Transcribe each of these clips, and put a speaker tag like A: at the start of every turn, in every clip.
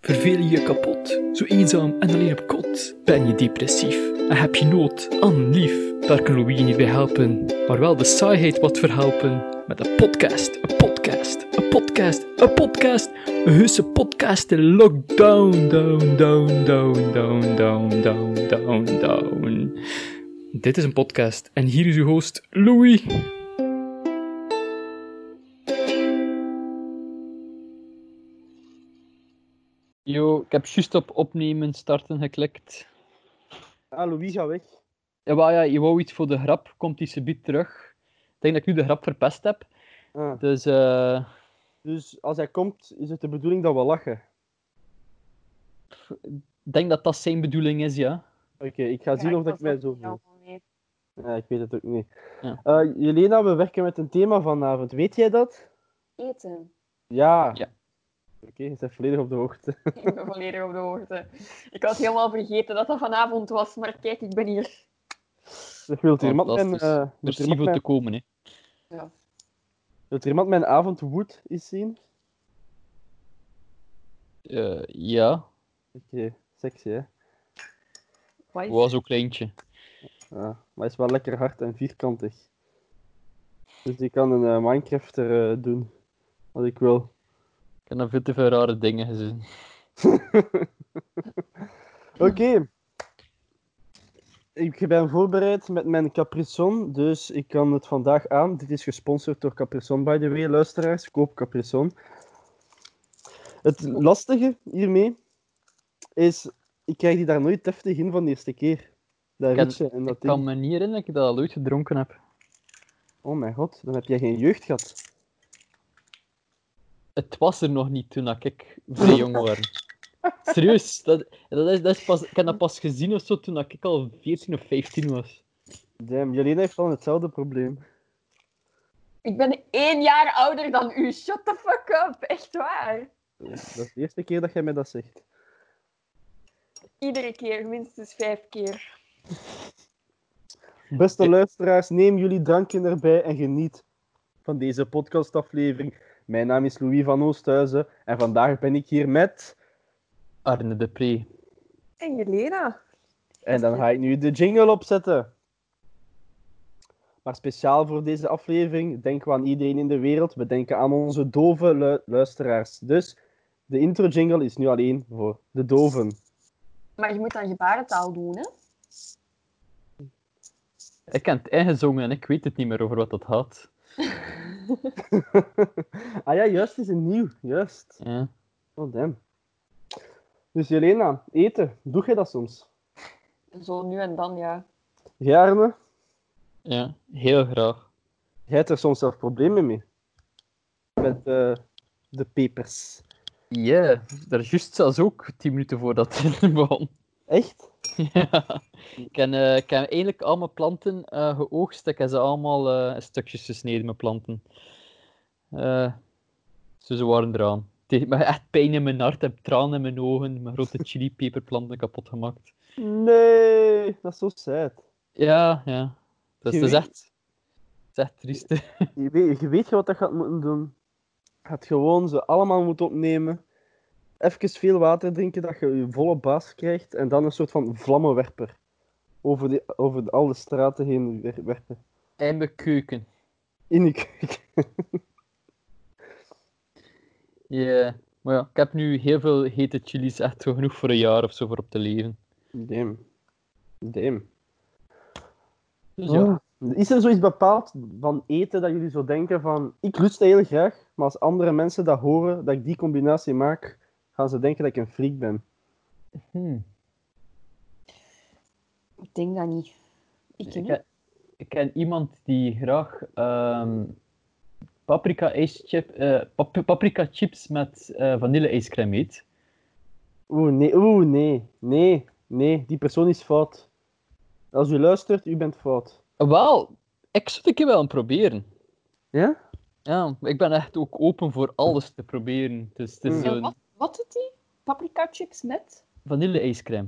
A: Verveel je je kapot, zo eenzaam en alleen op kot? Ben je depressief en heb je nood aan lief? Daar kan Louis niet bij helpen, maar wel de saaiheid wat verhelpen. Met een podcast, een podcast, een podcast, een podcast, een husse podcast in lockdown, down, down, down, down, down, down, down, down. Dit is een podcast en hier is uw host Louis. Yo, ik heb juist op opnemen starten geklikt.
B: Ah, Louis gaat weg.
A: Ja, maar ja, je wou iets voor de grap, komt die subiet terug. Ik denk dat ik nu de grap verpest heb.
B: Ah,
A: Dus eh,
B: Dus als hij komt, is het de bedoeling dat we lachen.
A: ik denk dat dat zijn bedoeling is, ja.
B: Oké, ik ga zien of dat ik mij zo voel.
C: Nee.
B: Ja, ik weet het ook niet.
A: Ja.
B: Eh, Jelena, we werken met een thema vanavond. Weet jij dat?
C: Eten.
B: Ja.
A: Ja.
B: Oké, je bent volledig op de hoogte.
C: Ik ben volledig op de hoogte. Ik had helemaal vergeten dat dat vanavond was, maar kijk, ik ben hier.
B: Zeg, Dus Wilt
A: Oh,
B: er iemand mijn,
A: Fantastisch.
B: eh, wilt er
A: Merci
B: iemand
A: voor te
B: mijn,
A: komen, hè.
C: Ja.
B: wilt er iemand mijn avondwood eens zien?
A: Eh, ja,
B: Oké, sexy hè?
C: Wat is-
A: was ook kleintje.
B: Ja, Ah, maar hij is wel lekker hard en vierkantig. Dus die kan een eh, Minecrafter eh, doen. Wat ik wil.
A: Ik heb dan veel te veel rare dingen gezien.
B: Oké. Ik ben voorbereid met mijn Caprison, dus ik kan het vandaag aan. Dit is gesponsord door Caprison, by the way, luisteraars. Koop Caprison. Het lastige hiermee is, ik krijg die daar nooit heftig in van de eerste keer. Dat
A: Ken-
B: rietje en dat
A: Ik kan
B: ding.
A: me niet herinneren dat ik dat al ooit gedronken heb.
B: Oh mijn god, dan heb jij geen jeugd gehad.
A: Het was er nog niet toen dat ik vrij jong was. Serieus, dat, dat is, dat is pas, ik heb dat pas gezien of zo toen dat ik al 14 of 15 was.
B: Damn, Jelena heeft al hetzelfde probleem.
C: Ik ben één jaar ouder dan u. Shut the fuck up. Echt waar.
B: Dat is de eerste keer dat jij mij dat zegt.
C: Iedere keer, minstens vijf keer.
B: Beste
A: Ja.
B: luisteraars, neem jullie dranken erbij en geniet van deze podcastaflevering. Mijn naam is Louis van Oosthuizen en vandaag ben ik hier met.
A: Arne de Pre.
C: En Jelena.
B: En dan ga ik nu de jingle opzetten. Maar speciaal voor deze aflevering denken we aan iedereen in de wereld. We denken aan onze dove lu- luisteraars. Dus de intro jingle is nu alleen voor de doven.
C: Maar je moet dan gebarentaal doen, hè?
A: Ik heb het ingezongen en ik weet het niet meer over wat dat had.
B: ah ja, juist is een nieuw. Juist.
A: Ja.
B: Oh damn. Dus Jelena, eten. Doe jij dat soms?
C: Zo nu en dan, ja.
B: Gerne.
A: ja, heel graag.
B: Jij hebt er soms zelf problemen mee. Met eh, de pepers.
A: Ja, daar juist zelfs ook 10 minuten voordat het begon.
B: Echt?
A: Ja. Ik heb, eh, ik heb eigenlijk al mijn planten eh, geoogst. Ik heb ze allemaal eh, in stukjes gesneden, mijn planten. Eh, dus ze waren eraan. Het deed me echt pijn in mijn hart. Ik heb tranen in mijn ogen. Mijn grote chilipeperplanten kapot gemaakt.
B: Nee, dat is zo sad.
A: Ja, ja. Dus het is
B: Gewin-
A: echt, het is echt triest. hè.
B: Je weet, je weet wat dat gaat moeten doen. Je gaat gewoon ze allemaal moeten opnemen. Even veel water drinken, dat je je volle baas krijgt. En dan een soort van vlammenwerper. Over, die, over de- alle straten heen wer- werpen.
A: In mijn keuken.
B: In je keuken.
A: Ja. Maar ja, ik heb nu heel veel hete chilies. Echt zo genoeg voor een jaar of zo voor op te leven.
B: Damn. Damn.
A: Dus ja.
B: Ah. Is er zoiets bepaald van eten dat jullie zo denken van ik lust dat heel graag, maar als andere mensen dat horen, dat ik die combinatie maak, gaan ze denken dat ik een freak ben.
A: Hmm.
C: Ik denk dat niet. Ik
A: Ik,
C: niet.
A: ken- ik ken iemand die graag ehm, paprika, ijschip, eh, pap- paprika chips met eh vanille ijscrème eet.
B: Oeh, nee, oeh, nee, nee, nee, die persoon is fout. Als u luistert, u bent fout.
A: Wel, ik zou het een keer wel aan proberen.
B: Ja?
A: Ja, ik ben echt ook open voor alles te proberen. Dus het is
B: Mm.
C: En
A: zo'n
C: wat, wat doet die? Paprika chips met?
A: vanille ijscrème.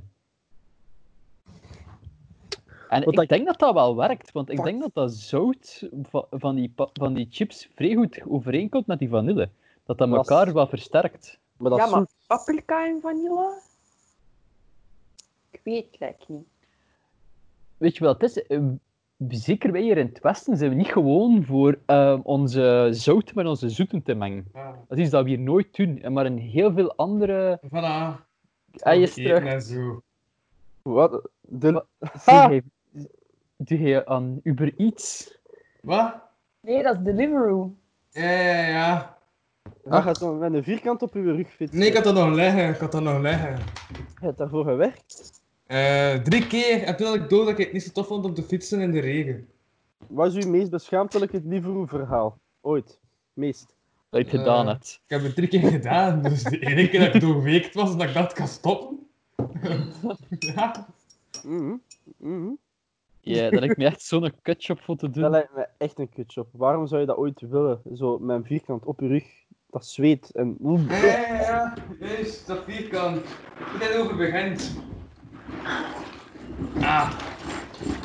A: En
B: Wat
A: ik
B: dat-
A: denk dat dat wel werkt, want ik denk dat dat zout va- van die, pa- van die chips vrij goed overeenkomt met die vanille. Dat dat
B: Was-
A: elkaar wel versterkt.
B: Maar dat
C: ja,
B: is
C: maar
B: zoet.
C: paprika en vanille? Ik weet het like, niet.
A: Weet je wat het is? Eh, Zeker wij hier in het Westen zijn we niet gewoon voor eh, onze zout met onze zoeten te mengen.
D: Ja,
A: Dat is iets dat we hier nooit doen. En Maar in heel veel andere...
D: voilà. Oh,
A: En je is
D: Opeten
A: terug.
D: En zo.
B: Wat? Ah! De...
A: Doe
B: Ha!
A: jij- Ah! Doe jij aan Uber Eats?
D: Wat?
C: Nee, dat is Deliveroo.
D: Ja, ja, ja.
B: Hij Ah, gaat dan met een vierkant op uw rug fietsen.
D: Nee, ik had dat nog liggen. Ik had dat nog liggen.
B: Je hebt daarvoor gewerkt.
D: Eh, drie keer. En toen had ik door dat ik het niet zo tof vond om te fietsen in de regen.
B: Wat is uw meest beschaamdelijke Deliveroo-verhaal? Ooit. Meest.
A: Dat ik gedaan
D: Eh.
A: heb.
D: Ik heb het drie keer gedaan. Dus de ene keer dat ik doorweekt was en dat ik dat kan stoppen. ja.
B: Mhm. Mhm.
A: Ja, dat ik me echt zo'n kutje op vond te doen.
B: Dat lijkt me echt een kutjob. Waarom zou je dat ooit willen? Zo met een vierkant op je rug. Dat zweet en...
D: Ja, ja, ja. Juist, dat vierkant. Ik ben over begint. Ah.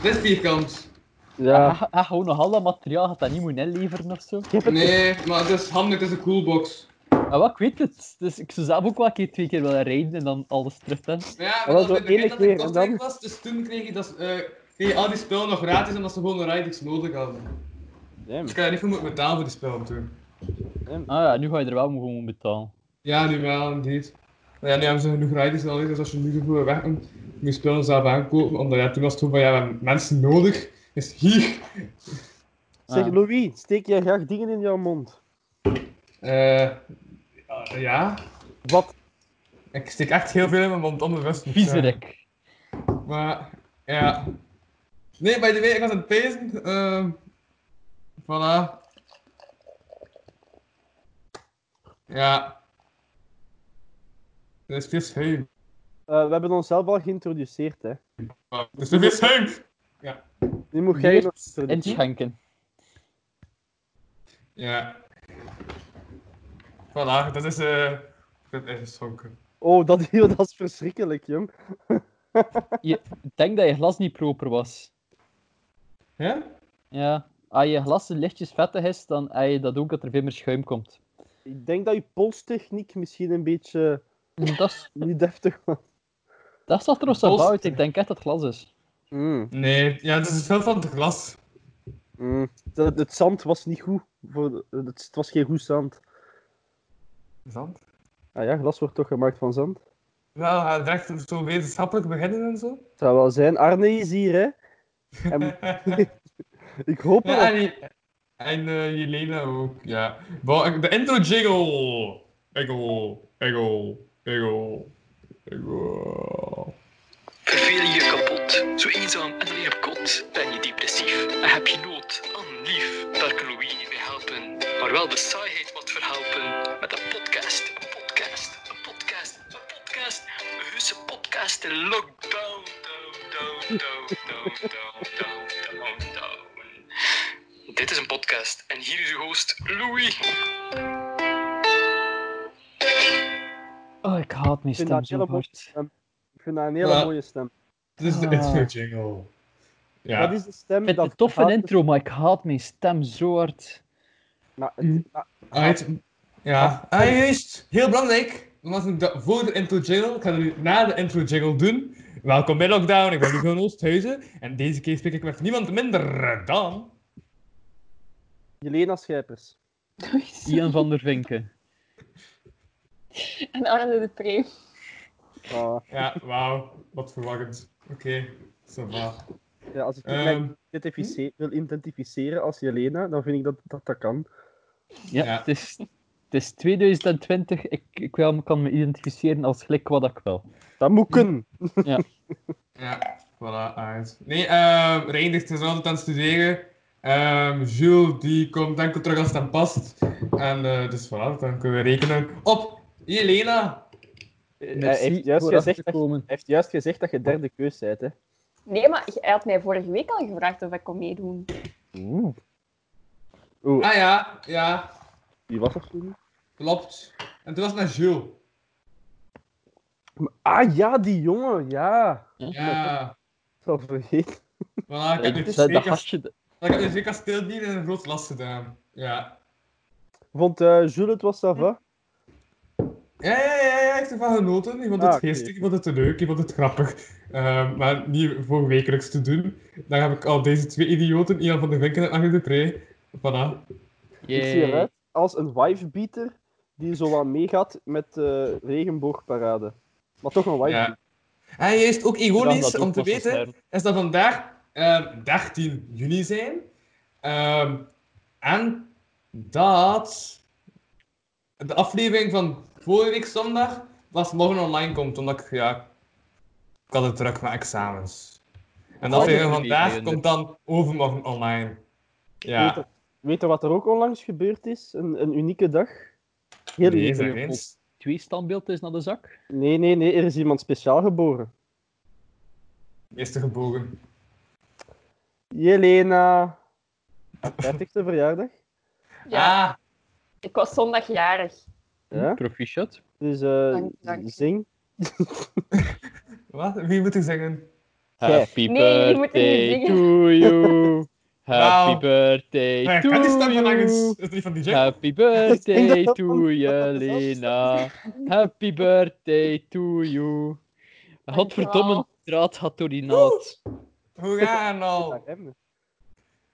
D: Dit is vierkant.
B: Ja.
A: Hij- Hij gewoon nog al dat materiaal gaat dat niet moeten inleveren of zo.
D: Nee, maar het is handig. Het is een coolbox.
A: Maar wat, ik weet het. Dus ik zou zelf ook wel een keer twee keer willen rijden en dan alles terug doen.
D: Ja,
B: Dat
D: maar
B: was
D: dat
B: zo
D: was
B: één
D: het dat ik
B: keer,
D: in
B: en
D: Kortrijk
B: dan-
D: was, dus toen kreeg je, dat, eh, kreeg je al die spullen nog gratis omdat ze gewoon een Ridix nodig hadden.
B: Damn,
D: Dus ik had er niet voor moeten betalen voor die spullen toen.
B: damn.
A: Ah ja, nu ga je er wel gewoon betalen.
D: Ja, nu wel, indeed. Maar ja, nu hebben ze genoeg Ridix al, dus als je nu ervoor weg moet, moet je spullen zelf aankopen. Omdat ja, toen was het gewoon van, ja, we hebben mensen nodig. Dus hier.
B: Zeg,
A: Ah.
B: Louis, steek jij graag dingen in jouw mond?
D: Eh, ja,
B: Wat?
D: ik steek echt heel veel in mijn mond, onbewust. dus, eh. moet ik zeggen.
A: Viezerik.
D: Maar, ja. Nee, by the way, ik was aan het pezen. ehm voilà. Ja. Er is veel schuim.
B: Eh, we hebben onszelf al geïntroduceerd, hè.
D: Er is te veel schuim!
B: Nu moet jij
A: Hier,
B: nog introduceren.
A: Inschenken.
D: Ja. Voilà, dat is... eh ik ben ingeschonken.
B: Oh, dat, dat is verschrikkelijk, jong.
A: Ik denk dat je glas niet proper was.
D: Ja?
A: Ja. Als je glas lichtjes vettig is, dan heb je dat ook dat er veel meer schuim komt.
B: Ik denk dat je polstechniek misschien een beetje
A: Dat, is-
B: niet deftig was.
A: dat zag er nog zo
D: Post.
A: uit. Ik denk echt dat het glas is.
B: Mm,
D: Nee, ja, het is veel van het glas.
B: mm. Dat- Het zand was niet goed. Voor de- het, het was geen goed zand.
D: Zand?
B: Ah ja, glas wordt toch gemaakt van zand?
D: Wel, hij gaat direct zo wetenschappelijk beginnen en zo.
B: Het zou wel zijn. Arne is hier, hè. En ik hoop
D: Ja,
B: dat...
D: en, en eh, Jelena ook, ja. Wel, ik- de intro jingle! Jingle, jingle, jingle, jingle.
E: Verveel je je kapot, zo eenzaam en alleen op kot. Ben je depressief en heb je nood aan lief? Daar kan Louis niet bij helpen, maar wel de saaiheid wat verhelpen. Met een podcast, een podcast, een podcast, een podcast, een husse podcast in lockdown. Down, down, down, down, down, down, down, down. Dit is een podcast en hier is uw host Louis.
A: Oh, ik haat mijn
B: Ik vind
A: stem
B: dat
A: zo
B: heel mooi.
A: hard.
B: Ik vind dat een hele
D: Ja.
B: mooie stem.
D: Dit is de
A: Ah.
D: intro jingle. Ja,
B: Dat is de stem
A: Ik vind het
B: dat...
A: een toffe
B: haat-
A: intro, maar ik haat mijn stem zo hard.
B: Maar Nou, het- maar-
D: Alright. ja. Ah, juist. Heel belangrijk. Want ik dat voor de intro jingle, ik ga dat nu na de intro jingle doen. Welkom bij Lockdown, ik ben Hugo Oosthuizen. En deze keer spreek ik met niemand minder dan...
B: Jelena Schijpers.
A: Ian van der Vinken.
C: en Arne de Pre.
B: Ah,
D: Ja, wauw. Wat verwachtend. Oké, zo va.
B: ja, als ik
D: Ehm.
B: mij identifice- wil identificeren als Jelena, dan vind ik dat dat, dat kan.
A: Ja,
D: Ja.
A: Het, is, het is 2020. Ik, ik wel, kan me identificeren als gelijk wat ik wil.
B: Dat moet kunnen.
D: Ja, voilà, uit. Nee, ehm Reindert is altijd aan het studeren. Ehm, Jules, die komt enkel terug als het hem past. En eh, dus voilà, dan kunnen we rekenen op Jelena.
B: Eh, Hij heeft, juist gezegd dat, hij
A: komen.
B: heeft juist gezegd dat je derde keus bent, hè.
C: Nee, maar hij had mij vorige week al gevraagd of ik kon meedoen.
B: Oeh. Oeh,
D: Ah ja, ja,
B: wie was dat toen?
D: klopt. En toen was het naar Jules.
B: Ah ja, die jongen, ja.
D: Ja,
B: Ik had het vergeten.
D: voilà, ik heb
A: Ik
D: dit
A: zei, dat
D: week als-
A: gastje, dat-
D: ik heb dit week als stildier en een groot last gedaan. Ja.
B: Vond eh Jules het was ça va?
D: Ja, ja, ja, ja, ik heb ervan genoten. Ik vond
B: Ah,
D: het
B: oké.
D: geestig, ik vond het leuk, ik vond het grappig. Ehm, maar niet voor wekelijks te doen. Dan heb ik al deze twee idioten, Ian van de Vinken en Angel de Pre. Voilà.
B: Ik zie eruit als een wife-beater die zo wat meegaat met de regenboogparade. Maar toch een wife
D: Ja. En juist ook ironisch om te weten,
A: Sterren.
D: is dat vandaag ehm, 13 juni zijn. Ehm, en dat de aflevering van vorige week zondag pas morgen online komt, omdat ik, ja, ik had het druk met examens. En de
A: Oh,
D: aflevering
A: dat
D: van
A: is
D: vandaag
A: niet, nee,
D: komt dan overmorgen online.
B: Weet,
D: Ja,
B: je- weet je wat er ook onlangs gebeurd is? Een, een unieke dag? Heel
D: nee,
B: uniek.
D: zeg eens.
A: Twee standbeelden naar de zak.
B: Nee, nee, nee, er is iemand speciaal geboren.
D: Eerste gebogen.
B: Jelena. 30e verjaardag.
C: Ja,
D: Ah,
C: ik was zondagjarig.
A: Hm,
B: Ja,
A: Proficiat.
B: dus eh,
C: Dank- dank.
B: zing.
D: wat? Wie moet ik zeggen?
A: Happy
C: Nee, jullie moeten
A: birthday
C: niet
A: to you. Happy
D: Nou.
A: birthday
D: Nee,
A: to
D: kan die stem van Agnes?
A: you.
D: Is het niet van die Jack?
A: Happy birthday
B: dat
A: to
B: dat
A: you,
B: dat dezelfde
A: Lena. Happy birthday to you. Godverdomme,
C: Dankjewel.
A: draad gaat door die naald.
D: Hoe gaan al?
B: Naar hem.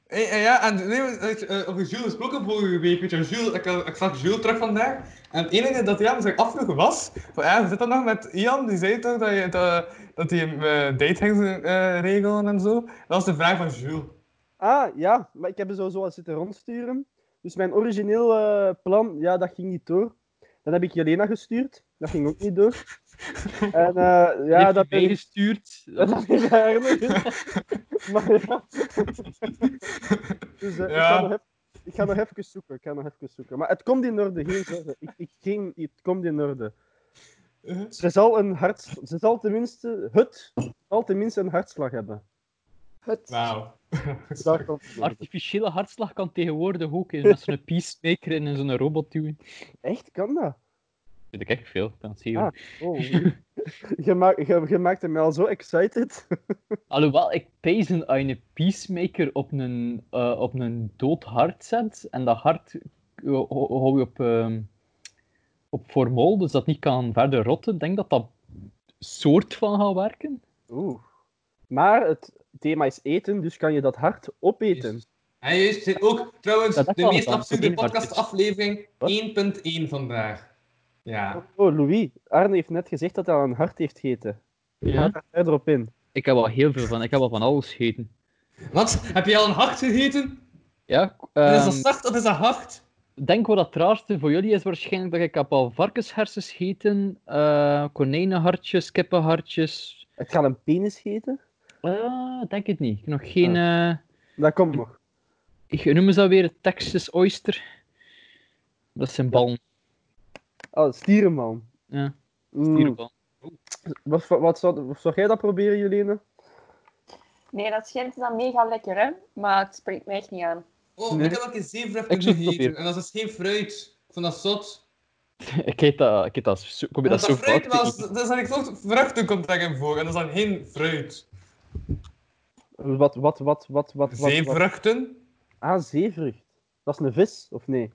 D: Hey, eh, ja, en nee, we- eh, eh, over Jules gesproken vorige week. Weet je, Jules, ik, eh, ik zag Jules terug vandaag. En het enige dat Jan zich afvroeg was. Van, ja, zit dat nog met Ian? Die zei toch dat, je, dat, dat hij eh date ging eh, regelen en zo. Dat was de vraag van Jules.
B: Ah, ja, maar ik heb er zo zo wat zitten rondsturen. Dus mijn origineel eh, plan, ja, dat ging niet door. Dan heb ik Jelena gestuurd. Dat ging ook niet door. En eh,
A: Ja,
B: ja,
A: heeft dat
B: dat ben ik
A: bijgestuurd.
B: Dat is niet erg. Maar ja. Dus eh, ik,
D: Ja.
B: ga nog even, ik ga nog even zoeken. Ik ga nog even zoeken. Maar het komt in orde, geen zorgen. Ik, ik, geen, het komt in orde. Ze zal een hart, ze zal tenminste, het, zal tenminste een hartslag hebben.
C: Het.
D: Wauw.
B: Dus daar komt het in orde.
A: Artificiële hartslag kan tegenwoordig ook in met zo'n peacemaker en in zo'n robot doen.
B: Echt, kan dat?
A: Weet ik echt veel, kan het zeker.
B: Ah. Oh. Je, maakt, je, je maakte mij al zo excited.
A: Alhoewel, ik pijs een, als je een peacemaker op een, eh, op een dood hart zet en dat hart eh, hou hou je op, ehm, op formol, dus dat niet kan verder rotten, Ik denk dat dat soort van gaat werken.
B: Oeh. Maar het thema is eten, dus kan je dat hart opeten.
D: En juist, zit ook trouwens
A: Dat heb ik
D: de
A: al
D: meest
A: gedaan,
D: absurde
A: verdien-
D: podcastaflevering
A: Wat?
D: 1.1 vandaag. Ja.
B: Oh, Louis, Arne heeft net gezegd dat hij aan een hart heeft gegeten. Ga daar verder op in.
A: Ik heb al heel veel van, ik heb al van alles gegeten.
D: Wat? Heb je al een hart gegeten?
A: Ja,
D: is dat
A: ehm,
D: zacht of is dat hard?
A: denk wat het raarste voor jullie is waarschijnlijk dat ik heb al varkenshersens gegeten, eh, konijnenhartjes, kippenhartjes.
B: Het gaat een penis eten?
A: Eh, denk het niet. Ik heb nog geen... eh,
B: Dat komt nog.
A: Ik noem ze weer Texas Oyster. Dat zijn ballen.
B: Oh, stierenman.
A: Ja,
B: Mm,
A: dierenballen.
B: Wat, wat, wat zou, wat zou jij dat proberen, Jelene?
C: Nee, dat schijnt dan mega lekker, hè? Maar het spreekt mij echt niet aan.
D: Oh,
A: Nee.
D: ik heb ook een zeevrucht
A: Ik zou het
D: gegeten.
A: proberen.
D: En dat is geen fruit. Ik vond dat zot.
A: Ik heet dat, ik heet dat, zo- ik probeer
D: Dat,
A: dat,
D: dat,
A: zo
D: fruit
A: vaak te
D: was,
A: eten.
D: dat is dan ik toch vruchten komt daarin voor. En dat is dan geen fruit.
B: Wat, wat, wat, wat, wat, wat, wat?
D: Zeevruchten?
B: Ah, zeevrucht. Dat is een vis, of nee?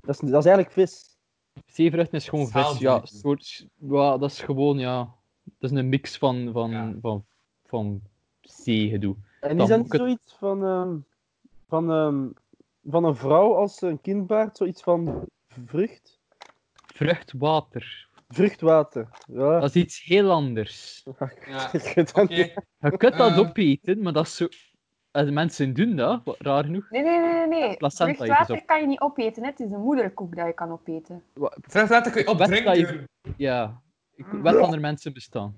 B: Dat is, dat is eigenlijk vis.
A: Zeevruchten is gewoon vis, ja,
D: Zaalvruchten.
A: soort, ja. Dat is gewoon, ja. Dat is een mix van, van,
D: Ja.
A: van, van zeegedoe.
B: En
A: Dan
B: is
A: moet
B: dat niet
A: ik het-
B: zoiets van, ehm, van, ehm, van een vrouw als ze een kind baart? Zoiets van vrucht?
A: Vruchtwater.
B: Vruchtwater. Ja.
A: Dat is iets heel anders.
D: Ja.
B: Ik weet dat
D: Oké.
B: niet.
A: Je kunt dat
D: Eh.
A: opeten, maar dat is zo... en de mensen doen dat, wat raar genoeg.
C: Nee, nee, nee, nee. nee.
A: Placenta eet dus
C: Vruchtwater kan je niet opeten, hè? Het is de moederkoek dat je kan opeten.
D: Vruchtwater kun je
A: Best dat
D: opdrinken.
A: je- Ja. Ik weet dat er mensen bestaan.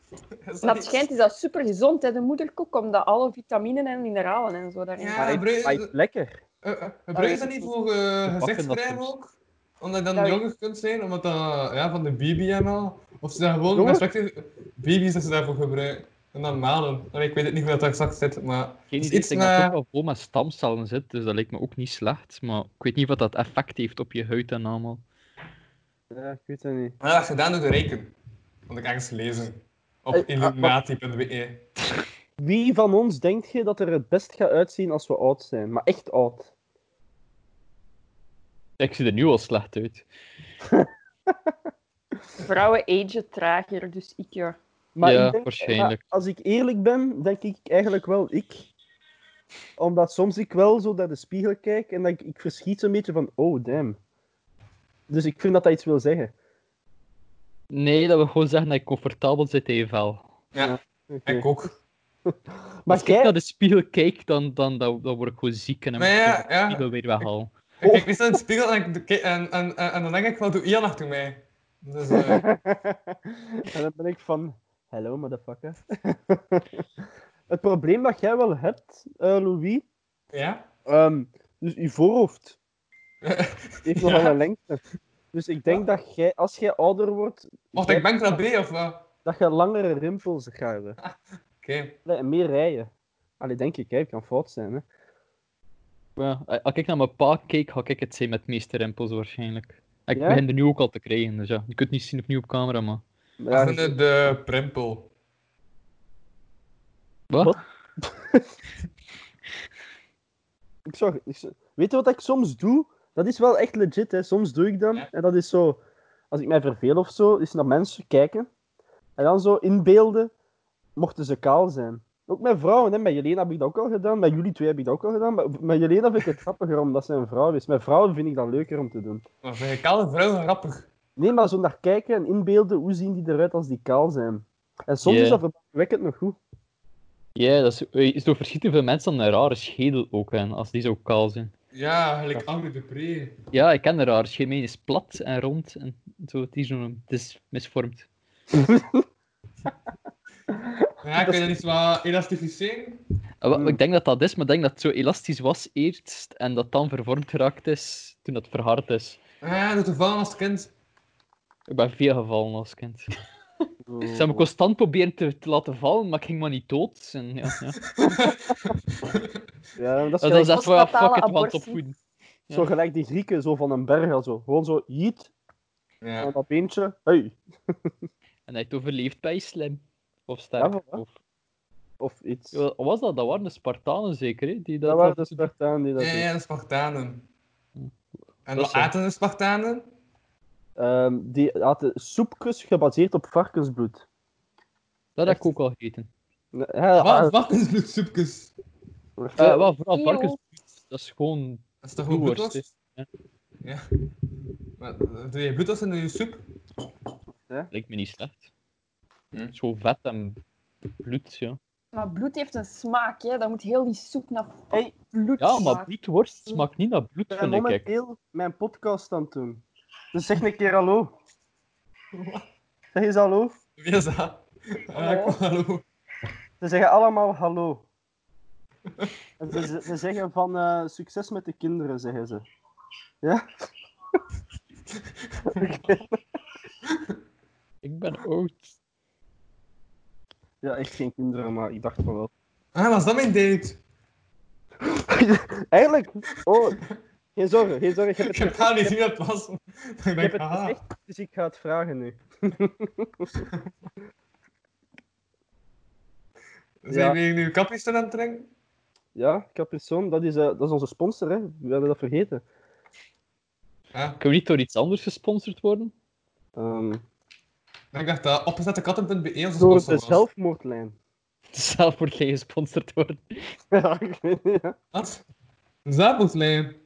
D: Is
C: Dat
D: niet-
C: schijnt is dat super gezond, hè? De moederkoek, omdat alle vitaminen en mineralen en zo daarin
D: Ja,
B: Maar
C: zitten.
B: ik-
D: gebruik-
B: maar ik- Lekker.
D: eh, eh,
A: Ah,
D: Gebruik je dat niet voor eh
A: dat
D: gezichtscrème
A: soms.
D: ook? Omdat je dan
C: Ja, ik-
D: jonger kunt zijn? Omdat dat, ja, van de baby en al? Of ze daar gewoon
B: Jonger?
D: respectief baby's dat ze daarvoor gebruiken? En dan malen. Allee, ik weet het niet hoe dat daar straks zit, maar...
A: Geen
D: Het is
A: idee, ik
D: iets
A: denk dat het
D: met-
A: ook wel vol met stamcellen zit, dus dat lijkt me ook niet slecht. Maar ik weet niet wat dat effect heeft op je huid en allemaal.
B: Ja, ik weet dat niet.
D: Maar dat is gedaan door de reken. Want ik ergens lezen. Op
B: Eh, ah,
D: illuminati.be.
B: Wie van ons denkt je dat er het best gaat uitzien als we oud zijn? Maar echt oud.
A: Ik zie er nu al slecht uit.
C: Vrouwen agen trager, dus ik ja.
B: Maar
A: Ja,
B: ik denk,
A: waarschijnlijk.
B: maar als ik eerlijk ben, denk ik eigenlijk wel ik. Omdat soms ik wel zo naar de spiegel kijk en dat ik, ik verschiet zo'n beetje van, oh damn. Dus ik vind dat dat iets wil zeggen.
A: Nee, dat we gewoon zeggen dat je comfortabel zit in je vel.
D: Ja,
B: Oké.
D: ik ook.
B: Maar
A: Als ik
B: jij,
A: naar de spiegel kijk, dan, dan, dan, dan word ik gewoon ziek en dan
D: Maar
A: moet ik
D: ja,
A: de
D: ja.
A: spiegel weer weghalen.
D: Ik kijk meestal in de spiegel en, ik- en, en, en, en dan denk ik, wat doe Ian achter mij? Dus, eh,
B: en dan ben ik van, hello motherfucker. Het probleem dat jij wel hebt, eh, Louis,
D: ja?
B: ehm, dus je voorhoofd heeft nogal
D: Ja.
B: een lengte. Dus ik denk dat jij, als jij ouder wordt,
D: Mocht ik bank B of wat? Oké.
B: dat je langere rimpels gaat hebben. Nee, en meer rijden. Allee, denk ik, hè. ik kan fout zijn. Hè.
A: Ja, als ik naar mijn pa kijk, ga ik het zijn met de meeste rimpels waarschijnlijk. Ik
B: Ja?
A: begin er nu ook al te krijgen, dus ja. Je kunt het niet zien opnieuw op camera, maar...
B: Maar
D: Dat
B: ja,
D: is de- de primpel.
A: Wat?
B: Wat? ik zorg, ik zo- weet je wat ik soms doe? Dat is wel echt legit, hè. soms doe ik dat.
D: Ja.
B: En dat is zo, als ik mij verveel of zo, is naar mensen kijken. En dan zo inbeelden, mochten ze kaal zijn. Ook met vrouwen, hè. met Jelena heb ik dat ook al gedaan, met jullie twee heb ik dat ook al gedaan. Maar met Jelena vind ik het grappiger omdat ze een vrouw is. Met vrouwen vind ik dat leuker om te doen.
D: Maar vind ik alle vrouwen grappig.
B: Nee, maar zo naar kijken en inbeelden, hoe zien die eruit als die kaal zijn? En soms
A: Ja.
B: is dat verbazingwekkend nog goed.
A: Ja, dat is, eh, is door verschillende veel mensen een rare schedel ook, hè, als die zo kaal zijn.
D: Ja, gelijk Angry de Pre.
A: Ja, ik ken een rare schedel. Mijn is plat en rond en zo. Het is, zo'n- het is misvormd.
D: Ja, kun je dat iets wat elastificeren?
A: Eh, wel,
B: Hmm.
A: Ik denk dat dat is, maar ik denk dat het zo elastisch was eerst en dat dan vervormd geraakt is toen het verhard is.
D: Ja, dat te vallen als kind.
A: Ik ben veel gevallen als kind. Ze hebben me
B: oh.
A: constant proberen te, te laten vallen, maar ik ging maar niet dood. En, ja, ja.
B: Ja, dat
A: Dat was
B: is gelijk,
A: echt wel fuck
C: postnatale
A: it, want
C: abortie.
A: opvoeden. ja.
B: zo gelijk die Grieken, zo van een berg en zo. Gewoon zo, jiet,
D: Ja.
B: aan dat beentje. Hey.
A: En hij heeft overleefd bij slim. Of sterk.
B: Ja, voilà.
A: of...
B: Of iets.
A: Ja, wat was dat? Dat waren de Spartanen zeker, hè? Die dat,
B: dat waren de
A: dat-
B: Spartaan die dat
D: Ja,
B: doen.
D: ja, de Spartanen. En
A: Dat
D: wat
A: is zo.
D: aten de Spartanen?
B: Ehm, die hadden soepjes gebaseerd op varkensbloed.
A: Dat heb ik ook al gegeten.
B: Ja, ah,
D: Wat varkensbloedsoepjes?
A: Eh
B: ja,
A: wel, vooral
C: Eeuw.
A: varkensbloed. Dat is gewoon...
D: Dat is toch gewoon
A: Bloedworst,
D: bloedworst?
A: hè?
D: Ja. Maar, eh, Doe je bloedworst in je soep?
A: Lijkt me niet slecht.
D: Hm.
A: Het is gewoon vet en bloed, ja.
C: Maar bloed heeft een smaak, hè. Dan moet heel die soep naar
B: Hey,
C: bloed
A: Ja, maar
C: smaken.
A: bloedworst smaakt niet naar bloed,
B: ik ben
A: vind ik. ik.
B: momenteel mijn podcast aan het doen. Dus zeg een keer hallo. Zeg eens hallo.
D: Wie is dat?
B: Oh.
D: Hallo.
C: Hallo.
D: hallo.
B: Ze zeggen allemaal hallo. En ze, ze- ze zeggen van eh, succes met de kinderen, zeggen ze. Ja?
A: Ik ben oud.
B: Ja, echt geen kinderen, maar ik dacht van wel.
D: Ah, was dat mijn date?
B: Eigenlijk, oh, geen zorgen, geen zorgen. Ik heb
D: Ik
B: het
D: heb haar niet zien dat het was. Ik
B: Ik
D: denk,
B: heb het
D: ah,
B: gezegd, dus ik ga het vragen nu.
D: zijn
B: Ja.
D: we hier nu kapjes aan het drinken?
B: Ja, Caprison, dat is, eh, dat is onze sponsor, hè. We hadden dat vergeten.
D: Ja.
A: Kunnen we niet door iets anders gesponsord worden?
B: Ehm,
D: Ik dacht eh, dat opgezetteKatten.be onze
B: door
D: sponsor
B: de
D: was.
B: zelfmoordlijn.
A: Zelf wordt jij gesponsord worden.
B: ja, ik weet niet, ja.
D: Wat? Een zaadboetlijn.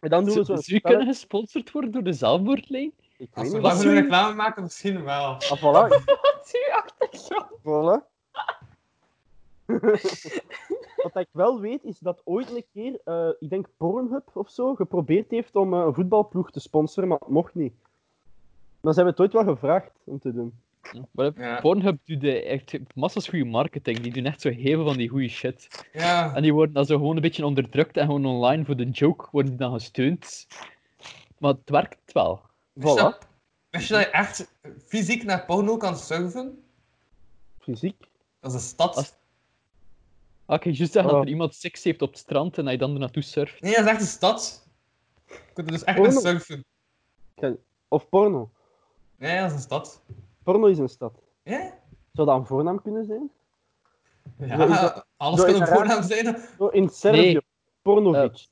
B: En dan doen
A: Zou
B: we zo'n
A: zou je kunnen gesponsord worden door de zelfmoordlijn?
B: Ik
D: Als
B: weet
D: we
B: niet.
D: daar
B: Wat
D: een reclame maken, misschien wel.
B: Ah, voilà,
C: Wat is uw achtergrond?
B: voilà. Wat ik wel weet, is dat ooit een keer, eh, ik denk Pornhub of zo, geprobeerd heeft om eh, een voetbalploeg te sponsoren, maar het mocht niet. Maar ze hebben het ooit wel gevraagd om te doen.
A: Ja. Maar
D: Ja.
A: Pornhub doet eh, echt massas goede marketing. Die doen echt zo heel veel van die goede shit.
D: Ja.
A: En die worden dan zo gewoon een beetje onderdrukt en gewoon online voor de joke worden die dan gesteund. Maar het werkt wel.
D: Wist je
B: Voilà,
D: dat- Wist je dat je echt fysiek naar porno kan surfen?
B: fysiek.
D: Dat is een stad.
A: Als- Ah, ik je juist zeggen dat
B: Oh.
A: er iemand seks heeft op het strand en dat je dan er naartoe surft.
D: Nee, dat is echt een stad. Je kunt er dus echt
B: Porno?
D: naar surfen.
B: Of porno.
D: Nee, dat is een stad.
B: Porno is een stad.
D: Ja?
B: Zou dat een voornaam kunnen zijn? Zo is
D: Ja,
B: dat-
D: alles
B: zo
D: kan
B: is
D: een
B: dat raar.
D: voornaam zijn.
B: Zo in Servië.
A: Nee.
B: Pornovic.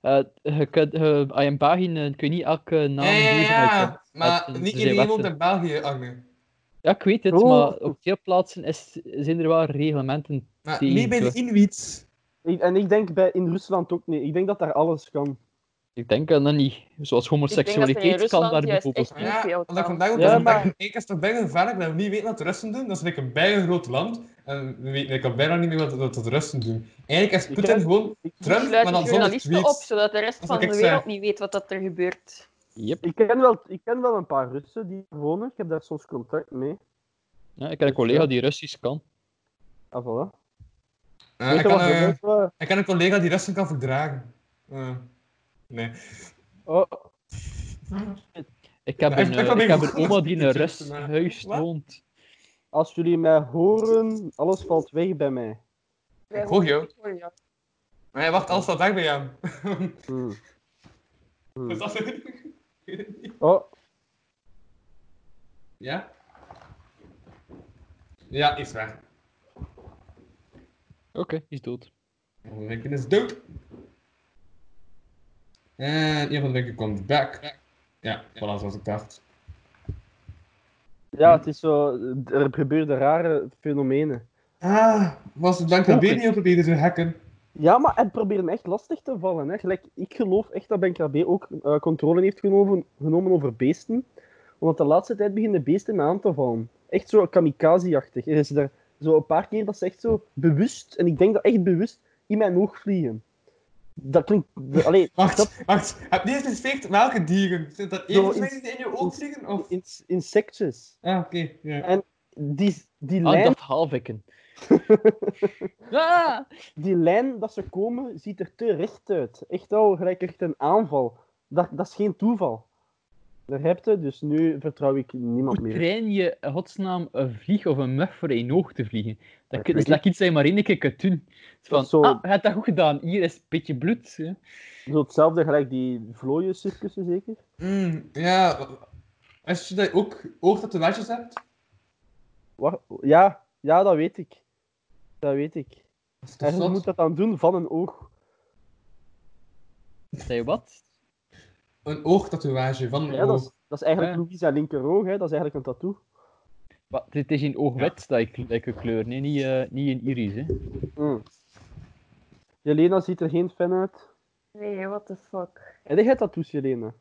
A: Eh, je kunt, je- ah, in België eh, kun je niet elke naam
D: Ja, ja,
A: lezen
D: ja,
A: uit-
D: maar
A: uit-
D: niet
A: zijn
D: iedereen woont
A: wetten.
D: in België, Agne.
A: Ja, ik weet het,
B: Oh.
A: maar op veel plaatsen is, zijn er wel reglementen.
D: Maar
A: Die-
D: niet bij de Inuits.
B: Ik- en ik denk bij, in Rusland ook niet. Ik denk dat daar alles kan.
A: Ik denk aan dat niet. Zoals homoseksualiteit kan daar bijvoorbeeld
C: echt
A: niet.
D: Ja,
C: veel
D: want ik
C: kan.
D: vandaag ook
B: Ja,
D: ja,
B: maar-
D: ik is toch bijna gevaarlijk dat we niet weten wat de Russen doen. Dat is like een bijna groot land. En we weten like, al bijna niet meer wat, wat de Russen doen. Eigenlijk is
B: Je
D: Poetin
B: kent-
D: gewoon
B: Ik,
D: Trump, maar
C: Sluit de
D: dan zonder
C: journalisten op,
D: tweets.
C: zodat de rest van
D: Dat zou ik
C: de
D: zeggen.
C: wereld niet weet wat dat er gebeurt.
A: Yep.
B: ik, ken wel, ik ken wel een paar Russen die hier wonen. Ik heb daar soms contact mee.
A: Ja, ik heb een
B: Dus,
A: collega
B: ja.
A: die Russisch kan.
B: Ah, voilà.
D: Ja,
B: Weet
D: ik,
B: je
D: kan,
B: wat er
D: eh,
B: ook wel-
D: ik ken een collega die Russen kan verdragen. Eh, nee.
B: Oh,
A: Ik heb,
D: Ja,
A: een,
D: ik- ik
A: eh,
D: probeer
A: ik heb
D: goed
A: een oma
D: te
A: die in een
D: zitten,
A: Rus
D: maar-
A: huis
D: Wat?
A: woont.
B: als jullie mij horen, alles valt weg bij mij.
C: Wij
D: Ik hoor jou.
C: horen- hoor jou.
D: Maar hij wacht alles wat weg bij hem.
B: Hmm. Hmm.
D: Dus dat- ik weet het niet.
B: Oh,
D: Ja? Ja, is weg.
A: Oké, die is dood.
D: Van Winken is dood. En Ian van Winken komt back. Ja, voilà, zoals ik dacht.
B: ja, het is zo. Er gebeuren rare fenomenen.
D: Ah, was het dank aan
A: Oké.
D: Benio probeerde te hacken?
B: Ja, maar het probeert me echt lastig te vallen. Hè. Gelijk, ik geloof echt dat BenKB ook eh, controle heeft genomen, genomen over beesten. Omdat de laatste tijd beginnen beesten me aan te vallen. Echt zo kamikaze-achtig. Er is er zo een paar keer dat ze echt zo bewust, en ik denk dat echt bewust, in mijn oog vliegen. Dat klinkt... de- Allee,
D: Wacht,
B: dat,
D: wacht. Heb je eens gezegd welke dieren? Zit dat
B: Zo,
D: één vliegen die in je oog
B: iets-
D: vliegen? Of...
B: in- insectjes.
D: Ah, oké. ja.
B: Die, die
A: Ah,
B: lijn
A: dat halvikken. ah!
B: die lijn dat ze komen, ziet er te recht uit. Echt al gelijk echt een aanval. Dat, dat is geen toeval. Daar heb je, dus nu vertrouw ik niemand
A: Hoe
B: meer.
A: train je in godsnaam een vlieg of een mug voor één oog te vliegen? Dat,
B: Dat
A: kun,
B: weet
A: is dat iets dat je maar één keer kunt doen. Het
B: Dat
A: Van,
B: is zo-
A: ah, je hebt dat goed gedaan. Hier is een beetje bloed. hè.
B: Zo hetzelfde gelijk die vlooiencircussen, zeker?
D: Mm, ja. Als je dat ook oogtatoeages hebt?
B: Wa- Ja, ja, dat weet ik. Dat weet ik.
D: Dat is toch
B: En je
D: zot?
B: moet dat dan doen van een oog.
A: Zei je wat?
D: Een oogtatoeage van een
B: Ja, dat, is,
D: oog.
B: dat is eigenlijk
A: Ja.
B: Louisa linkeroog, hè. dat is eigenlijk een tattoo.
A: Wat, het is in oogwit dat ik dat ik een kleur. Nee, niet, eh, niet in iris. Hè.
B: Mm. Jelena ziet er geen fan uit.
C: Nee, what the fuck.
B: En jij hebt tattoos, Jelena.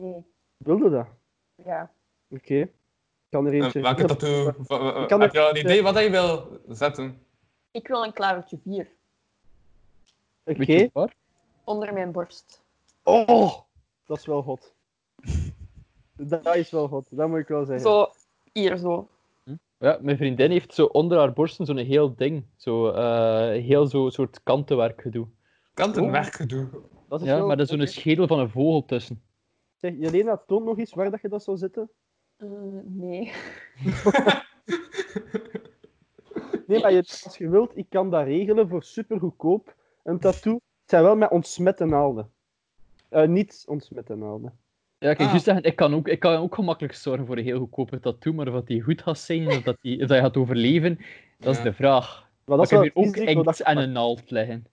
C: Nee,
B: Wilde dat?
C: ja.
B: Oké. Ik kan er
D: Eh,
B: eentje...
D: Welke tattoo? Wa- wa- wa-
B: Ik kan
D: Heb je
B: er-
D: al een idee wat dat je wil zetten?
C: Ik wil een klavertje 4
B: Oké,
A: Weet je waar?
C: onder mijn borst.
B: Oh, dat is wel hot. Dat is wel hot, dat moet ik wel zeggen.
C: Zo, hier zo.
A: Ja, mijn vriendin heeft zo onder haar borsten zo'n heel ding. Zo, eh, heel zo'n soort kantenwerk gedoe.
B: Oh.
D: Kantenwerk doen.
B: dat is
A: Ja,
B: wel-
A: maar er is zo'n
B: Oké.
A: schedel van een vogel tussen.
B: Zeg, Jelena, toon nog eens waar dat je dat zou zitten.
C: Eh, nee.
B: Nee, maar je, als je wilt, ik kan dat regelen voor super goedkoop. Een tattoo. Het zijn wel met ontsmette naalden. Eh, niet ontsmette naalden.
A: Ja, kijk,
D: Ah.
A: juist zeggen, ik kan, ook, ik kan ook gemakkelijk zorgen voor een heel goedkope tattoo, maar of dat die goed gaat zijn, of dat, die, of dat je gaat overleven, dat is
D: Ja.
A: de vraag. Dat
B: Maar dat,
A: kan
B: is
A: hier
B: wel
A: ook
B: het risico dat
A: inkt
B: je
A: en
B: pakt.
A: een naald leggen.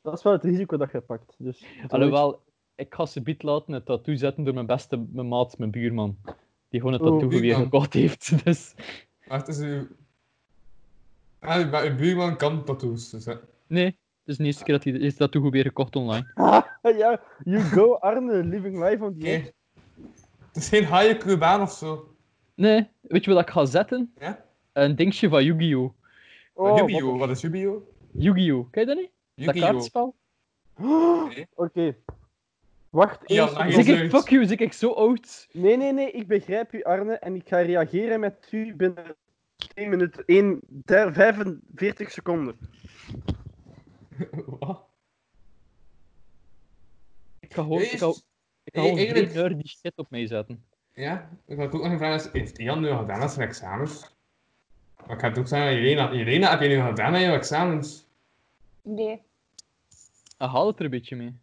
B: dat is wel het risico dat je pakt. Dus, doe
A: Alhoewel, ik ga ze bied laten het tattoo zetten door mijn beste mijn maat, mijn buurman. Die gewoon het
B: Oeh,
A: tattoo weer
D: Oh, buurman.
A: gekocht heeft. Dus.
D: Wacht, is uw... Ah, uw- maar uw buurman kan tattoos, dus hè.
A: Nee, het is de eerste keer dat hij is tattoo weer gekocht online.
B: iets. Ah, ja, you go Arne, living life on the
D: Nee.
B: edge.
D: Het is geen haaien Cubaan of zo.
A: Nee, weet je wat ik ga zetten?
D: Ja?
A: Een dingetje van Yu-Gi-Oh!
B: Oh, wat-
D: Yu-Gi-Oh! Ah, Wat is Yu-Gi-Oh?
A: Yu-Gi-Oh! Ken je dat niet? Dat
D: Yu-Gi-Oh!
A: kaartspel?
B: Oké. Wacht
D: Ah, Ja,
B: eens.
D: maar je-
A: Zeg ik,
D: zoiets.
A: fuck you, zeg ik zo oud?
B: Nee, nee, nee, ik begrijp u, Arne, en ik ga reageren met u binnen 1 minuut 1, 45 seconden.
D: Wat?
A: Ik ga gewoon, ik ga,
D: Jezus.
A: ik ga gewoon
D: Hey,
A: geen
D: eigenlijk-
A: uur die shit op mij zetten.
D: Ja, ik had ook nog een vraag. is, Heeft Jan nu al gedaan aan zijn examens? Maar ik had ook zeggen aan Irena. Irena, heb je nu al gedaan aan je examens?
C: Nee.
A: Dan Ah, haal het er een beetje mee.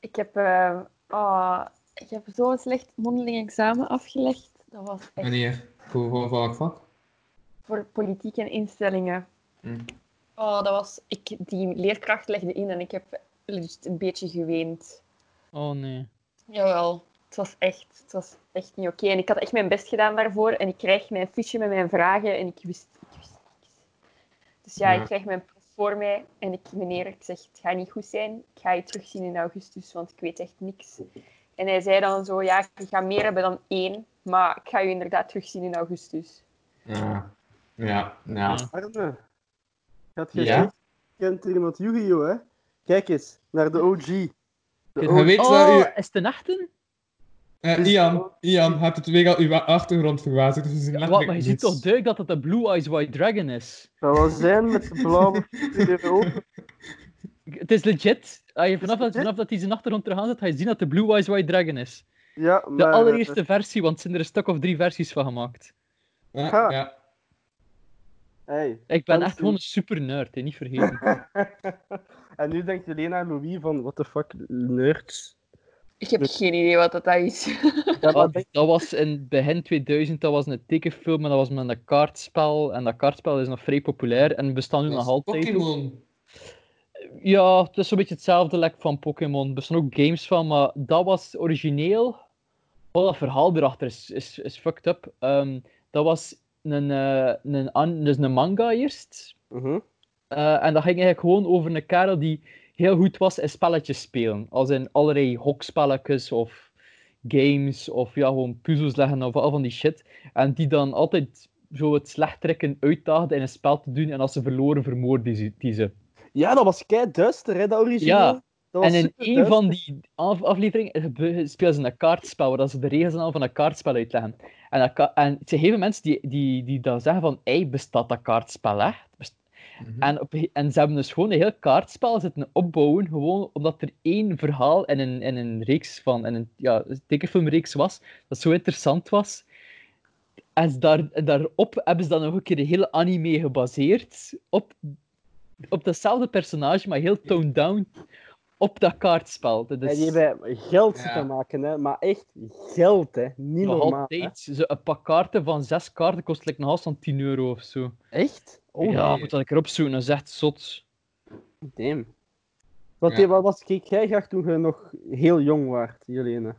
C: Ik heb, eh, ah, ik heb zo'n slecht mondeling examen afgelegd. Dat was echt
D: Wanneer? Voor, voor, voor welk vak?
C: voor politiek en instellingen.
D: Hm.
C: Oh, dat was... Ik, die leerkracht legde in en ik heb legit een beetje geweend.
A: Oh nee.
C: Jawel. Het was echt, het was echt niet oké. En ik had echt mijn best gedaan daarvoor. En ik kreeg mijn fiche met mijn vragen en ik wist, ik wist niks. Dus ja,
D: Ja.
C: ik kreeg mijn proef voor mij. En ik, meneer, ik zeg, het gaat niet goed zijn. Ik ga je terugzien in augustus, want ik weet echt niks. En hij zei dan zo, ja, je gaat meer hebben dan één. Maar ik ga je inderdaad terugzien in augustus.
D: Ja, ja, ja.
B: Arne, gaat je
D: Ja?
B: ja? kent er iemand Yu-Gi-Oh, hè? Kijk eens, naar de OG. De
D: Je weet waar
A: Oh,
D: u...
A: is het een echte?
D: eh, Ian, Ian, hebt het weer al uw achtergrond verwaterd, dus we zien
A: Wat,
D: letterlijk
A: maar je ziet
D: niets.
A: toch duidelijk dat het een Blue Eyes White Dragon is?
B: Dat wel zijn met de blauwe kleur open.
A: Het is legit. Als je vanaf, dat,
B: legit?
A: vanaf dat hij zijn achtergrond terug aan zet, ga je zien dat de Blue Eyes White Dragon is.
B: Ja,
A: De
B: maar... eh,
A: allereerste versie, want er zijn er een stuk of drie versies van gemaakt.
D: Ja,
B: Ha.
D: ja.
B: hey.
A: Ik ben
B: Dat
A: echt
B: is-
A: gewoon een super nerd, hè, niet vergeten.
B: En nu denkt Elena en Louis van, what the fuck, nerds.
C: Ik
D: Dus-
C: heb geen idee wat dat is.
B: Ja,
A: Dat,
B: maar denk-
A: dat was in begin 2000, dat was een tekenfilm en dat was met een kaartspel. En dat kaartspel is nog vrij populair en bestaat nu
D: Dat is
A: nog altijd.
D: Pokémon.
A: Ja, het is een beetje hetzelfde lek van Pokémon. Er bestaan ook games van, maar dat was origineel. Wat dat verhaal erachter is, is, is fucked up. Ehm, dat was een, eh, een, an- dus een manga eerst.
B: Mhm.
A: Eh, en dat ging eigenlijk gewoon over een kerel die heel goed was in spelletjes spelen. Als in allerlei hokspelletjes of games of ja, gewoon puzzels leggen of al van die shit. En die dan altijd zo het slechttrekken uitdaagde in een spel te doen. En als ze verloren, vermoorden ze- die ze.
B: ja, dat was kei duister, hè, dat origineel.
A: Ja,
B: Dat was
A: En in
B: superduister.
A: een van die af- afleveringen gebe- spelen ze een kaartspel, waar dat ze de regels en al van een kaartspel uitleggen. En, dat ka- en ze geven mensen die, die, die dan zeggen van, ei, bestaat dat kaartspel echt? Best-
D: Mhm.
A: en, op, en ze hebben dus gewoon een heel kaartspel zitten opbouwen, gewoon omdat er één verhaal in een, in een reeks van, in een ja, tekenfilmreeks was, dat zo interessant was. En ze daar, en daarop hebben ze dan nog een keer een hele anime gebaseerd, op, op datzelfde personage, maar heel toned down, op dat kaartspel. Dat is
B: En die hebben geld
D: Ja.
B: zitten maken, hè. maar echt geld, hè. niet
A: nog
B: normaal. hè.
A: altijd, zo, een pak kaarten van zes kaarten kost like, nog van 10 euro of zo.
B: Echt? Oh,
A: ja, moet dat ik erop zoeken, dat is echt zot.
B: damn. Wat,
D: Ja.
B: wat was, keek jij graag toen je nog heel jong waart, Jelena?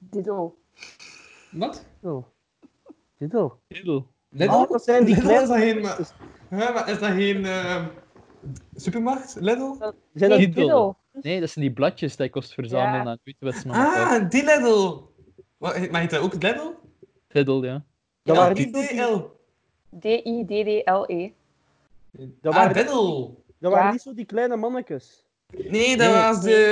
C: Dido.
D: Wat?
B: Oh. Dit al.
A: Edel.
D: Lidl?
B: Ah, dat zijn die
D: Lidl is
B: kleine-
D: dat geen... Maar, Hè, maar is dat geen... ehm, supermarkt? Lidl?
B: Zijn dat...
A: Nee.
C: Nee,
A: Dido.
C: Dido.
A: Nee, dat zijn die bladjes die ik kost verzamelen
C: Ja.
A: aan witwetsmannen.
D: Ah, die Lidl! Wat, maar heet dat ook Lidl?
A: Fiddle, ja.
B: Dat
D: ja,
B: waren
D: die
B: niet-
D: DL.
C: D-I-D-D-L-E.
B: Dat
D: ah,
B: waren-
D: Diddle.
B: dat waren
C: Ja.
B: niet zo die kleine mannetjes.
D: Nee, dat
A: Nee.
D: was de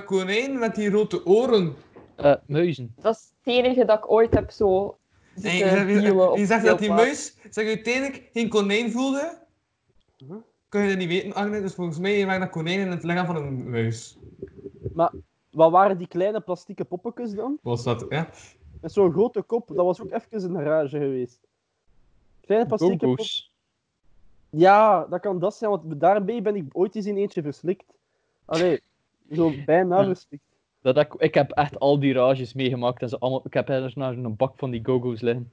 D: eh, konijn met die rode oren.
A: Eh, muizen.
C: Dat is het enige dat ik ooit heb zo
D: Nee,
C: zitten
D: zeg-
C: wielen op
D: die zegt dat die
C: speelplaats.
D: muis zeg, uiteindelijk geen konijn voelde.
B: Hm?
D: Kun je dat niet weten, Agne? Dus volgens mij waren dat konijnen in het lichaam van een muis.
B: Wat waren die kleine plastieke poppetjes dan?
D: Was dat, ja?
B: Met zo'n grote kop, dat was ook even een rage geweest. Kleine plastieke pop.
A: Gogo's.
B: Ja, dat kan dat zijn, want daarmee ben ik ooit eens in eentje verslikt. Allee, zo bijna
A: Ja.
B: verslikt.
A: Dat ik, ik heb echt al die rages meegemaakt en ze allemaal... Ik heb ergens naar een bak van die gogo's liggen.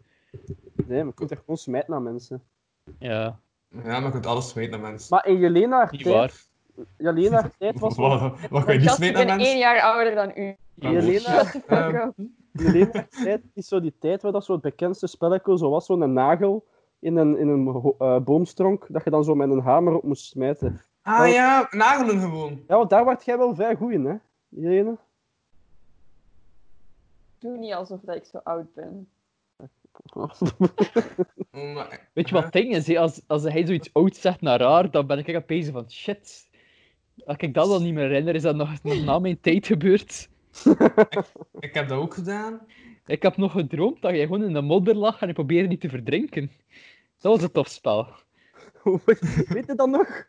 B: Nee, maar ik moet er gewoon smijten naar mensen.
A: Ja,
D: Ja, maar je kunt alles smijten naar mensen.
B: Maar in Jelena haar
A: niet
B: tijd,
A: waar.
B: Jelena haar tijd was...
D: Wat, wat kun je
C: Mijn
D: niet
C: gast, ik
D: smijten naar
C: ben
D: mensen?
C: één jaar ouder dan u.
B: Jelena,
D: Ehm,
C: Fuck up.
B: Jelena haar tijd is zo die tijd waar dat zo het bekendste spelletje zo was, zo'n nagel in een, in een ho- eh, boomstronk, dat je dan zo met een hamer op moest smijten.
D: ah ja, nagelen gewoon.
B: Ja, want daar werd jij wel vrij goed in, hè, Jelena?
C: Doe niet alsof dat ik zo oud ben.
D: Maar-
A: Weet je wat het ding is? hè? Als, als hij zoiets oud zegt naar haar, dan ben ik echt bezig van shit. Als ik dat dan niet meer herinner, is dat nog, nog na mijn tijd gebeurd.
D: Ik heb dat ook gedaan.
A: Ik heb nog gedroomd dat jij gewoon in de modder lag en je probeerde niet te verdrinken. Dat was een tof spel.
B: Weet je dat nog?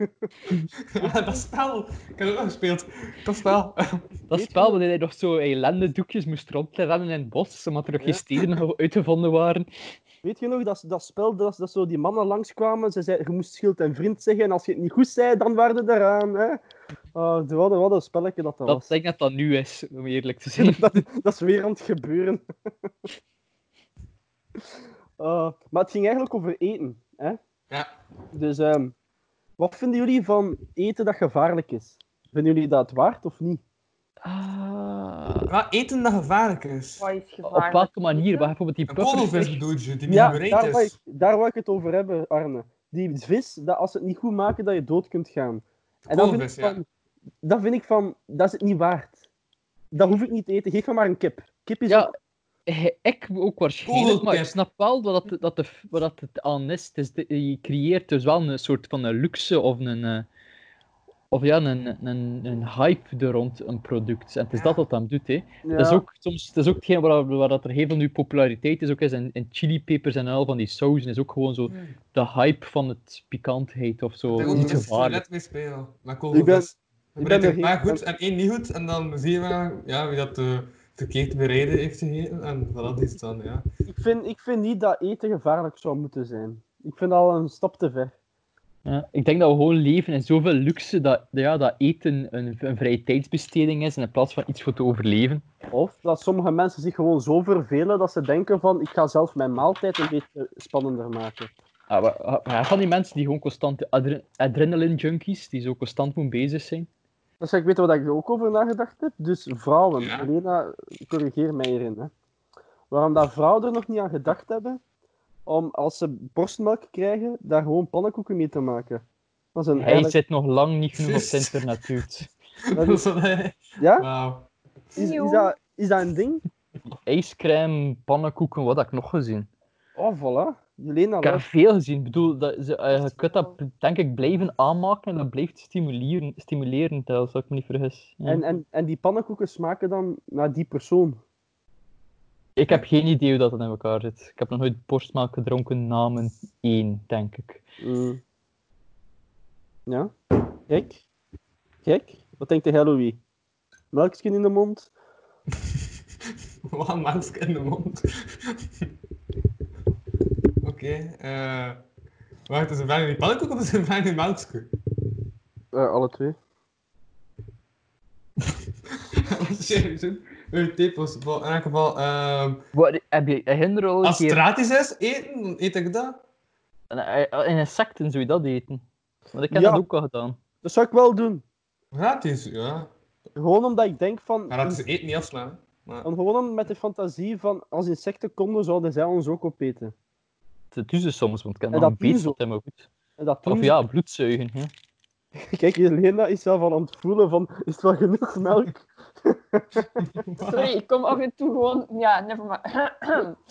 D: dat spel. Ik heb het ook nog gespeeld. Dat spel.
A: Dat
B: Weet je
A: spel
B: nog-
A: waarin hij nog zo ellendedoekjes moest rondrennen in het bos, omdat er nog
B: Ja.
A: geen steden ge- uitgevonden waren.
B: Weet je nog dat, dat spel dat, dat zo die mannen langskwamen? Ze zei, je moest schild en vriend zeggen. En als je het niet goed zei, dan waren ze eraan. Hè? Oh, wat, een- wat een spelletje dat dat,
A: Dat
B: was.
A: denk ik dat dat nu is, om eerlijk te zijn.
B: Dat is weer aan het gebeuren. Ah, Eh, maar het ging eigenlijk over eten. Hè?
D: Ja.
B: Dus ehm, Wat vinden jullie van eten dat gevaarlijk is? Vinden jullie dat waard of niet?
A: Ah,
D: Wat eten dat gevaarlijk is?
C: Wat is gevaarlijk?
A: op welke manier? Waar Bijvoorbeeld die
D: Een koolvis
A: puffervis.
D: bedoel je, die niet
B: Ja,
D: gereed
B: daar wou,
D: is.
B: ik, daar wou ik het over hebben, Arne. Die vis, dat als ze het niet goed maken, dat je dood kunt gaan. En dat vind, ik
D: Koolvis, ja.
B: van, dat vind ik van, dat is het niet waard. Dat hoef ik niet te eten. Geef me maar een kip. Kip is
A: Ja,
B: ook-
A: he- ik ook waarschijnlijk, maar ik
D: Koolkip.
A: snap wel wat, dat, dat de, wat dat het aan is. Het is de- je creëert dus wel een soort van een luxe of een, eh, of ja, een, een, een hype er rond een product. En het is dat dat hem doet, hè.
B: ja.
A: Dat is ook soms, dat is ook hetgeen waar, waar dat er heel veel nu populariteit is, ook is in, in chilipepers en al van die sauzen, is ook gewoon zo
D: Hmm.
A: de hype van het pikantheid of zo.
D: Ik
A: Niet
D: moet er
A: gevaarlijk.
D: net mee spelen. Maar
B: Ik ben-
D: koolvis.
B: ben
D: Je bereidt
B: er
D: een paar
B: geen-
D: goed en één niet goed. En dan zie je wel, ja, wie dat eh, verkeerd bereiden heeft gegeten. En voilà, die is het dan, ja.
B: ik, vind, ik vind niet dat eten gevaarlijk zou moeten zijn. Ik vind dat al een stap te ver.
A: Ja, ik denk dat we gewoon leven in zoveel luxe dat, ja, dat eten een, een vrije tijdsbesteding is in plaats van iets voor te overleven.
B: Of dat sommige mensen zich gewoon zo vervelen dat ze denken van ik ga zelf mijn maaltijd een beetje spannender maken.
A: Ah, Ja, maar- maar van die mensen die gewoon constant adre- adrenaline junkies, die zo constant moeten bezig zijn.
B: Dus ik weet wat ik er ook over nagedacht heb. Dus vrouwen,
D: Ja.
B: Elena, corrigeer mij hierin. Hè. Waarom dat vrouwen er nog niet aan gedacht hebben om als ze borstmelk krijgen, daar gewoon pannenkoeken mee te maken. Dat is een
A: Hij
B: eigenlijk...
A: zit nog lang niet genoeg op het
D: Precies.
A: internet. dude.
B: Dat is- Ja?
D: Wauw.
B: Is, is, dat, is dat een ding?
A: Ijscrème, pannenkoeken, wat heb ik nog gezien?
B: Oh, voilà. Elena,
A: Ik heb
B: luister.
A: veel gezien. Ik bedoel, dat, ze, eh, je kunt dat denk ik blijven aanmaken en dat blijft stimuleren, stimuleren als ik me niet vergis. Ja.
B: En, en, en die pannenkoeken smaken dan naar die persoon.
A: Ik heb geen idee hoe dat dan in elkaar zit. Ik heb nog nooit borstmelk gedronken namen één, denk ik.
B: Mm. Ja. Kijk. Kijk. Wat denkt de Halloween? Melkskin in de mond.
D: Wat mask in de mond. Oké, eh... Wacht, is een vraag in die pannenkoek of is een vraag in die melkskoek?
B: Eh, alle twee.
D: Uw tip was in elk geval... ehm,
A: Wat, heb je herinner al een
D: als het
A: keer
D: gratis is, eten, dan eet ik dat.
A: een- een insecten zou je dat eten? Want ik heb
B: Ja.
A: dat ook al gedaan.
B: Dat zou ik wel doen.
D: Gratis, ja.
B: Gewoon omdat ik denk van...
D: Gratis eten niet afslaan. hè. Maar...
B: en gewoon om met de fantasie van, als insecten konden, zouden zij ons ook opeten.
A: Dat doen ze dus soms, want ik heb
B: En
A: nog
B: dat
A: een
B: doen
A: beet
B: ze.
A: dat helemaal goed.
B: En dat
A: Of
B: toen...
A: ja, bloedzuigen. Hè.
B: Kijk, Helena is zelf al aan het voelen van, is het wel genoeg melk?
C: Sorry, ik kom af en toe gewoon... Ja, never mind.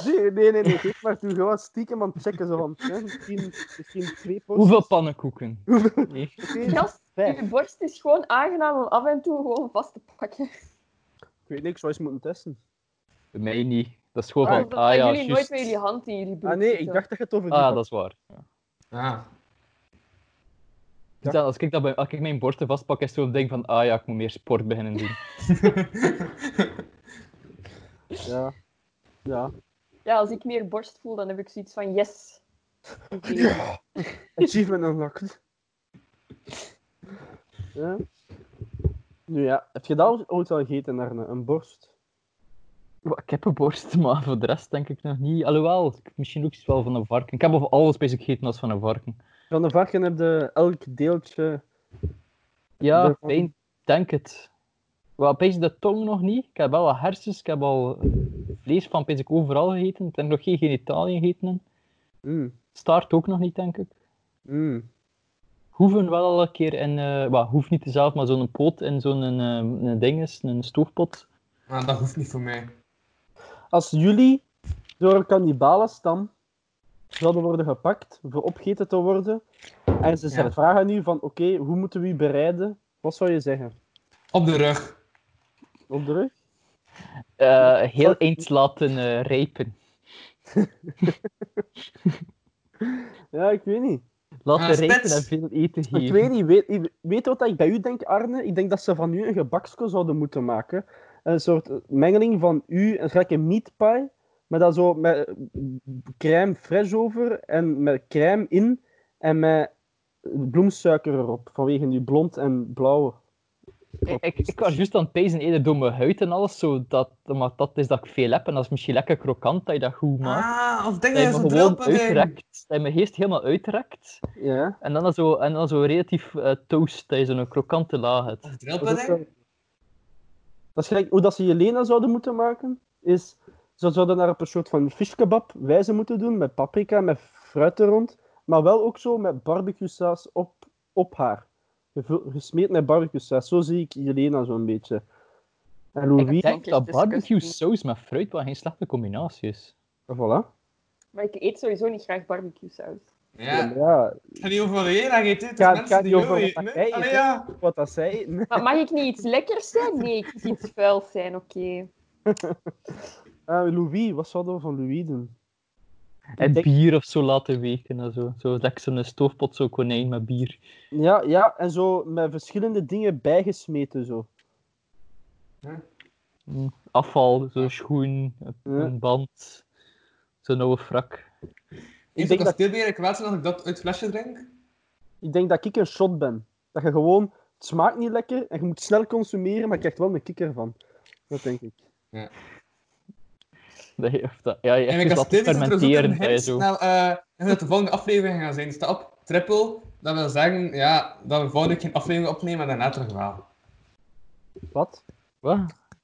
B: Nee, nee, nee, nee, geef maar toe. Gewoon stiekem aan het checken. Zo van, hè, misschien, misschien twee potjes.
A: Hoeveel pannenkoeken? Nee.
B: Oké,
C: Gast,
B: vijf.
C: je borst is gewoon aangenaam om af en toe gewoon vast te pakken.
B: Ik weet niks, zou eens moeten testen.
A: Bij mij niet. Dat is gewoon
B: Ah,
A: van, ah ja,
C: jullie nooit
A: juist.
C: met jullie hand in jullie broek
B: Ah nee, ik
C: zitten.
B: dacht dat je het over die
A: Ah,
B: had.
A: dat is waar.
D: Ah,
A: Dus dan, als, ik dat bij- als ik mijn borsten vastpak, is het zo'n ding van, ah ja, ik moet meer sport beginnen doen.
B: Ja. Ja.
C: Ja, als ik meer borst voel, dan heb ik zoiets van yes. Oké.
B: Achievement unlocked. Ja. Nu ja, heb je dat ooit al gegeten, Arne? Een borst?
A: Wel, Ik heb een borst, maar voor de rest denk ik nog niet. Alhoewel, ik- misschien ook iets wel van een varken. Ik heb over alles bezig gegeten als van een varken.
B: Van de varken heb je elk deeltje...
A: Ja,
B: Daarvan-
A: ik denk het. Wel, bezig de tong nog niet. Ik heb wel wat hersens, ik heb al vlees van bezig overal gegeten. Ik heb nog geen genitaliën gegeten.
B: Mm,
A: Staart ook nog niet, denk ik.
B: mm.
A: Hoeven wel al een keer in, eh wel, hoeft niet zelf, maar zo'n poot in zo'n eh, een ding is, een stoofpot.
D: maar dat hoeft niet voor mij.
B: Als jullie door een kannibalenstam zouden worden gepakt voor opgegeten te worden, en ze
D: Ja.
B: vragen nu van, oké, hoe moeten we u bereiden? Wat zou je zeggen?
D: Op de rug.
B: Op de rug?
A: Eh, heel eens laten eh, rijpen.
B: Ja, ik weet niet.
A: Laten
D: Ah,
A: rijpen
D: spits.
A: en veel eten geven.
B: Ik weet niet, weet, ik- weet wat ik bij u denk, Arne? Ik denk dat ze van u een gebakske zouden moeten maken. Een soort eh, mengeling van u, een gekke meat pie, maar dan zo met eh, crème fraîche over en met crème in en met bloemsuiker erop, vanwege nu blond en blauw.
A: Ik, ik, ik was juist aan het pezen eerder door mijn huid en alles, zo dat, maar dat is dat ik veel heb en dat is misschien lekker krokant dat je dat goed maakt.
D: Ah, of denk
A: dat
D: dat
A: je
D: je
A: me
D: zo'n
A: gewoon
D: drillpunt
A: uitrekt, dat je mijn geest helemaal uitrekt
B: Ja.
A: en dan zo, en dan zo relatief eh, toast, dat je zo'n krokante laag hebt.
D: Of
B: Dat is, ook
D: drillpudding?
B: wel- dat is gelijk, hoe dat ze Jelena zouden moeten maken, is... Ze zouden daar op een soort van fishkebab wijze moeten doen, met paprika, met fruit er rond. Maar wel ook zo met barbecue saus op, op haar. Gevul- Gesmeerd met barbecue saus. Zo zie ik Jelena zo'n beetje. En
A: Ik
B: Louis...
A: denk dat
C: disgusting.
A: barbecue saus met fruit wel geen slechte combinatie is.
B: Voilà.
C: Maar ik eet sowieso niet graag barbecue saus.
D: Ja.
B: ja,
D: Het gaat niet over wat jij aan eet, hè. het is
B: Ja, het
D: mensen
B: gaat
D: die
B: niet
D: jou
B: over
D: eten.
B: wat
D: hè.
B: jij
D: Allee,
B: eet, hè.
D: ja.
B: wat dat zei.
C: Maar mag ik niet iets lekkers zijn? Nee, ik moet iets vuils zijn, oké.
B: Eh, Louis, wat zouden we van Louis doen?
A: En
B: denk-
A: bier of zo laten weken en zo. Zo lekker zo'n stoofpot, zo konijn met bier.
B: Ja, ja, en zo met verschillende dingen bijgesmeten zo.
A: Hm, Afval, zo'n schoen, een-
B: Ja.
A: een band, zo'n oude frak.
D: Ik
B: denk
D: denk
B: dat-
D: dat veel meer ik kwaad zijn als ik dat uit flesje drink.
B: Ik denk dat ik een shot ben. Dat je gewoon, het smaakt niet lekker en je moet snel consumeren, maar je krijgt wel een kikker van. Dat denk ik.
A: Dat heeft dat, ja, je
D: En
A: hebt
D: ik
A: dus
D: als
A: dat
D: dit is trouwens ook een
A: fermenteren. hè,
D: hint
A: zo.
D: snel, eh, en dat de volgende aflevering gaan zijn. Stap, triple. Dat wil zeggen, ja, dat we volgende keer geen aflevering opnemen en daarna terug wel.
B: Wat?
A: Wat?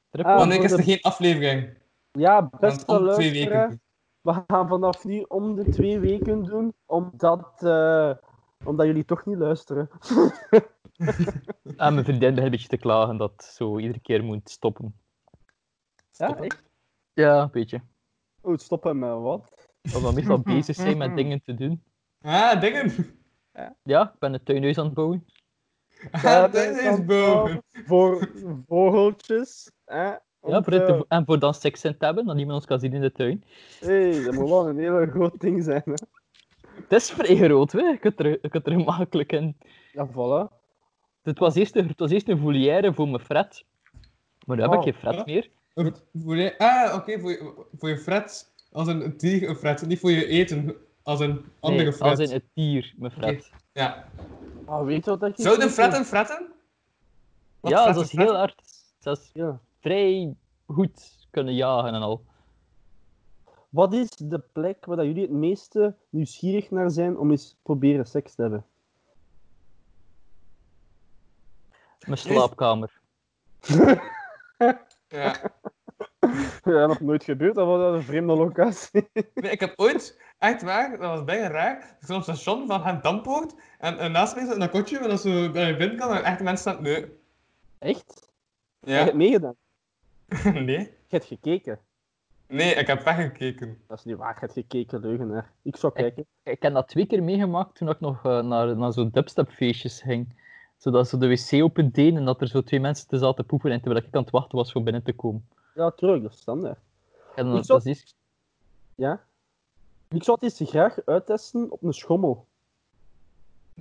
A: Triple?
B: Ah,
D: Volgende week
B: voor
D: is er
B: de-
D: geen aflevering.
B: Ja,
D: Want
B: beste
D: om twee
B: luisteraar.
D: weken.
B: We gaan vanaf nu om de twee weken doen, omdat, eh, omdat jullie toch niet luisteren.
A: Ah, mijn vriendin begint een beetje te klagen dat het zo iedere keer moet stoppen.
B: Ja, echt?
A: Ja, een beetje.
B: Oh, stoppen met wat?
A: Omdat we meestal bezig zijn met dingen te doen.
D: Ah, dingen.
A: Ja, ik ben een tuinhuis aan het bouwen.
D: Ah, dat is boven.
B: Voor vogeltjes. Hè? Om
A: Ja, voor dit te-
B: te-
A: en voor dan seks in te hebben, dat niemand ons kan zien in de tuin.
B: hey, dat moet wel een hele groot ding zijn. Hè?
A: Het is vrij groot, hè. je kunt er, je kunt er makkelijk in.
B: Ja, voilà.
A: Het was eerst een, het was eerst een volière voor mijn fret. Maar nu heb ik
B: Oh,
A: geen fret
D: ja.
A: meer.
D: Voor je, ah, oké, voor, je, voor je fret. Als een dier een fret. Niet voor je eten. Als een andere
A: Nee,
D: fret.
A: als in het dier, mijn fret.
D: Ja.
B: Ah, weet je wat dat is?
D: Zouden fretten fretten? Wat
A: Ja,
D: fretten
A: dat is heel
D: fretten?
A: hard. Dat is
B: Ja.
A: vrij goed kunnen jagen en al.
B: Wat is de plek waar dat jullie het meeste nieuwsgierig naar zijn om eens proberen seks te hebben?
A: Mijn slaapkamer.
D: Ja.
B: Ja, nog nooit gebeurd, dat was een vreemde locatie.
D: Nee, ik heb ooit, echt waar, dat was bijna raar. Ik zat op het station van het Dampoort en, eh, naast mij zat een kotje, en dat zo bij je binnen kan en echt mensen aan het neuken.
B: Echt? Je
D: Ja.
B: hebt meegedaan.
D: nee.
B: Je hebt gekeken.
D: Nee, ik heb weggekeken.
B: Dat is niet waar, je hebt gekeken, leugenaar. Ik zou kijken.
A: Ik heb dat twee keer meegemaakt toen ik nog eh, naar, naar zo'n dubstepfeestjes ging. Zodat ze de wc opendeden en dat er zo twee mensen te zaten poepen en terwijl ik aan het wachten was om binnen te komen.
B: Ja, tuurlijk, dat is standaard.
A: En
B: Ik
A: dat,
B: zou-
A: dat is iets-
B: Ja? Ik zou het eens graag uittesten op een schommel.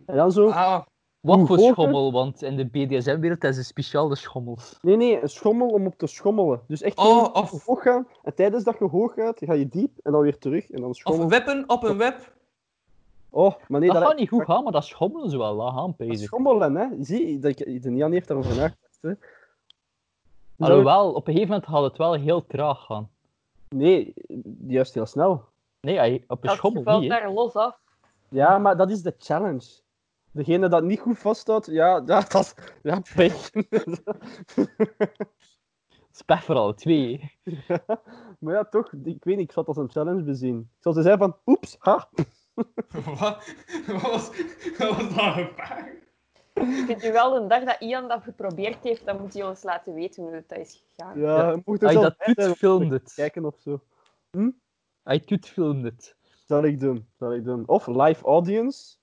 B: En dan zo...
D: Ah,
A: Wat
B: Hoe
A: voor
B: hoger-
A: schommel, want in de BDSM-wereld zijn ze speciaal de schommels.
B: Nee, nee, een schommel om op te schommelen. Dus echt
D: oh, of,
B: hoog gaan. En tijdens dat je hoog gaat, ga je diep en dan weer terug. En dan schommel.
D: of wippen op een web.
B: Oh, maar nee,
A: dat
B: dat,
A: gaat niet goed gaan, maar dat schommelen ze wel laag aan,
B: Dat
A: bezig.
B: schommelen, hè? Zie, dat, ik- de Jan heeft daarover nagedacht. Hè.
A: Alhoewel, op een gegeven moment gaat het wel heel traag gaan.
B: Nee, juist heel snel.
A: Nee, hij- op een
C: Dat
A: schommel
C: valt
A: niet. hè.
C: daar los af.
B: Ja, maar dat is de challenge. Degene dat niet goed vasthoudt, ja, ja dat is ja, pech.
A: Het is pech voor alle twee. hè.
B: maar ja, toch, ik weet niet, ik zal het als een challenge bezien. Ik zal ze zeggen van, oeps, ha.
D: Wat? Wat was, wat was dat een vraag?
C: Ik vind nu wel een dag dat Ian dat geprobeerd heeft, dan moet hij ons laten weten hoe het dat is gegaan.
B: Ja,
A: Ja,
B: je mocht er
A: Als je
B: zelf
A: dat
B: bij zijn om
A: doet,
B: te
A: film het.
B: Kijken of zo.
A: Als je doet, film het.
B: Zal ik doen, zal ik doen. Of live audience.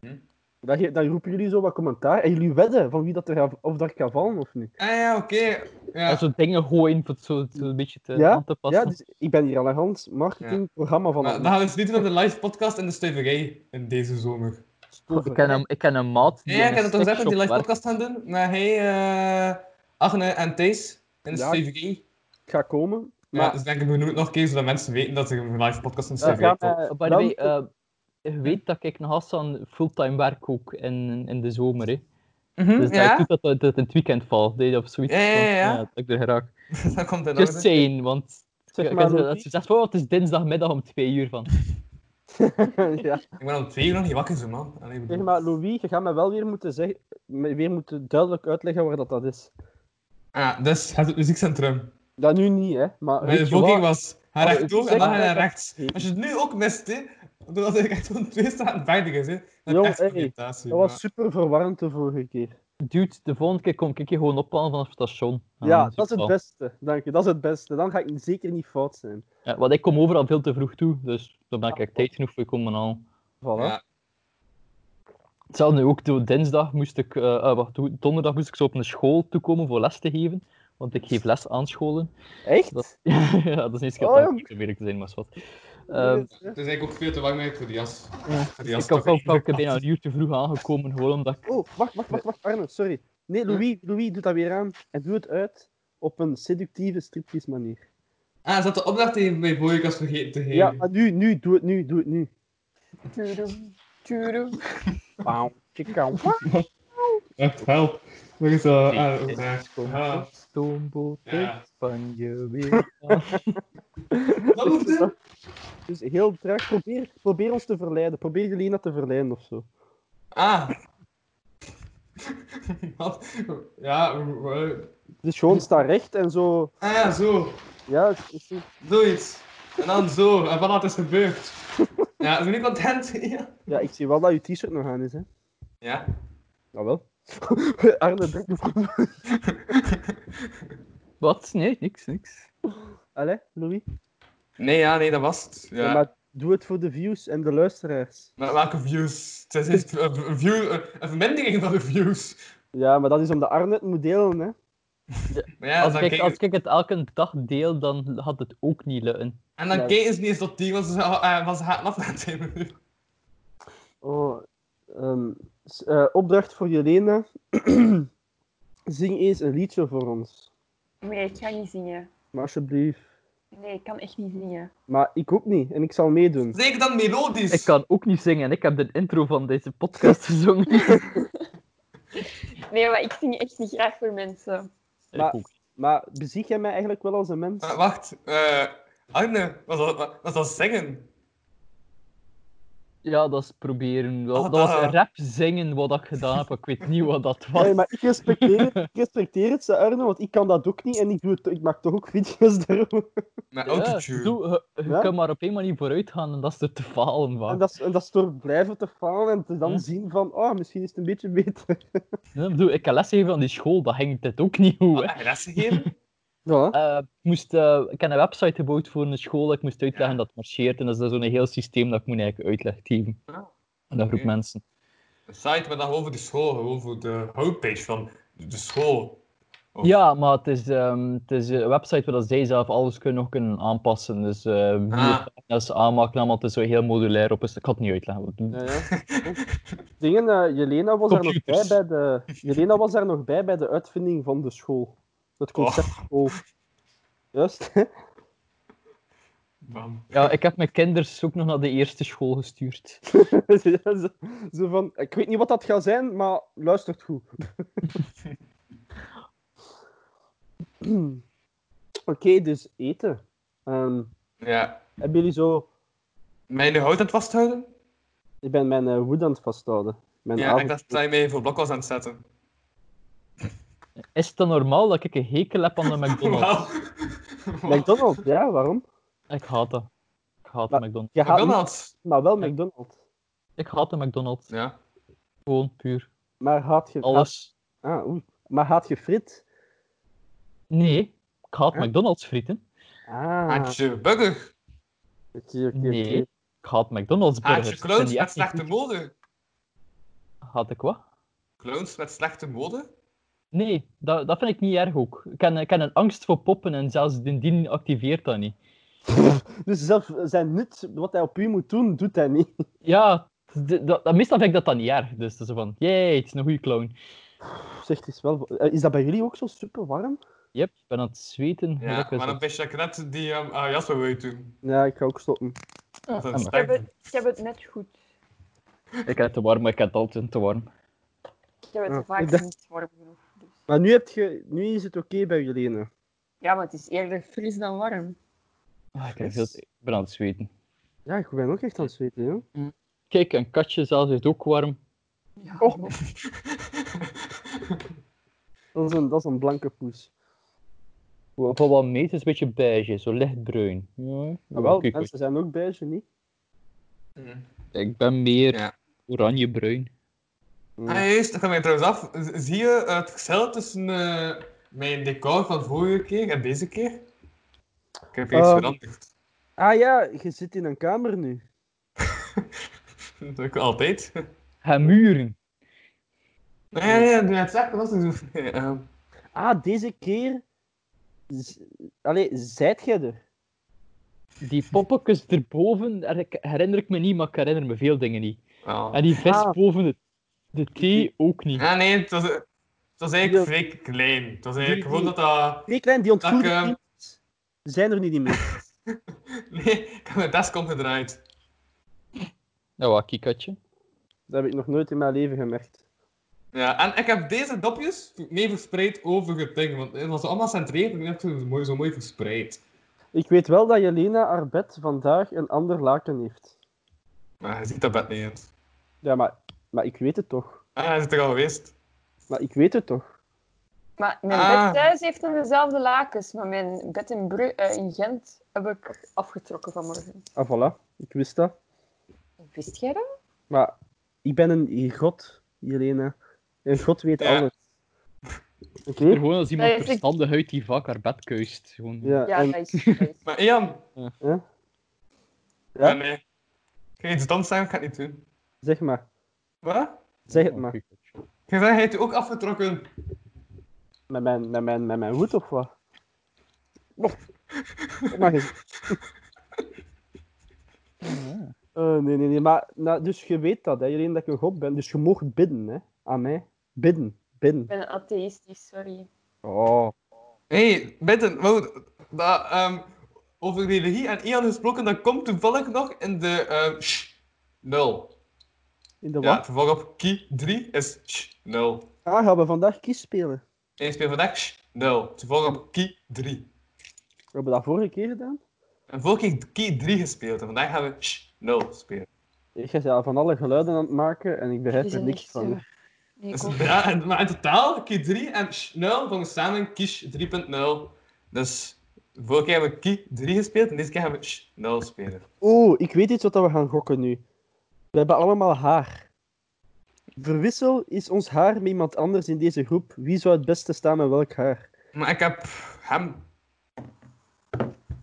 D: Hm.
B: Dan, ge- dan roepen jullie zo wat commentaar en jullie wedden van wie dat er gaat- of dat gaat vallen of niet.
D: Ah ja, oké.
A: En
D: Ja.
A: zo dingen gooien voor het zo, zo een beetje te,
B: Ja,
A: aan te
B: Ja,
A: passen.
B: dus ik ben hier aan de hand marketingprogramma van
D: Maar
B: aan
D: dat gaan we dus niet doen op de live podcast en de stuiverij in deze zomer.
B: Stoppen.
A: ik, ken een, ik ken een maat die
D: Nee, ik
A: in
D: heb
A: een
D: het toch gezegd dat we die live
A: sexshop werkt.
D: podcast gaan doen. Maar hey, eh, Agne en Thijs in de
B: Ja.
D: stuiverij.
B: Ik ga komen.
D: Ja,
B: Maar-
D: dus denk ik, we doen het nog een keer zodat mensen weten dat er een live podcast in de
B: Ja,
D: stuiverij
B: ga
D: komt.
B: mij-
A: Oh, By the
D: Hm,
A: way, eh, je weet dat ik nog altijd aan fulltime werk ook in, in de zomer. Hè.
F: Mhm,
A: Dus dat ik
F: ja,
A: doe dat dat het in het weekend valt, nee, of zoiets.
F: Ja, ja, ja,
A: want, eh,
F: ja.
A: dat ik er geraak.
F: dat komt in
A: Just
F: orde.
A: saying, want
B: Zeg
A: ik
B: maar,
A: kan dat
B: Lodi.
A: ze zegt, "Oh, het is dinsdagmiddag om twee uur van.
B: ja.
D: Ik ben al twee uur nog niet wakker, zo, man. Allee, ik
B: Zeg
D: bedoel-
B: maar, Louis, je gaat mij wel weer moeten, zeggen, me weer moeten duidelijk uitleggen waar dat, dat is.
D: Ah, dus het muziekcentrum.
B: Dat nu niet, hè. Maar
D: Mijn
B: weet je
D: bevolking
B: wat?
D: was ga
B: Oh,
D: rechtdoor en
B: zeg
D: dan ga
B: maar
D: je naar
B: dat-
D: rechts. Als je het nu ook mist, hè, dan was ik echt van twee staan veilig is, hè. Dat
B: Jong,
D: is echt een
B: hey,
D: irritatie.
B: Dat was super verwarrend de vorige keer.
A: Dude, de volgende keer kom ik je gewoon ophalen vanaf het station.
B: Ja,
A: dan
B: dat is het
A: Ah, wel.
B: beste. Dank je, dat is het beste. Dan ga ik zeker niet fout zijn.
A: Ja, want ik kom overal veel te vroeg toe, dus dan ben ik echt tijd genoeg voor komen al.
B: Voilà.
D: maar- Ja.
A: Hetzelfde ook, zo dinsdag moest ik, eh, eh, wacht, hoe- donderdag moest ik zo op een school toekomen voor les te geven. Want ik geef les aan scholen.
B: Echt?
A: Dat, ja, dat is niet
B: Oh,
A: schattig,
B: jong.
A: om eerlijk te zijn, maar is wat. Ehm,
B: Nee,
D: Het is eigenlijk ook veel te lang mee voor die jas. Voor die jas
A: dus ik was
D: toch
A: ook
D: echt-
A: ook bijna een uur te vroeg aangekomen, gewoon omdat ik...
B: Oh, wacht, wacht, wacht, wacht, Arne, sorry. Nee, Louis, Louis, doe dat weer aan. En doe het uit op een seductieve striptease manier.
D: Ah, ze had de opdracht tegen mijn boeienkast vergeten te geven.
B: Ja, maar nu, nu, doe het nu, doe het nu.
C: Tuurum, tuurum.
B: Pauw, chicka,
D: Echt, help. Dat is wel... ah,
A: Ik-
D: dat is waar.
A: ik kom
D: Ja.
A: op stoomboot
D: Ja.
A: uit Spanje weer aan.
D: Wat moet je?
B: Dus heel traag, probeer, probeer ons te verleiden. Probeer Jelena te verleiden of zo.
D: Ah. Wat? Ja, eh, eh.
B: Dus gewoon sta recht en zo.
D: ah ja, zo.
B: Ja, het is niet-
D: Zoiets. En dan zo. En voilà, het is gebeurd. Ja, zijn jullie content? Ja.
B: ja ik zie wel dat je t-shirt nog aan is, hè.
D: Ja.
B: Jawel. Arne, druk de voet.
A: Wat? Nee, niks, niks.
B: Allee, Louis.
D: Nee, ja, nee, dat was het. Ja.
B: Ja,
D: maar...
B: maar doe het voor de views en de luisteraars.
D: welke views? Het is echt een, een view, een, een vermindering van de views.
B: Ja, maar dat is omdat Arne het moet delen, hè.
D: Maar ja,
A: Als
D: dan
A: ik,
D: kijken-
A: als ik het elke dag deel, dan had het ook niet lukken.
D: En dan
B: Ja.
D: kijken ze niet eens tot die, want ze, uh, want ze gaan af naar twee minuten.
B: Oh, ehm, s- eh, opdracht voor Jelena. Zing eens een liedje voor ons.
C: Nee, ik ga niet zingen.
B: Maar alsjeblieft.
C: Nee, ik kan echt niet zingen.
B: Maar ik ook niet. En ik zal meedoen.
D: Zeker dan melodisch.
A: Ik kan ook niet zingen en ik heb de intro van deze podcast gezongen.
C: Nee, maar ik zing echt niet graag voor mensen.
B: Maar-
A: Ik ook.
B: Maar bezieg jij mij eigenlijk wel als een mens?
D: Eh, wacht, eh, Arne, was dat, wa- was dat zingen?
A: Ja, dat is proberen. Dat,
D: Ah,
A: dat was
D: ah.
A: rap zingen wat ik gedaan heb. Ik weet niet wat dat was.
B: Nee, maar ik respecteer, het- ik respecteer het, zei Arne, want ik kan dat ook niet en ik, doe het, ik maak toch ook video's daarover.
A: Ja,
D: Met autotune.
A: zo, je je
B: Ja.
A: kan maar op één manier vooruit gaan en dat is er te falen
B: En
A: waar.
B: dat, is, en dat is door blijven te falen en te dan
A: Ja.
B: zien van, oh, misschien is het een beetje beter.
A: Ja, ik bedoel, ik heb lesgegeven aan die school, dat ging dit ook niet goed. hè.
D: Heb je dat gegeven?
B: Ja.
A: Eh, ik moest, eh, ik heb een website gebouwd voor een school. Ik moest uitleggen dat het marcheert. En dat is dan zo'n heel systeem dat ik moet eigenlijk uitleggen geven.
D: Ah,
A: Aan een groep
D: oké.
A: mensen.
D: Een site, maar dan gewoon voor de school, gewoon voor de homepage van de de school. Oh.
A: Ja, maar het is, ehm, het is een website waar dat zij zelf alles kunnen, nog kunnen aanpassen. Dus eh wie
D: Ah.
A: pagina's aanmaken, allemaal, het is zo heel modulair op. is- Ik had het niet uitleggen. wat-
B: Ja, ja. Dingen, eh, Jelena, was er nog bij
A: Computers.
B: bij de, Jelena was er nog bij bij de uitvinding van de school. Het concept school. Juist. hè?
D: Man.
A: Ja, ik heb mijn kinders ook nog naar de eerste school gestuurd.
B: Ja, zo, zo van, ik weet niet wat dat gaat zijn, maar luistert goed. Oké, dus eten. Ehm,
D: Ja.
B: hebben jullie zo...
D: Mijn hout aan het vasthouden?
B: Ik ben mijn eh, woed aan het vasthouden. Mijn
D: Ja, ik
B: avond-
D: dacht dat hij mij voor blok was aan het zetten.
A: Is het dan normaal dat ik een hekel heb aan de McDonald's?
D: Wauw.
B: McDonald's, ja, waarom?
A: Ik haat dat. Ik haat de
B: Maar-
A: McDonald's.
B: Je haat niet,
D: McDonald's.
B: maar wel McDonald's.
A: Ik haat de McDonald's.
D: Ja.
A: Gewoon puur.
B: Maar haat je...
A: Alles.
B: Ah, oei. Maar haat je frit?
A: Nee, ik haat
D: Ja?
A: McDonald's frieten.
B: Ah, oké,
D: Haatje burger.
B: oké, oké.
A: Nee, ik haat McDonald's burgers.
D: Haatje
A: Ik vind
D: clowns
A: die
D: met
A: echt niet
D: slechte
A: goed.
D: mode.
A: Haat ik wat?
D: Clowns met slechte mode?
A: Nee, dat, dat vind ik niet erg ook. Ik heb, ik heb een angst voor poppen en zelfs indien activeert dat niet.
B: Dus zelf zijn nut, wat hij op u moet doen, doet hij niet.
A: Ja, d- dat, dat- meestal vind ik dat dan niet erg. Dus dat is zo van, jee, het is een goede clown.
B: Pff, Zeg, het is, wel... eh, is dat bij jullie ook zo super warm?
A: Yep, ik ben aan het zweten.
D: Ja,
A: gelukkig is
D: maar dan
A: dat.
D: wist je dat ik net die ehm, ah, jas wil doen.
B: Ja, ik ga ook stoppen.
D: Dat is
A: Ah,
D: een
A: maar-
C: Ik heb
D: sterk-
C: het, ik heb het net goed.
A: Ik heb het te warm, maar ik heb het altijd te warm.
C: Ik heb het
B: Ah,
C: vaak
B: ik dacht-
C: niet warm genoeg. dus.
B: Maar nu, heb je, nu is het oké bij jullie. hè?
C: Ja, maar het is eerder fris dan warm.
A: Ah, ik, heb veel te- ik ben aan het zweten.
B: Ja, ik ben ook echt aan het zweten, joh.
A: Kijk, een katje zelf is ook warm.
C: Ja,
B: Oh. Dat is een, dat is een blanke poes.
A: Van wat meet is een beetje beige, zo lichtbruin. Ah, Ja,
B: Maar Ah, wel,
A: kijk,
B: mensen zijn ook beige, niet?
D: Hmm.
A: Ik ben meer
D: Ja.
A: oranjebruin.
D: Ah, juist, ik ga mij trouwens af. Z- Zie je het verschil tussen eh, mijn decor van vorige keer en deze keer? Ik heb iets
B: Ehm.
D: veranderd.
B: Ah ja, je zit in een kamer nu.
D: Dat doe ik altijd.
A: Ga muren.
D: Nee, ja, ja, doe het zeggen, dat is zo. Ja, ehm.
B: Ah, deze keer... Z- Allee, zijt jij er?
A: Die poppetjes erboven, daar ik- herinner ik me niet, maar ik herinner me veel dingen niet.
D: Wel.
A: En die vis
B: Ah.
A: boven de, de thee ook niet.
D: Ja, nee, het was, het was eigenlijk vrij klein. Het was eigenlijk
B: Die-
D: gewoon dat dat...
B: Nee, klein, die ontvoerde
D: Dag, eh.
B: teams zijn er nu niet meer.
D: Nee, ik heb mijn desk omgedraaid.
A: Nou, wat kikatje.
B: Dat heb ik nog nooit in mijn leven gemerkt.
D: Ja, en ik heb deze dopjes mee verspreid over het ding. Want het was allemaal centreerd en ik heb ze zo mooi, zo mooi verspreid.
B: Ik weet wel dat Jelena haar bed vandaag een ander laken heeft.
D: Maar je ziet dat bed niet eens.
B: Ja, maar, maar ik weet het toch.
D: Ah, hij is er al geweest.
B: Maar ik weet het toch.
C: Maar mijn
D: Ah.
C: bed thuis heeft nog dezelfde lakens, maar mijn bed in, Bru- eh, in Gent heb ik afgetrokken vanmorgen.
B: Ah, voilà. Ik wist dat.
C: Wist jij dat?
B: Maar ik ben een god, Jelena. Een god weet
D: Ja.
B: alles. Oké?
A: Gewoon als iemand
C: Nee, ik-
A: verstandig uit die vak haar bed kuist. Gewoon.
B: Ja,
C: Ja,
B: en-
C: dat is. dat is-
D: Maar Ian,
B: Ja?
D: Ja? nee. Ik ga iets doms zeggen, ik ga het niet doen.
B: zeg maar.
D: Wat?
B: Zeg
A: Oh,
B: het maar.
A: Kikatje.
D: Ik ga zeggen, hij heeft u ook afgetrokken.
B: Met mijn, met mijn, met mijn hoed of wat? Nog. Mag eens.
A: Ja.
B: Eh, nee, nee, nee. Maar, nou, dus je weet dat, hè, Jelena, dat ik een god ben. Dus je mocht bidden, hè. Aan mij. Bidden. Bidden.
C: Ik ben atheïstisch, sorry.
B: Oh.
D: Hé, hey, Bitten, wow, dat, ehm, over religie en Ian gesproken, dat komt toevallig nog in de ehm, sh 0.
B: In de
D: Ja,
B: wat?
D: het vervolg op key 3 is sh 0.
B: Ah, gaan we vandaag kies spelen?
D: En je speelt vandaag sh 0. Het vervolg op key 3.
B: We hebben dat vorige keer gedaan.
D: En vorige keer key 3 gespeeld en vandaag gaan we sh 0 spelen.
B: Ik ga ze van alle geluiden aan het maken en ik begrijp
C: Is
B: er
C: het
B: niks
C: niet
B: van.
C: zo? Nee,
D: Dus,
C: ik ook niet.
D: ja, en- maar in totaal, key 3 en sh 0 vormen samen kies 3.0. Dus vorige keer hebben we key 3 gespeeld en deze keer gaan we sh 0 spelen.
B: Oeh, ik weet iets wat we gaan gokken nu. We hebben allemaal haar. Verwissel is ons haar met iemand anders in deze groep. Wie zou het beste staan met welk haar?
D: Maar ik heb hem.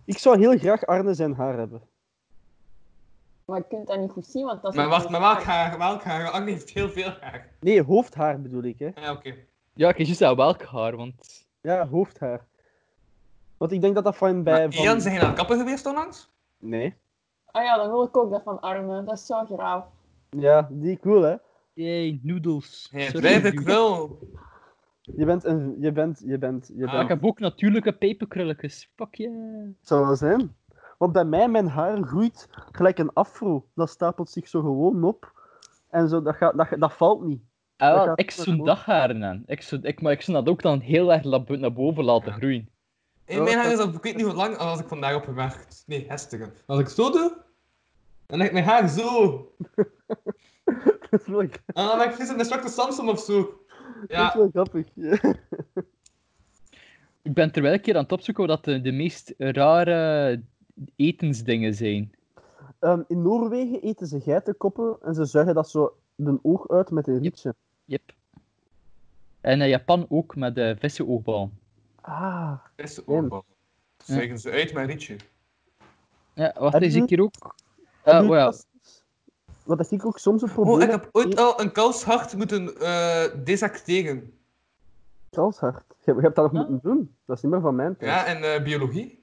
B: Ik zou heel graag Arne zijn haar hebben.
C: Maar je kunt dat niet goed zien, want dat is.
D: Maar
C: nog
D: wacht,
C: niet
D: maar welk
C: waar.
D: haar? Welk haar? Agnes heeft heel veel haar.
B: Nee, hoofdhaar bedoel ik, hè.
D: Ja, oké.
A: Ja, ik kies dat welk haar, want...
B: Ja, hoofdhaar. Want ik denk dat dat van bij...
D: Maar
B: van...
D: Ian, zijn je naar de kapper geweest onlangs?
B: Nee.
C: Ah ja, dan wil ik ook dat van armen. Dat is zo graaf.
B: Ja, die cool, hè.
A: Yay, noedels.
D: Nee,
A: Sorry,
D: blijf
A: dude.
D: ik wel.
B: Je bent een... Je bent... Je bent... Je bent...
D: Ah,
A: Ja, ik heb ook natuurlijke peperkrulletjes. Fuck yeah.
B: zou wel zijn. Want bij mij, mijn haar groeit gelijk een afro. Dat stapelt zich zo gewoon op. En zo, dat, gaat, dat, gaat- dat valt niet.
A: Ah,
B: Dat
A: wel,
B: gaat
A: ik
B: super
A: zo'n
B: goed.
A: dagharen aan. Ik zou- ik, maar ik zou dat ook dan heel erg lab- naar boven laten
D: Ja.
A: groeien.
D: In mijn haar is al, ik weet niet hoe lang, als ik vandaag op gewerkt. Nee, gisteren. Als ik zo doe, dan leg ik mijn haar zo.
B: Dat is wel,
D: En dan ben ik gisteren een de Samsung of zo.
B: dat is
D: Ja,
B: wel grappig.
A: Ik ben terwijl ik hier aan het opzoeken wat de, de meest rare etensdingen zijn.
B: Ehm, in Noorwegen eten ze geitenkoppen en ze zuigen dat zo een oog uit met een rietje.
A: Yep. En in Japan ook met eh, de vissenoogbal.
B: Ah,
D: is Oh, de oogbal.
A: Ja.
D: Zeggen ze uit mijn rietje.
A: Ja, wacht,
B: Heb
A: is
B: je-
A: ik hier ook?
B: En
A: Ah,
D: Eh,
B: nu
A: oh ja.
B: pas- Wat ik ook soms een probleem
D: Oh, ik
B: heb
D: heb ooit al een kalfshart moeten eh dissecteren.
B: met kalfshart. Je, je hebt dat nog
A: Ah.
B: moeten doen. Dat is niet meer van mijn tijd.
D: Ja, in eh, biologie.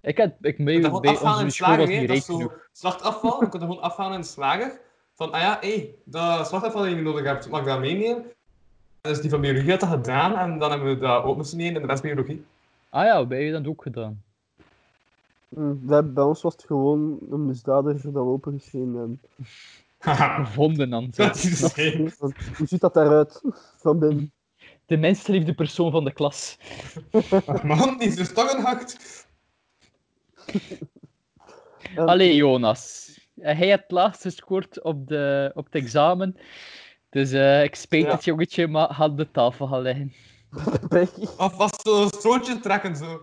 A: Ik heb ik mee
D: Ik
A: bij
D: kon dat gewoon afhalen in
A: onze
D: de
A: school
D: slager,
A: was
D: hè.
A: niet
D: dat
A: rijk
D: is zo
A: genoeg.
D: slachtafval. Je kon dat gewoon afhalen in de slager. Van, ah ja, hé, dat slachtafval dat je niet nodig hebt, mag ik dat meenemen? En dus die van biologie had dat gedaan en dan hebben we dat ook moeten nemen in de rest biologie.
A: Ah ja, wij hebben dat ook gedaan.
B: Hm, Mm, Bij, bij ons was het gewoon een misdadiger dat we opengeschreven hebben.
D: Haha,
A: Vonden aan het
D: dat is dus
A: zijn.
D: het.
B: ehm. Hoe ziet dat daaruit? Van binnen.
A: De minst liefde persoon van de klas.
D: Man, die is er toch een hakt.
B: Eh,
A: Allee, Jonas. Eh, Hij had het laatst gescoord op, de, op het examen. Dus eh, ik spijt
D: Ja.
A: het jongetje, maar ga op de tafel gaan liggen.
B: Becky.
D: Alvast zo'n stroontje trekken, zo.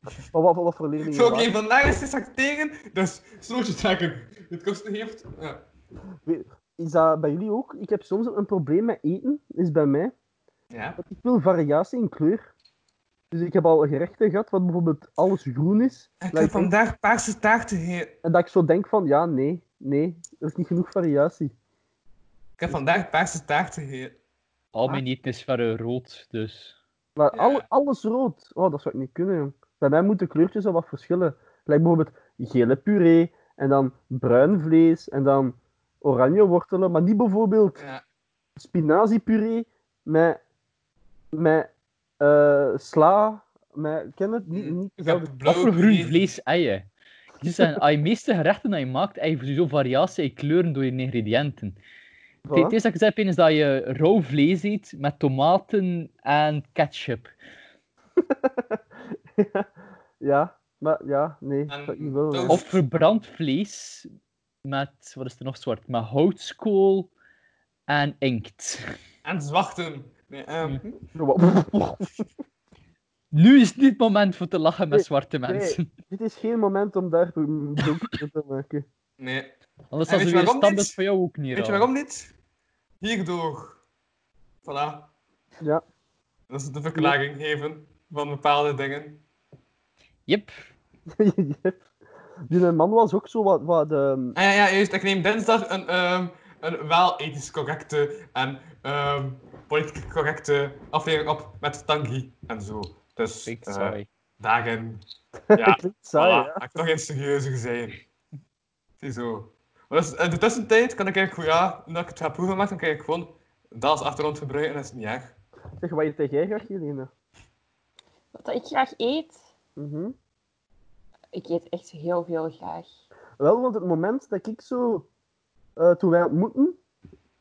B: Maar wat, wat, wat voor leerlingen?
D: Zo, oké,
B: waren-
D: vandaag is de zak tegen, dus strootje trekken. Het kost heeft. Ja.
B: Is dat bij jullie ook? Ik heb soms een probleem met eten, is bij mij.
D: ja.
B: Ik wil variatie in kleur. Dus ik heb al gerechten gehad, wat bijvoorbeeld alles groen is.
D: Ik heb
B: Lijkt-
D: vandaag paarse taart gegeten.
B: En dat ik zo denk van, ja, nee, nee, er is niet genoeg variatie.
D: Ik heb vandaag paarse taart gegeten.
A: Al mijn eten is verre rood, dus...
B: Maar
D: Ja.
B: alle- alles rood, oh, dat zou ik niet kunnen, jong. Bij mij moeten kleurtjes al wat verschillen. Lijkt bijvoorbeeld gele puree, en dan bruin vlees, en dan oranje wortelen, maar niet bijvoorbeeld
D: Ja.
B: spinaziepuree met, met eh, sla, met, ken het? Niet, niet,
D: Ik
B: hetzelfde.
D: heb
A: Wat
D: blauw
A: voor groen
D: gegeten.
A: vlees heb je? Dus zijn, als je meeste gerechten dat je maakt, heb je sowieso variatie in kleuren door je ingrediënten. Het
B: Voilà.
A: eerste dat ik zei heb, is dat je rauw vlees eet met tomaten en ketchup.
B: Ja, maar ja, nee,
D: En
B: dat ik wel.
D: dat-
B: ja.
A: Of verbrand vlees met, wat is er nog zwart, met houtskool en inkt.
D: En zwachten. Nee, ehm,
A: Nu is het niet het moment voor te lachen met
B: Nee,
A: zwarte
B: nee.
A: mensen.
B: Dit is geen moment om daar een broek van te maken.
D: nee.
A: Anders
D: En
A: was er
D: weet je
A: weer
D: waarom
A: standaard
D: niet?
A: voor jou ook niet
D: Weet je
A: raar.
D: waarom niet? Hierdoor. Voilà.
B: Ja.
D: Dat is de verklaring geven van bepaalde dingen.
A: Yep.
B: Yep. Die man was ook zo wat, wat ehm,
D: Ah, ja, ja, juist. Ik neem dinsdag een, ehm, een wel ethisch correcte en ehm, politiek correcte aflevering op met Tanguy en zo. Dus
A: Ik
D: eh,
A: sorry.
D: dagen. Ja,
B: klinkt saai,
D: voilà.
B: hè.
D: Had ik toch eens serieuzer zijn. Ziezo. Maar dus, in de tussentijd kan ik eigenlijk, gewoon- ja, omdat ik het ga proeven maak, dan kan ik gewoon dat als achtergrond gebruiken en dat is niet erg.
B: Zeg, wat eet jij graag, Jelena?
C: Wat ik graag eet?
B: Mhm.
C: Ik eet echt heel veel graag.
B: Wel, want het moment dat ik zo... eh, toen wij ontmoetten,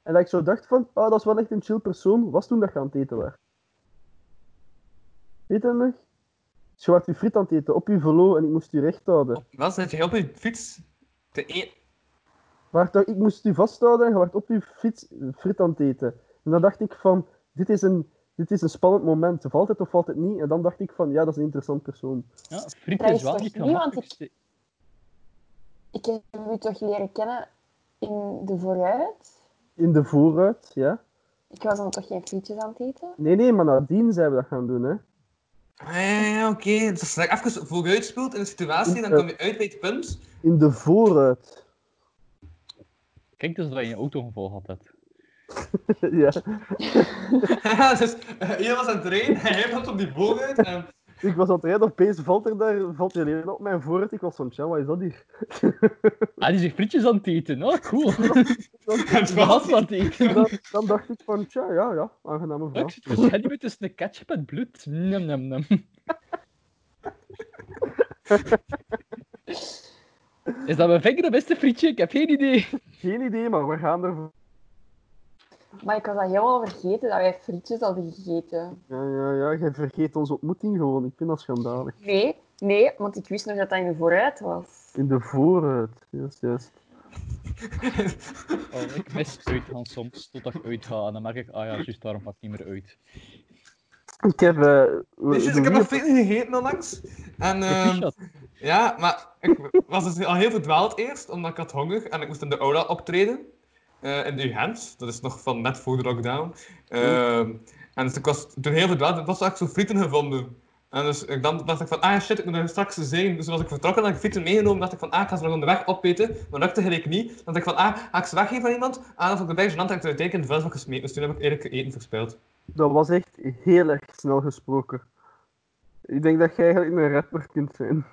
B: en dat ik zo dacht van, oh, dat is wel echt een chill persoon, was toen dat je aan het eten was. Weet je dat nog? Dus je was je friet aan het eten, op je velo, en ik moest je recht houden.
D: Wel zit je op je fiets te e- eten.
B: Maar toch, ik moest u vasthouden en je werd op uw fiets frit aan het eten. En dan dacht ik van, dit is een, dit is een spannend moment. Valt het of valt het niet? En dan dacht ik van, ja, dat is een interessant persoon.
A: Ja, friet
C: Dat
A: is
C: is
A: wel
C: toch
A: niet
C: niemand
A: gemakkelijk.
C: Ik heb u toch leren kennen in de vooruit?
B: In de vooruit, ja.
C: Ik was dan toch geen frietjes aan het eten?
B: Nee, nee, maar nadien zijn we dat gaan doen, hè.
D: Ah, ja, ja, ja, oké. Dus als je even vooruit speelt in de situatie, dan kom je uit bij het punt.
B: In de vooruit.
A: Kijk, dus dat je een autogeval had. Dat.
B: ja.
D: dus eh, jij was aan het rijden, hij had op die boog uit. En,
B: Ik was aan het rijden, opeens valt er daar, valt er een op mijn vooruit. Ik was van, tja, wat is dat hier?
A: Ah, die zijn frietjes aan het eten. Oh, cool.
D: en het was-
A: Wat aan het eten. Oh,
B: Dan, dan dacht ik van, tja, ja, ja, aangename
A: Ik
B: vraag.
A: zit waarschijnlijk weer tussen de ketchup en bloed. Nam, nam, nam. Is dat mijn vinger of is het een frietje? Ik heb geen idee.
B: Geen idee, maar we gaan ervoor.
C: Maar ik was dat helemaal vergeten dat wij frietjes hadden gegeten.
B: Ja, ja, ja, jij vergeet onze ontmoeting gewoon. Ik vind dat schandalig.
C: Nee, nee, want ik wist nog dat dat in de vooruit was.
B: In de vooruit, juist, juist.
A: Oh, ik mis uitgaan soms, totdat ik uitga. En dan merk ik, ah ja, juist daarom pak ik niet meer uit.
B: Ik heb... eh,
D: Dus
B: de
D: ik heb nog
B: wiener-
D: veel gegeten onlangs. En, ehm, ja, maar ik was dus al heel verdwaald eerst, omdat ik had honger en ik moest in de aula optreden. eh, in de UGent, dat is nog van net voor de lockdown. Ehm, en dus ik was toen heel verdwaald en plots had ik zo frieten gevonden. En dus ik dan dacht ik van, ah shit, ik moet er straks zijn. Dus was ik vertrokken en had ik frieten meegenomen, dacht ik van, ah, ik ga ze nog onderweg opeten. Maar dat gelijk niet. Dan dacht ik van, ah, ga ik ze weggeven aan iemand? Ah, dan vond ik de bijgezand en ik heb het uiteindelijk in de vuilnisbak gesmeten. Dus toen heb ik eerlijk eten verspeeld.
B: Dat was echt heel erg snel gesproken. Ik denk dat jij eigenlijk een rapper kunt zijn.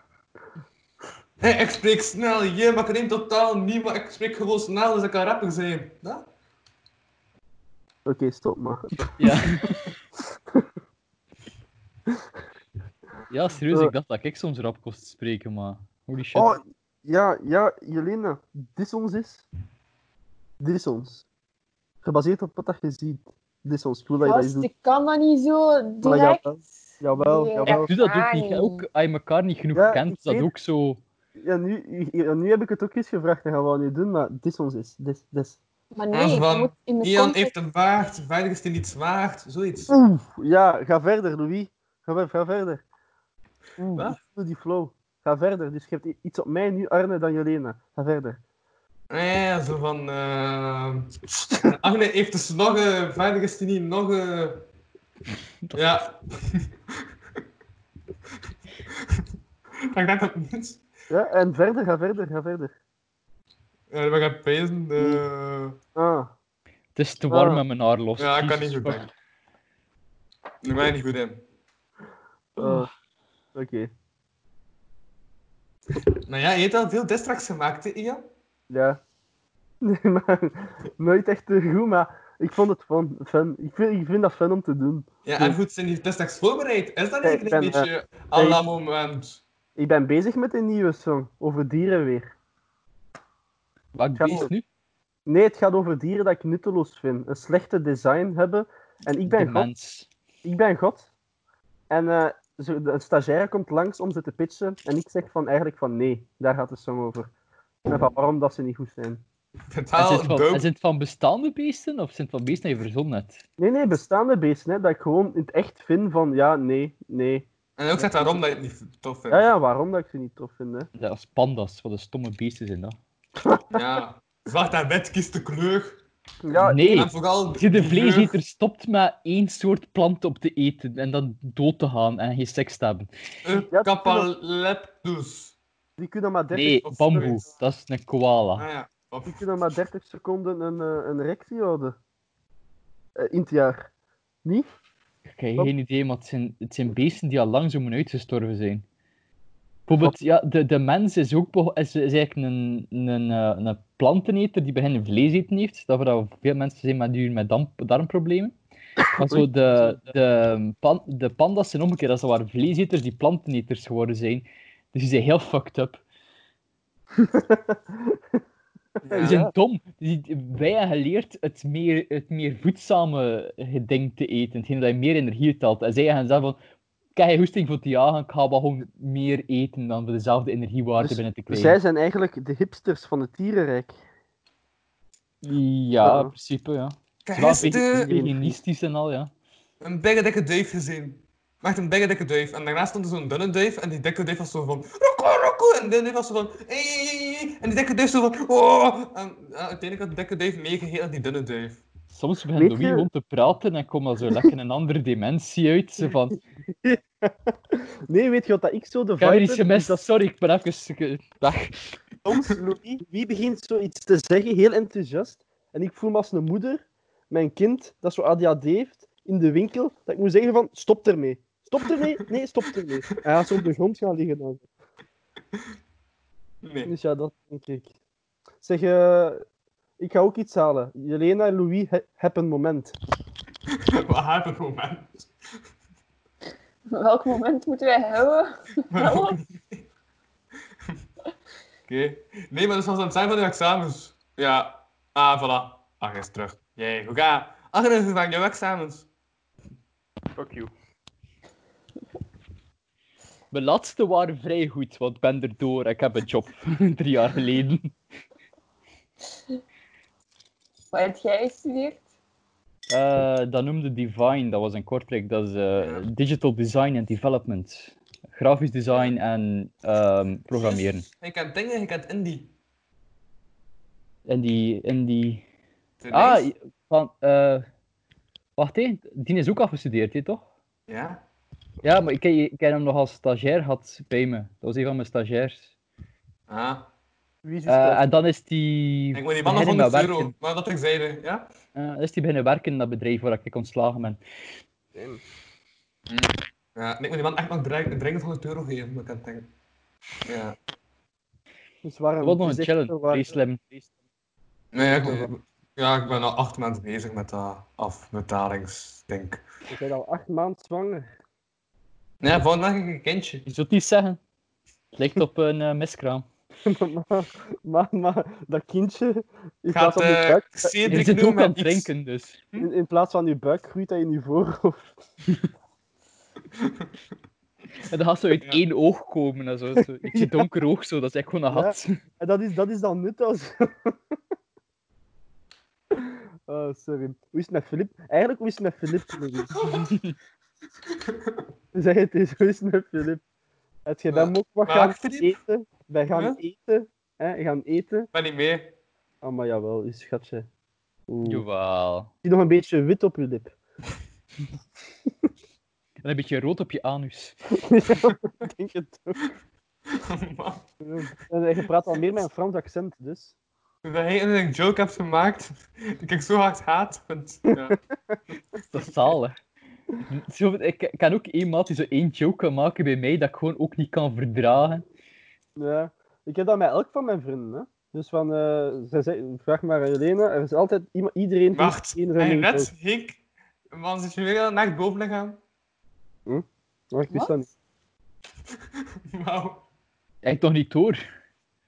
D: Hé, ik spreek snel, je, maar ik neem totaal niet, maar ik spreek gewoon snel, dus ik kan rapper zijn. Ja?
B: Oké, stop maar.
A: Ja. Ja, serieus, ik dacht dat ik soms rap kost spreken, maar... Holy shit.
B: Oh, ja, ja, Jelena, dit ons is. Dit is ons. Gebaseerd op wat dat je ziet. Dit is ons. Ik wil dat je dat eens
C: Gast,
B: doet.
C: ik kan dat niet zo direct.
B: jawel. Jawel,
C: Nee.
B: jawel.
A: Ik doe dat ook
C: Ah,
A: niet. hè.
C: nee.
A: Ook als je elkaar niet genoeg
B: Ja,
A: kent,
B: ik
A: is dat
B: weet-
A: ook zo.
B: Ja nu, ja, nu heb ik het ook eens gevraagd en gaan we dat nu doen, maar dit is ons is. Dit, dit.
C: Maar
D: Ah,
C: nee, je
D: van,
C: moet in de
D: Ian
C: context-
D: heeft een vaart, verder is hij niets waard, zoiets.
B: Oeh, ja, ga verder, Louis. Ga, ver- ga verder. Oeh,
D: Wat?
B: ik voel die flow. Ga verder. Dus je hebt i- iets op mij nu, Arne, dan Jelena. Ga verder.
D: Nee, Ah, zo van. ehm, Arne heeft dus nog een. Verder is hij niet nog een. Ja. ik denk dat mensen.
B: Ja, en verder, ga verder, ga verder.
D: Ja, we gaan pezen. eh,
B: Ah,
A: Het is te warm
B: Ah.
A: en mijn haar los.
D: ja, ik kan niet
A: Jezus,
D: goed
A: fuck.
D: denken. Daar ben je niet goed in.
B: ah. Oké.
D: Nou ja, je hebt al veel distracts gemaakt, hè, Ian?
B: Ja. Nee, maar nooit echt eh, goed, maar ik vond het fun. fun. Ik, vind, ik vind dat fun om te doen.
D: Ja,
B: Ja.
D: en goed, zijn die distracts voorbereid? Is dat
B: Ja,
D: eigenlijk
B: ik
D: een
B: ben,
D: beetje. à la
B: nee.
D: moment.
B: Ik ben bezig met een nieuwe song, over dieren weer.
A: Wat
B: Ga
A: beest
B: door.
A: nu?
B: Nee, het gaat over dieren dat ik nutteloos vind. Een slechte design hebben. En ik ben
A: de
B: God.
A: mens.
B: ik ben God. En eh, zo, de- een stagiaire komt langs om ze te pitchen. En ik zeg van eigenlijk van nee, daar gaat de song over. En van waarom dat ze niet goed zijn.
A: En
D: Totaal
A: zijn, het van, en
D: dope.
A: zijn het van bestaande beesten of zijn het van beesten die je verzonnen hebt?
B: Nee, nee, bestaande beesten. Hè, dat ik gewoon in het echt vind van ja, nee, nee.
D: En ook zegt waarom dat je het niet tof vindt.
B: Ja, ja, waarom dat ik ze niet tof vind. Hè.
A: Ja, als pandas, wat een stomme beesten zijn dat.
D: Ja. Zwart en wit, kies de kleur.
B: Ja,
A: nee,
D: En vooral...
A: als je de
D: die kleur-
A: vleeseter stopt met één soort plant op te eten en dan dood te gaan en geen seks te hebben.
D: Een Kapaleptus.
B: die kunnen maar 30,
A: Nee,
D: of
A: bamboe,
D: zoiets.
A: dat is een koala.
D: Ah ja. Op.
B: die kunnen maar 30 seconden een, eh, een erectie houden. Eh, in het jaar. Niet?
A: Ik heb geen idee, maar het zijn, het zijn beesten die al lang zo moeten uitgestorven zijn. Bijvoorbeeld, ja, de, de mens is ook beho- is, is eigenlijk een, een, eh, een planteneter die begin vlees eten heeft. Dat vooral veel mensen zijn met, die met damp- darmproblemen. Maar zo de, de, pan, de pandas zijn omgekeerd. Dat waren vleeseters die planteneters geworden zijn. Dus die zijn heel fucked up. Die zijn
D: Ja.
A: dom. Die, wij hebben geleerd het meer, het meer voedzame geding te eten. Hetgeen dat je meer energie uithaalt. En zij gaan zeggen van... Kijk, je hoesting voor te jagen. Ik ga wel gewoon meer eten dan voor dezelfde energiewaarde
B: Dus-
A: binnen te krijgen.
B: Zij zijn eigenlijk de hipsters van het dierenrijk.
A: Ja, in
B: Ja.
A: principe, ja.
D: Ik heb
A: Wel vege-
D: gisteren
A: veganistisch en al, ja.
D: een dikke dikke duif gezien. Echt een dikke dikke duif. En daarnaast stond er zo'n dunne duif. En die dikke duif was zo van... Roko, roko. En die dunne duif was zo van... "Ei, ei, ei, ei." En die dikke duif zo van... Oh. En ja, uiteindelijk had de dikke duif meegegeven aan die dunne duif.
A: Soms begint
B: Weet
A: Louis
B: je-
A: gewoon te praten en komt dan zo lekker een andere dimensie uit. Zo van, ik
B: Nee, weet je wat dat ik zo de
A: heb
B: vibe
A: hier iets
B: heb?
A: gemist,
B: Dat
A: sorry, ik ben even... ge- Dag.
B: soms, Louis, wie begint zoiets te zeggen, heel enthousiast. En ik voel me als een moeder, mijn kind, dat zo ADHD heeft, in de winkel, dat ik moet zeggen van, stop ermee. Stop ermee? Nee, stop ermee. En hij gaat zo op de grond gaan liggen dan.
D: Nee.
B: Dus ja, dat denk ik. Zeg, eh, ik ga ook iets halen. Jelena en Louis, he- heb een moment.
D: We hebben gewoon man.
C: Welk moment moeten wij houden?
D: Maar ook niet. Oké. Nee, maar dat was aan het zijn van de examens. Ja. Ah, voilà. Ach, hij is terug. Jee, hoe ga Ach, dat is van jouw examens. Fuck you.
A: Mijn laatste waren vrij goed, want ik ben er door. Ik heb een job drie jaar geleden.
C: Wat heb jij gestudeerd?
A: Eh, dat noemde Divine, dat was een Kortrijk. Dat is eh, Digital Design and Development. Grafisch design en ehm, programmeren.
D: Je kent dingen, je kent indie.
A: En die... En die...
D: Zijn
A: Ah,
D: nice?
A: van... eh, wacht even, die is ook afgestudeerd, hè, toch?
D: ja.
A: Ja, maar ik, ik heb hem nog als stagiair gehad bij me. Dat was een van mijn stagiairs.
D: Ah.
B: Wie is uw
A: Eh,
B: stem?
A: en dan is die...
D: Ik moet die man nog
A: beginnen met
D: 100 euro.
A: werken.
D: Maar dat terzijde, ja?
A: Eh, is die beginnen werken in dat bedrijf waar ik ontslagen ben.
D: Ja, en ik moet die man echt nog dring- dringend 100 euro geven, maar ik kan het denken. Ja.
B: Dus waarom?
A: Ik wil nog
B: het
A: een
B: is
A: challenge,
B: echt wel waar-
A: vrij slim.
D: Nee, ik, ja, ik ben al acht maanden bezig met dat afbetalingsding.
B: We zijn al acht maanden zwanger.
D: Nee, volgende dag heb ik een kindje.
A: Je zult niet zeggen. Het lijkt op een eh, miskraam.
B: maar, maar, maar dat kindje, in plaats,
D: Gaat
B: van uw
D: eh,
B: buik,
A: Je
D: Cedric
A: zit ook
D: noemen
A: aan het
D: iets.
A: drinken, dus.
B: in, in plaats van uw buik groeit dat in uw voorhoofd.
A: En dan gaat zo uit
D: Ja.
A: één oog komen. En zo, zo. Ik zie donker oog zo, dat is echt gewoon een
B: Ja.
A: hat.
B: En dat is, dat is dan nut als... Oh, sorry. Hoe is het met Filip? Eigenlijk, hoe is het met Filip? Louis? zeg het eens, hoe is het met Filip? Heb je dan ook wat
D: maar
B: gaan
D: Filip?
B: eten? Wij gaan
D: Ja?
B: eten. Hè? Gaan eten.
D: ben niet mee.
B: Ah, maar jawel, is schatje. Oeh.
A: Jawel.
B: Zie nog een beetje wit op je lip.
A: En een beetje rood op je anus.
B: Ik denk het ook.
D: Oh, Man,
B: En je praat al meer met een Frans accent, dus.
D: Dat jij een joke hebt gemaakt die ik zo hard haat. want- ja.
A: Dat is zalig. Zo, ik ik kan ook één maat die zo één joke kan maken bij mij dat ik gewoon ook niet kan verdragen.
B: Ja. Ik heb dat met elk van mijn vrienden. Hè? Dus van, eh, zij zei- vraag maar aan Jelena, er is altijd iemand, iedereen...
D: Wacht,
B: iedereen
D: en net, Henk, man, zit je weer aan het bovenlichaam?
B: Maar ik wist dat niet.
D: Wauw.
A: Echt toch niet door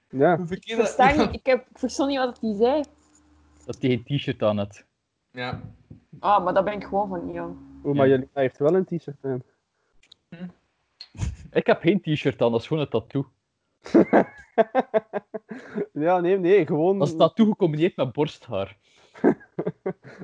B: Ja.
D: Hoe
C: Ik
D: verkeerd dat-
C: versta niet, ik, heb, ik verstond niet wat hij zei.
A: dat hij een t-shirt aan had.
D: Ja.
C: Ah, maar dat ben ik gewoon van niet aan.
B: Oh, maar
A: Ja.
B: Jelena heeft wel een t-shirt aan.
A: Ik heb geen t-shirt aan, dat is gewoon een tattoo.
B: ja, nee, nee, gewoon...
A: Dat is tattoo gecombineerd met borsthaar.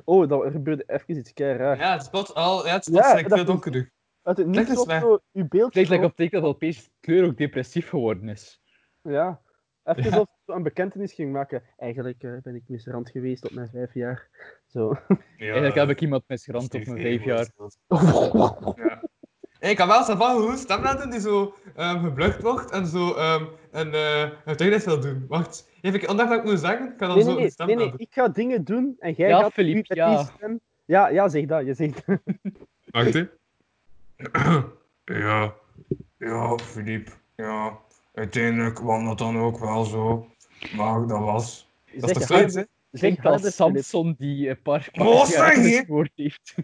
B: Oh, dat gebeurde even iets kei raar.
D: ja, het is plots al, ja, het is
B: Ja,
D: plots like,
B: dat
D: veel
B: is-
D: donkerder.
B: Uit het
D: Leg
B: niets
D: eens
B: of
D: weg.
B: zo, uw
A: Het
B: beeld...
A: lijkt like
B: zo-
A: op het dat opeens de kleur ook depressief geworden is.
B: Ja. Even
D: Ja.
B: alsof ze zo een bekentenis ging maken. Eigenlijk eh, ben ik misrand geweest op mijn vijf jaar. Zo.
A: Eigenlijk heb ik iemand misgerand op
D: Steve
A: mijn
D: Irwin
A: vijf jaar.
D: was dat. Ja. En ik had wel Savan hoe stem laten die zo ehm gebruikt wordt en zo ehm een, eh een tegenis wil doen. Wacht, even ik ondacht dat ik moet zeggen, ik kan dan
B: Nee,
D: zo
B: nee,
D: een
B: nee,
D: stem
B: nee, nee,
D: laten.
B: ik ga dingen doen en jij
A: Ja,
B: gaat
A: Philippe,
B: nu met
A: ja.
B: die stem... Ja, ja, zeg dat, je zegt dat.
D: Wacht, hè. ja. Ja, Filip. Ja. Uiteindelijk kwam dat dan ook wel zo. Maar dat was... Dat is
B: Zeg
D: toch zoiets, hè?
B: harder, zeg
A: Klinkt als
B: harder, Philippe.
A: Samson die een paar
D: Wat
A: paar
D: zeg je?
A: gesmoord heeft.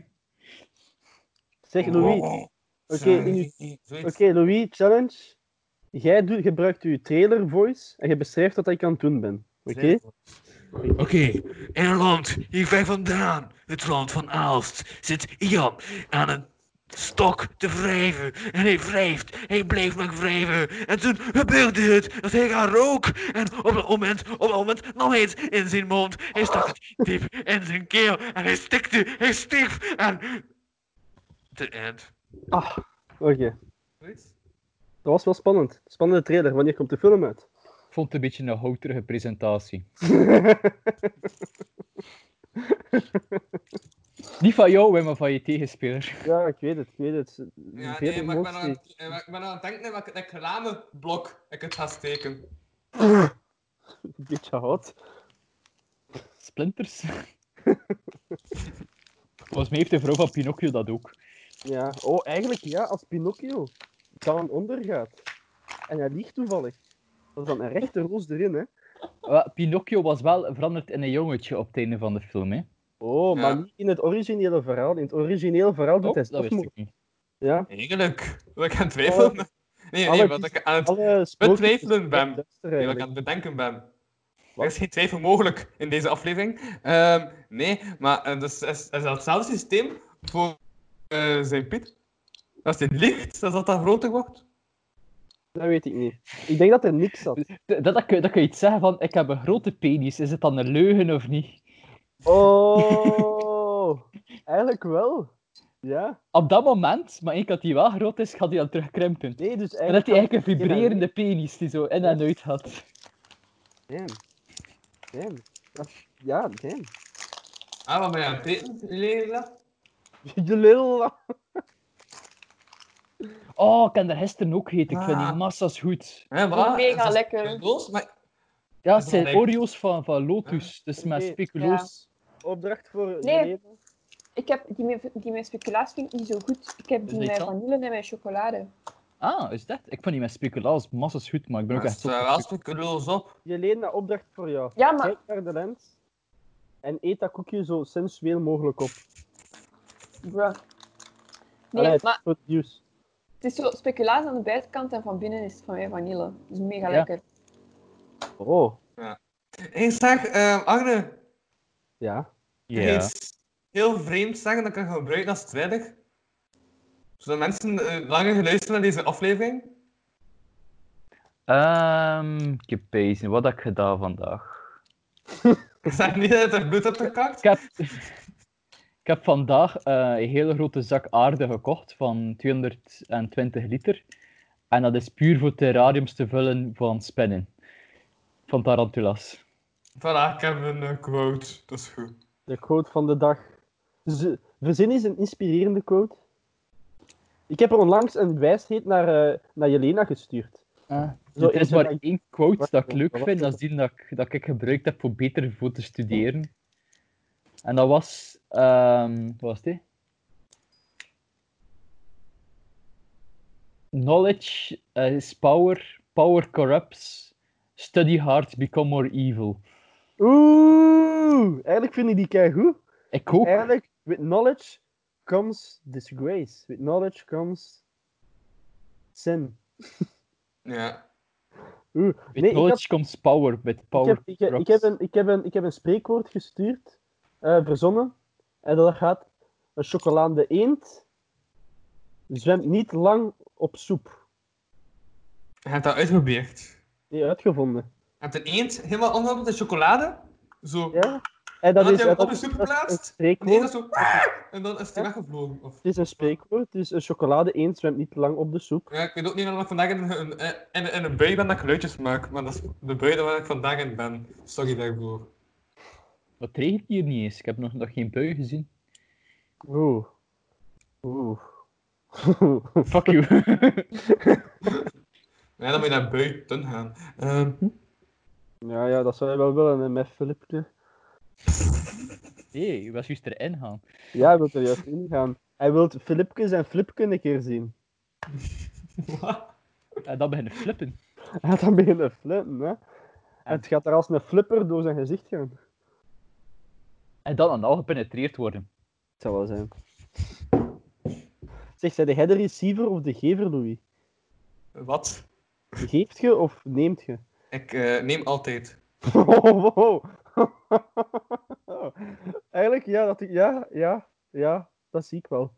B: Zeg Louis, oké, in uw-
D: Zoiets.
B: oké, Louis, challenge. Jij doet, gebruikt je trailer voice en je beschrijft wat ik aan het doen ben. Oké?
F: Oké, in een land hierbij vandaan, het land van Aalst, zit Jan aan een stok te wrijven. En hij wrijft, hij bleef maar wrijven. En toen gebeurde het dat hij gaan rook. En op dat moment, op dat moment nam hij het in zijn mond. Hij stak het diep in zijn keel. En hij stikte, hij stief. En... The end.
B: Ah, oké.
D: Zoiets?
B: Dat was wel spannend. Spannende trailer. Wanneer komt de film uit?
A: Ik vond het een beetje een houterige presentatie. Niet van jou, Wim, maar van je tegenspeler.
B: ja, ik weet het, ik weet het.
D: Ja,
B: Veel
D: nee, maar ik ben, aan,
B: emotie.
D: het- eh, maar ik ben aan het denken welk reclameblok ik het ga steken.
B: Een beetje hot.
A: Splinters. Volgens mij heeft de vrouw van Pinocchio dat ook.
B: Ja. Oh, eigenlijk ja, als Pinocchio down onder gaat. En hij liegt toevallig. Dat is dan een rechte roos erin, hè.
A: Wel, Pinocchio was wel veranderd in een jongetje op het einde van de film. Hè?
B: Oh,
D: Ja.
B: maar niet in het originele verhaal. In het originele verhaal doet
A: Oh,
B: hij
A: dat wist
B: zelfmoord.
A: ik niet.
B: Ja.
D: Eigenlijk. Wat ik aan het twijfelen...
B: Alle-
D: Nee, nee,
B: Oh, alle
D: wat
B: die-
D: ik aan het
B: Alle sprookjes-
D: twijfelen, Bem.
B: Duister
D: Nee, wat ik
B: eigenlijk.
D: aan het bedenken ben. Er is geen twijfel mogelijk in deze aflevering. Ehm, nee, maar eh, dus, is, is dat hetzelfde systeem voor eh, zijn Piet? Als hij licht, dat dat dan groter wordt?
B: Dat weet ik niet. Ik denk dat er niks zat.
A: Dat, dat, kun, dat kun je iets zeggen van, ik heb een grote penis. Is het dan een leugen of niet?
B: Oh, eigenlijk wel. Ja.
A: Op dat moment, maar één keer dat hij wel groot is, gaat hij dan terugkrimpen. En
B: Nee, dus
A: dat
B: eigenlijk...
A: hij eigenlijk een vibrerende penis die zo in en uit had.
B: Damn. Damn. Dat- Ja, damn.
D: Ah, wat ben je aan het tekenen, Leila?
B: Je lul.
A: Oh, ik heb er gisteren ook gegeten. Ik vind die
D: Ah.
A: massa's goed.
D: Hè,
C: Ook
D: wat?
C: mega
D: Dat is
C: lekker.
D: Los, maar...
A: Ja,
D: Dat
A: het
D: is
A: zijn
D: wel lekker.
A: Oreo's van, van Lotus. Dus met
B: Oké,
A: speculoos.
B: Opdracht voor
C: Nee.
B: Jelena.
C: Ik heb die, met- die met speculaas vind ik niet zo goed. Ik heb die
A: niet
C: met
A: zo?
C: vanille en met chocolade.
A: Ah, is dat? Ik vond die met speculoos massa's goed, maar ik ben ook
D: Dat
A: echt
D: is
A: zo.
D: eh, wel speculoos op.
B: Jelena, opdracht voor jou.
C: Ja, maar
B: Kijk naar de lens en eet dat koekje zo sensueel mogelijk op.
C: bruh. Nee,
B: Allee, het is
C: maar
B: goed nieuws.
C: het is zo speculaas aan de buitenkant en van binnen is het van mij vanille. Dus mega
A: Ja.
C: lekker.
B: Oh,
D: Hey, zeg, ehm, Arne,
B: ja.
D: kun je iets heel vreemd zeggen dat ik kan gebruiken als strijdig? Zodat mensen eh, langer geluisterd naar deze aflevering?
A: Ehm, ik heb bezig. Wat heb ik gedaan vandaag?
D: Ik zeg niet dat er bloed op de kaart.
A: Ik heb, ik heb vandaag eh, een hele grote zak aarde gekocht van 220 liter. En dat is puur voor terrariums te vullen van spinnen. Van tarantulas.
D: Voilà, ik heb een eh, quote. Dat is goed.
B: De quote van de dag. Z- Verzin eens een inspirerende quote. Ik heb er onlangs een wijsheid naar, eh, naar Jelena gestuurd.
A: er
B: is
A: is
B: het
A: Ah, maar
B: eigenlijk-
A: één quote
B: Wacht
A: dat ik
B: even,
A: leuk
B: wacht
A: vind, dat is die dat ik, dat ik gebruikt heb voor beter voor te studeren. En dat was... ehm, wat was die? Knowledge eh, is power, power corrupts, study hard, become more evil.
B: Oeh, eigenlijk vind ik die kei goed.
A: Ik ook.
B: Eigenlijk, with knowledge comes disgrace. With knowledge comes sin.
D: Ja.
B: Oeh.
A: With
B: Nee, ik
A: knowledge
B: had-
A: comes power, with
B: Ik
A: power
B: heb, ik, heb- ik, heb
A: corrupts.
B: een, ik, heb een, ik heb een spreekwoord gestuurd, eh, verzonnen. En dat gaat: Een chocolade eend zwemt niet lang op soep.
D: Je hebt dat uitgeprobeerd.
B: Die uitgevonden.
D: Je hebt een eend helemaal omgehaald met de chocolade. Zo.
B: Ja? En
D: dat
B: dat
D: had
B: is,
D: je hem
B: en
D: op
B: dat
D: de
B: is
D: soep
B: dat is een
D: geplaatst. En de eend
B: spreekwoord.
D: was zo... "Ah!" En dan is hij weggevlogen. Of...
B: Het is een spreekwoord, dus een chocolade eend zwemt niet lang op de soep.
D: Ja, ik weet ook niet of ik vandaag in een, eh, in, in een bui ben dat ik geluidjes maak. Maar dat is de bui waar ik vandaag in ben. Sorry daarvoor.
A: Dat regent hier niet eens. Ik heb nog, nog geen bui gezien.
B: Oeh. Oeh.
A: Fuck you.
D: Ja, dan moet je naar buiten gaan. Ehm,
B: ja, ja, dat zou je wel willen hè, met Filipje.
A: Nee, je was juist erin gaan.
B: Ja, hij wil er juist in gaan. Hij wil Filipkes en Flipken een keer zien.
D: wat?
A: En dan beginnen flippen.
B: Hij gaat dan beginnen flippen, hè. En het gaat er als een flipper door zijn gezicht gaan.
A: En dan aan al gepenetreerd worden.
B: Het zou wel zijn. Zeg, zijn jij de receiver of de gever, Louis?
D: Wat?
B: Geeft je of neemt je?
D: Ik eh, neem altijd.
B: Eigenlijk, ja, dat, ja, ja, ja, dat zie ik wel.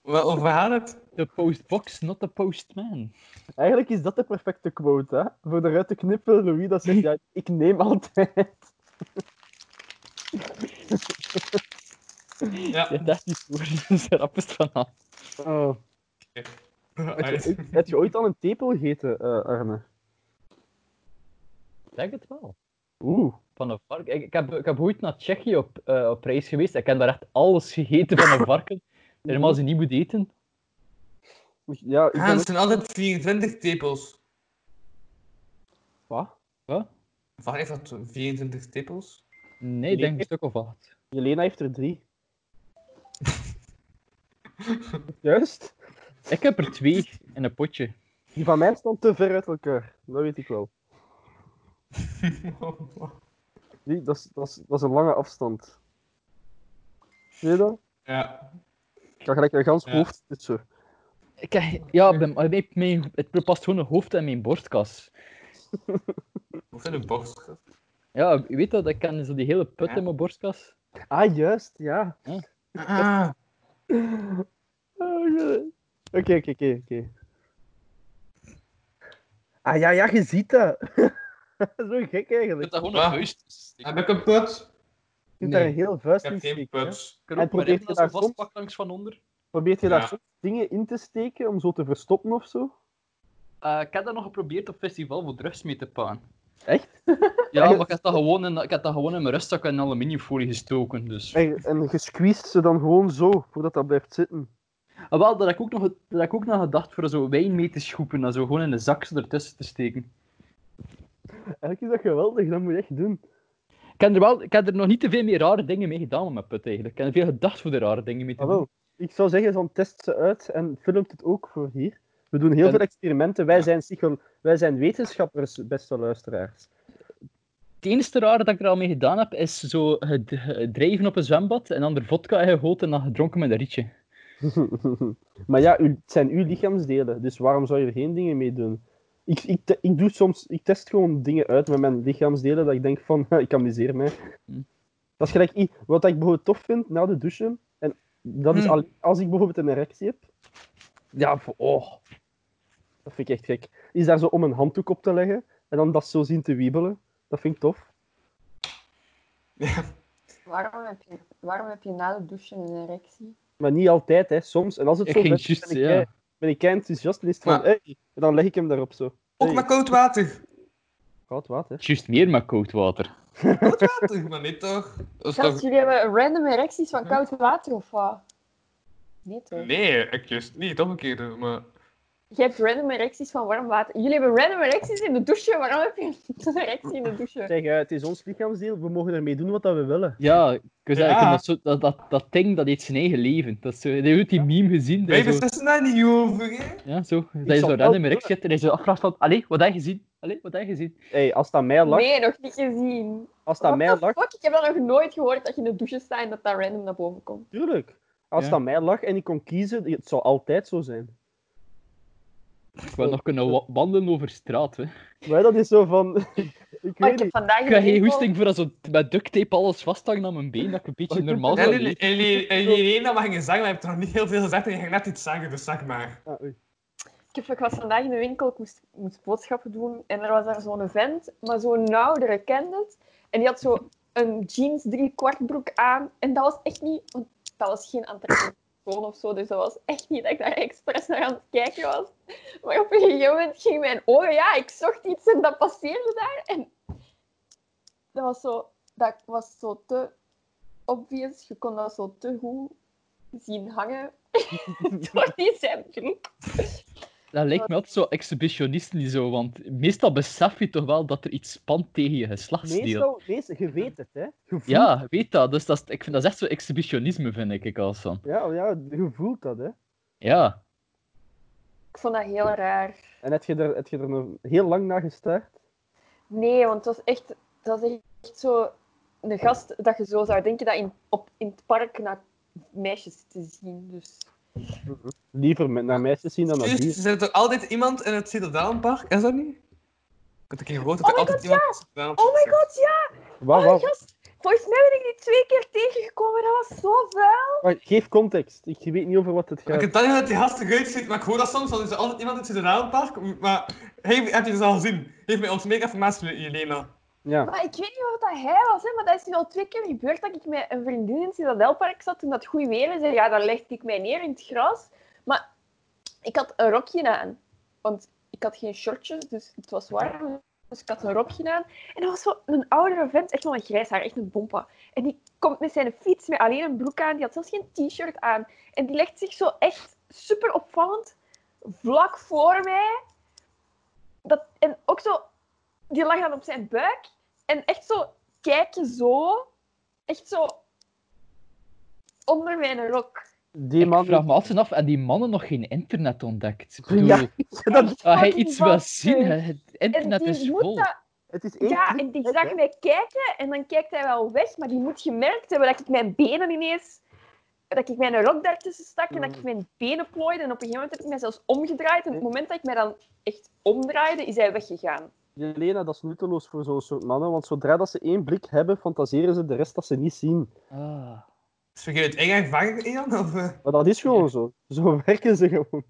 D: Wel, over gaat het?
A: The postbox, not the postman.
B: Eigenlijk is dat de perfecte quote, hè. Voor eruit te knippen, Louis, dat zegt, ja, ik neem altijd.
D: Ja.
A: Ja, dat is niet voor. Dat is de rappest van al.
B: Oh. Heb, je,
D: Uit.
B: ooit- heb je ooit al een tepel gegeten, eh, Arne?
A: Ik Denk het wel.
B: Oeh.
A: Van een varken. Ik, ik, heb, ik heb ooit naar Tsjechië op, eh, op reis geweest. Ik heb daar echt alles gegeten van een varken. Helemaal ze niet moet eten.
B: Ja, ik
D: Ah,
B: ben
D: het
B: ook...
D: zijn altijd 24 tepels.
B: Wat?
A: Wat?
D: Waar heeft dat 24 tepels?
A: Nee, ik denk een stuk of wat.
B: Jelena heeft er drie. Juist.
A: Ik heb er twee in een potje.
B: Die van mij stond te ver uit elkaar. Dat weet ik wel. Die, dat, is, dat, is, dat is een lange afstand. Zie je dat?
D: ja.
B: Ik kan gelijk een gans
D: Ja.
B: hoofd zo.
A: Ik, heb- ja, bij, bij mijn, het past gewoon een hoofd in mijn borstkas.
D: Hoe zijn de borst?
A: Ja, je weet dat, ik ken zo die hele put
D: Ja.
A: in mijn borstkas.
B: Ah, juist, ja.
D: Ah,
B: Ah, ja. Oké, oké, oké, oké. Ah ja, ja, je ziet dat. zo gek eigenlijk.
A: dat gewoon
D: een Wat?
A: vuist.
D: heb ik een put?
B: Je kunt daar een heel vuist
D: Ik heb
B: in
D: geen
B: steken. hè.
D: put.
A: Ik
B: ook En maar probeert echt je daar zo soms-
A: vastpak langs van onder.
B: Probeert je
D: Ja.
B: daar soms dingen in te steken om zo te verstoppen of zo?
A: Eh, ik heb dat nog geprobeerd op festival voor drugs mee te paan.
B: Echt?
A: Ja, maar ik heb dat gewoon in, ik heb dat gewoon in mijn rustzak in aluminiumfolie gestoken. Dus.
B: En, en je squeezed ze dan gewoon zo, voordat dat blijft zitten.
A: Ah, wel, daar heb ik ook nog, daar heb ik ook nog gedacht voor zo wijn mee te schoepen. En zo gewoon in de zak zo ertussen te steken.
B: Eigenlijk is dat geweldig, dat moet je echt doen.
A: Ik heb, er wel, ik heb er nog niet te veel meer rare dingen mee gedaan met mijn put eigenlijk. Ik heb er veel gedacht voor de rare dingen mee te
B: Ah,
A: doen.
B: wel. Ik zou zeggen, dan test ze uit en filmt het ook voor hier. We doen heel
A: En-
B: veel experimenten. Wij zijn, psycho- wij zijn wetenschappers, beste luisteraars.
A: Het enige rare dat ik er al mee gedaan heb, is zo ged- gedreven op een zwembad en dan er vodka in gegoten en dan gedronken met een rietje.
B: maar ja, u- het zijn uw lichaamsdelen, dus waarom zou je er geen dingen mee doen? Ik, ik, te- ik doe soms, ik test gewoon dingen uit met mijn lichaamsdelen, dat ik denk van, ik amuseer mij.
D: Hmm.
A: Hm.
B: Dat is gelijk, i- wat ik bijvoorbeeld tof vind, na de douchen, en dat is
D: Hm.
B: alleen als ik bijvoorbeeld een erectie heb,
A: Ja, voor- oh.
B: dat vind ik echt gek, is daar zo om een handdoek op te leggen, en dan dat zo zien te wiebelen, dat vind ik tof.
C: Waarom heb je, waarom heb je na de douche een erectie?
B: Maar niet altijd, hè, soms. En als het
A: Ik
B: zo
A: ging
B: vet is,
A: juist,
B: ben ik,
A: ja.
B: kei- ben ik kei enthousiast en is het van,
D: Maar-
B: hey, en dan leg ik hem daarop zo.
D: Ook
B: Hey,
D: met koud water.
B: Koud water.
A: Juist meer met koud water.
D: Koud water, maar niet toch? Dat is
C: Gast,
D: toch... Hm.
C: jullie hebben random erecties van koud water of wat? Nee toch?
D: Nee, ik juist niet. Omgekeerd, maar...
C: Je hebt random erecties van warm water. Jullie hebben random erecties in de douche. Waarom heb je een erectie in de douche?
B: Zeg, eh, het is ons lichaamsdeel, we mogen ermee doen wat dat we willen.
A: Ja, ik wil zeggen,
D: Ja.
A: Dat, zo- dat, dat, dat ding dat heeft zijn eigen leven. Dat is zo, je hebt die meme gezien. Dat
D: Wij
A: je zo,
D: beslissen daar nou niet over, hè?
A: ja, zo. Dat je
B: zal
A: zo
B: wel
A: random rechts zit en je zo afvraagt van, allee, wat heb je gezien? Allee, wat heb je gezien?
B: Hey, als dat mij lag,
C: Nee, nog niet gezien.
B: als dat
C: What
B: mij
C: the
B: lag,
C: fuck? Ik heb dat nog nooit gehoord dat je in de douche staat en dat dat random naar boven komt. Oh,
B: tuurlijk. Als
A: Ja.
B: dat mij lag en ik kon kiezen, het zou altijd zo zijn.
A: Ik wil nog kunnen wa- wandelen over straat, hè.
B: Maar dat is zo van, ik
C: Maar ik
B: weet
C: heb
B: niet.
C: vandaag
A: Ik krijg geen
C: een winkel-
A: hoesting voor dat zo met duct tape alles vasthangen aan mijn been, dat ik een beetje normaal
D: En
A: zou
D: jullie-
A: leven.
D: en jullie- en jullie één, dat mag je zeggen, maar je hebt toch niet heel veel gezegd en je ging net iets zeggen, dus zeg maar.
B: Ah, oei.
C: Ik, heb- ik was vandaag in de winkel, ik moest, moest boodschappen doen. En er was daar zo'n vent, maar zo'n oudere kende het. En die had zo een jeans drie kwart broek aan. En dat was echt niet... want Dat was geen aantrekkelijk persoon of zo. Dus dat was echt niet dat ik daar expres naar aan het kijken was. Maar op een gegeven moment ging mijn oor... Ja, ik zocht iets en dat passeerde daar. En dat was zo... Dat was zo te obvious. Je kon dat zo te goed zien hangen. Door die zijn broek.
A: Dat lijkt me altijd zo exhibitionisten die zo, want meestal besef je toch wel dat er iets spant tegen je geslachtsdeel.
B: Meestal, meestal, je weet het, hè. Je voelt, ja.
A: Ja, weet dat. Dus dat is, ik vind dat is echt zo exhibitionisme, vind ik, ik als van.
B: Ja, je voelt dat, hè.
A: Ja.
C: Ik vond dat heel raar.
B: En heb je er, heb je er nog heel lang naar gestaard?
C: Nee, want het was echt, dat was echt zo een gast dat je zo zou denken dat in, op, in het park naar meisjes te zien. Dus
B: Liever met, naar meisjes zien dan naar
D: Juist,
B: dieren.
D: er zit toch altijd iemand in het Citadellenpark, is dat niet? Ik had een keer gehoord dat
C: Oh
D: er
C: my
D: altijd
C: god,
D: iemand in het Citadellenpark
C: Oh my
D: zit.
C: god, ja,
B: Waar,
C: oh,
B: waar,
C: gast. Volgens mij ben ik die twee keer tegengekomen. Dat was zo vuil.
B: waar- geef context. Ik weet niet over wat het
D: Ik
B: gaat.
D: heb dat niet dat die gast eruit ziet, maar ik hoor dat soms, want er is altijd iemand in het Citadellenpark. Maar hey, heb je dat al gezien? Heeft mij ons meer informatie, Jelena.
B: Ja.
C: Maar ik weet niet wat dat hij was, hè, maar dat is nu al twee keer gebeurd dat ik met een vriendin in het Citadelpark zat toen dat goed weer is. En ja, dan legde ik mij neer in het gras. Maar ik had een rokje aan. Want ik had geen shortjes, dus het was warm. Dus ik had een rokje aan. En dat was zo een oudere vent, echt wel een grijs haar, echt een bompa. En die komt met zijn fiets met alleen een broek aan. Die had zelfs geen t-shirt aan. En die legt zich zo echt super opvallend vlak voor mij. Dat, en ook zo, die lag dan op zijn buik. En echt zo kijken zo. Echt zo onder mijn rok.
B: Die man...
A: Ik vraag me altijd af, en die mannen nog geen internet ontdekt? Ik bedoel,
B: Ja, dat,
A: als Ah, hij
C: fucking
A: iets wil
C: waanzinnig.
A: zien, hè, het
C: En
A: internet is
C: die moet
A: vol.
C: dat...
B: het is één
C: Ja,
B: klik,
C: en die
B: hè.
C: zag mij kijken en dan kijkt hij wel weg. Maar die moet gemerkt hebben dat ik mijn benen ineens... Dat ik mijn rok daartussen stak en dat ik mijn benen plooide. En op een gegeven moment heb ik mij zelfs omgedraaid. En op het moment dat ik mij dan echt omdraaide, is hij weggegaan.
B: Jelena, dat is nutteloos voor zo'n soort mannen, want zodra dat ze één blik hebben, fantaseren ze de rest dat ze niet zien.
A: Ah.
D: Is vergeet het eigen ervaring, Ian? Of, eh?
B: Maar dat is gewoon
A: Ja.
B: zo. Zo werken ze gewoon.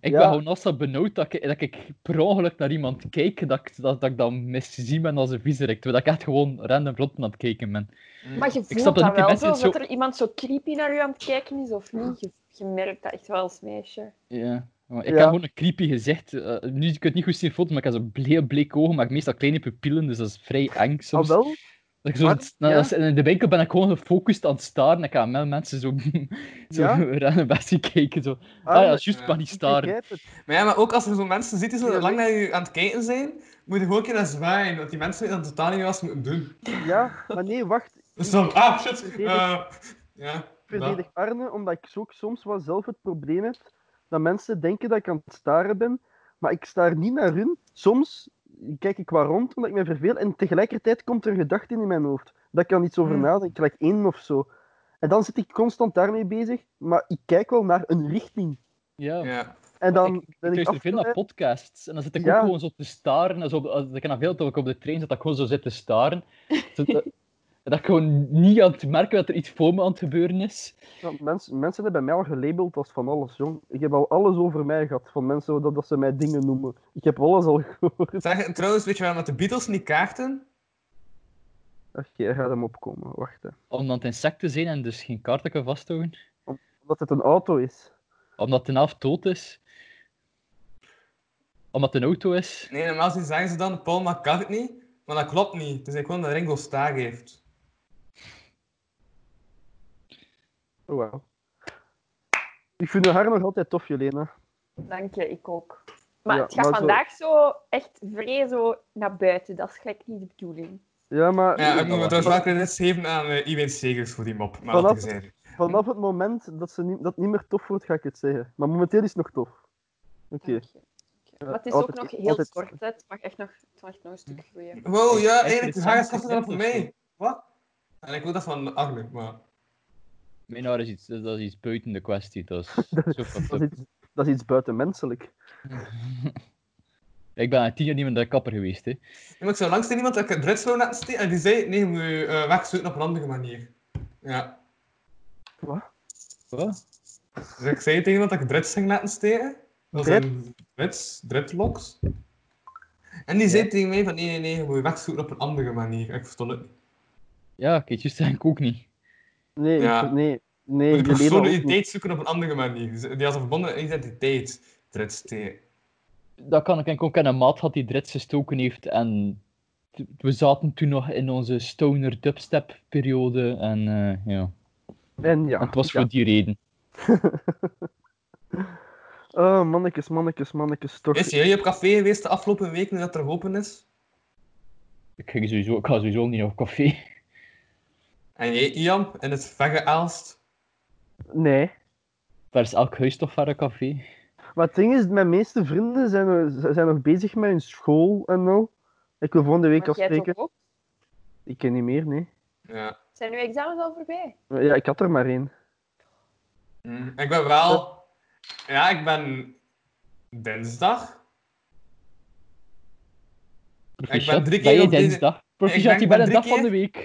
A: Ik
B: Ja.
A: ben gewoon als dat benauwd dat ik, dat ik per ongeluk naar iemand kijk, dat ik, dat, dat ik dan miszie ben als een viezerik. Terwijl ik echt gewoon random rond aan het kijken ben.
C: Maar je
A: snap dat niet, die
C: voelt dat wel
A: mensen
C: zo,
A: zo-
C: dat er iemand zo creepy naar u aan het kijken is of niet. Je, je merkt dat echt wel als meisje.
A: Ja. Maar ik
B: Ja.
A: heb gewoon een creepy gezicht. Eh, nu, je kunt het niet goed zien in foto's, maar ik heb zo'n bleek, bleek ogen, maar ik heb meestal kleine pupillen, dus dat is vrij eng soms.
B: Ah, wel?
A: Dat ik zo,
B: Maar-
A: nou,
B: ja.
A: als- in de winkel ben ik gewoon gefocust aan het staren. Ik ga met mensen zo, zo
B: Ja?
A: random bestie kijken. Zo. Ah, ja, juist, ik mag niet
B: ik
A: staren.
B: begrijp het.
D: Maar ja, maar ook als er zo mensen ziet die zo
B: Ja,
D: lang naar je aan het kijken zijn, moet je gewoon een keer naar zwaaien, want die mensen weten dat totaal niet wat ze moeten doen.
B: Ja, maar nee, wacht.
D: Dus dan, ah, shit.
B: Verdedig-
D: eh, ja.
B: Ik verdedig
D: dat.
B: Arne, omdat ik zo ook soms wel zelf het probleem heb dat mensen denken dat ik aan het staren ben, maar ik staar niet naar hun. Soms kijk ik waar rond omdat ik me verveel en tegelijkertijd komt er een gedachte in mijn hoofd. Dat ik kan iets over
D: Hmm.
B: nadenken, gelijk één of zo. En dan zit ik constant daarmee bezig, maar ik kijk wel naar een richting.
A: Ja.
D: Ja.
B: En dan ben ik
A: luister veel naar
B: afgeleid.
A: podcasts. En dan zit ik
B: Ja.
A: ook gewoon zo te staren. en Zo op, de- als- ik ken dat veel dat ik op de trein zit, dat ik gewoon zo zit te staren. Zo dat, dat ik gewoon niet aan het merken dat er iets voor me aan het gebeuren is.
B: Want mensen, mensen hebben mij al gelabeld als van alles, jong. Ik heb al alles over mij gehad, van mensen dat, dat ze mij dingen noemen. Ik heb alles al gehoord.
D: Zeg, trouwens, weet je waarom dat de Beatles niet kaarten?
B: Ach, jij gaat hem opkomen, wacht. Hè.
A: Omdat het insecten zijn en dus geen kaarten kan vasthouden.
B: Omdat het een auto is.
A: Omdat de helft dood is. Omdat het een auto is.
D: Nee, normaal gezien zeggen ze dan Paul McCartney, maar dat klopt niet. Het is gewoon dat Ringo Starr heeft.
B: Oh, wauw. Ik vind haar nog altijd tof, Jelena.
C: Dank je, ik ook. Maar
B: Ja,
C: het gaat
B: maar zo-
C: vandaag zo echt vrij zo naar buiten. Dat is gelijk niet de bedoeling.
B: Ja, maar
D: Ja, ik
A: dat
D: moet me
A: was-
D: trouwens wel credits geven aan eh, Iwijn Segers voor die mop. Maar
B: Vanaf-
D: dat gezegd.
B: vanaf het moment dat ze niet, dat niet meer tof wordt, ga ik het zeggen. Maar momenteel is het nog tof. Oké.
C: Dank je. Dank je. Maar het is
B: altijd-
C: ook nog heel
B: altijd-
C: kort. Hè. Het mag echt nog, het mag nog een stuk groeien.
D: Wow, ja,
A: Eigenlijk
D: eigenlijk, de haar is
A: samen
D: dan voor
A: gezet of
D: mij. Wat? En ik wil dat van Arne, maar...
A: Mijn haar is iets, dat is iets buiten de kwestie. Dat is zo fucked
B: Dat
A: up.
B: is iets, dat is iets buitenmenselijk.
A: Ik ben al tien jaar niet meer naar de kapper geweest. Hè.
D: Ja, maar ik zou langs tegen iemand dat ik het dreadslow net steek en die zei, nee, je moet je eh, wegzoeken op een andere manier. Ja.
A: Wat?
D: Dus ik zei tegen iemand dat ik dreads ging laten steken. Dat
B: Dread-
D: zijn dreads, dreadlocks. En die zei tegen mij van, nee, nee, nee, je moet je wegzoeken op een andere manier. Ik verstond het niet.
A: Ja, kijk, juist eigenlijk ook niet.
B: Nee,
D: Ja.
B: ik- nee, nee.
D: Je moet
B: Jelena
D: je
B: ook niet.
D: persoonlijkheid zoeken op een andere manier. Dus Die had een verbonden identiteit, dreads steken.
A: dat kan ik denk ik ook aan een maat had die dreads gestoken heeft. En t- we zaten toen nog in onze stoner dubstep periode. En eh, ja,
B: En ja.
A: het was
B: ja.
A: voor die reden.
B: Oh, mannetjes, mannetjes, mannetjes, toch.
D: Is jullie op café geweest de afgelopen week, nu dat er open is?
A: Ik, ging sowieso, ik ga sowieso niet naar café.
D: En jij, Ian, in het verre Aalst?
B: Nee.
A: Daar is elk huis toch verre café.
B: Maar het ding is, mijn meeste vrienden zijn, er- zijn nog bezig met hun school en nou. Ik wil volgende week
C: Maar jij
B: afspreken.
C: toch ook?
B: Ik ken niet meer, nee.
D: Ja.
C: Zijn uw examens al voorbij?
B: Maar Ja, ik had er maar één.
D: Mm, Ik ben wel. Ja, ik ben dinsdag.
A: Proficiat,
D: drie
A: ben
D: keer
A: je
D: op deze-
A: dinsdag. Proficiat,
D: ben-
A: je
D: ik ben
A: bent een dag
D: drie
A: van de week.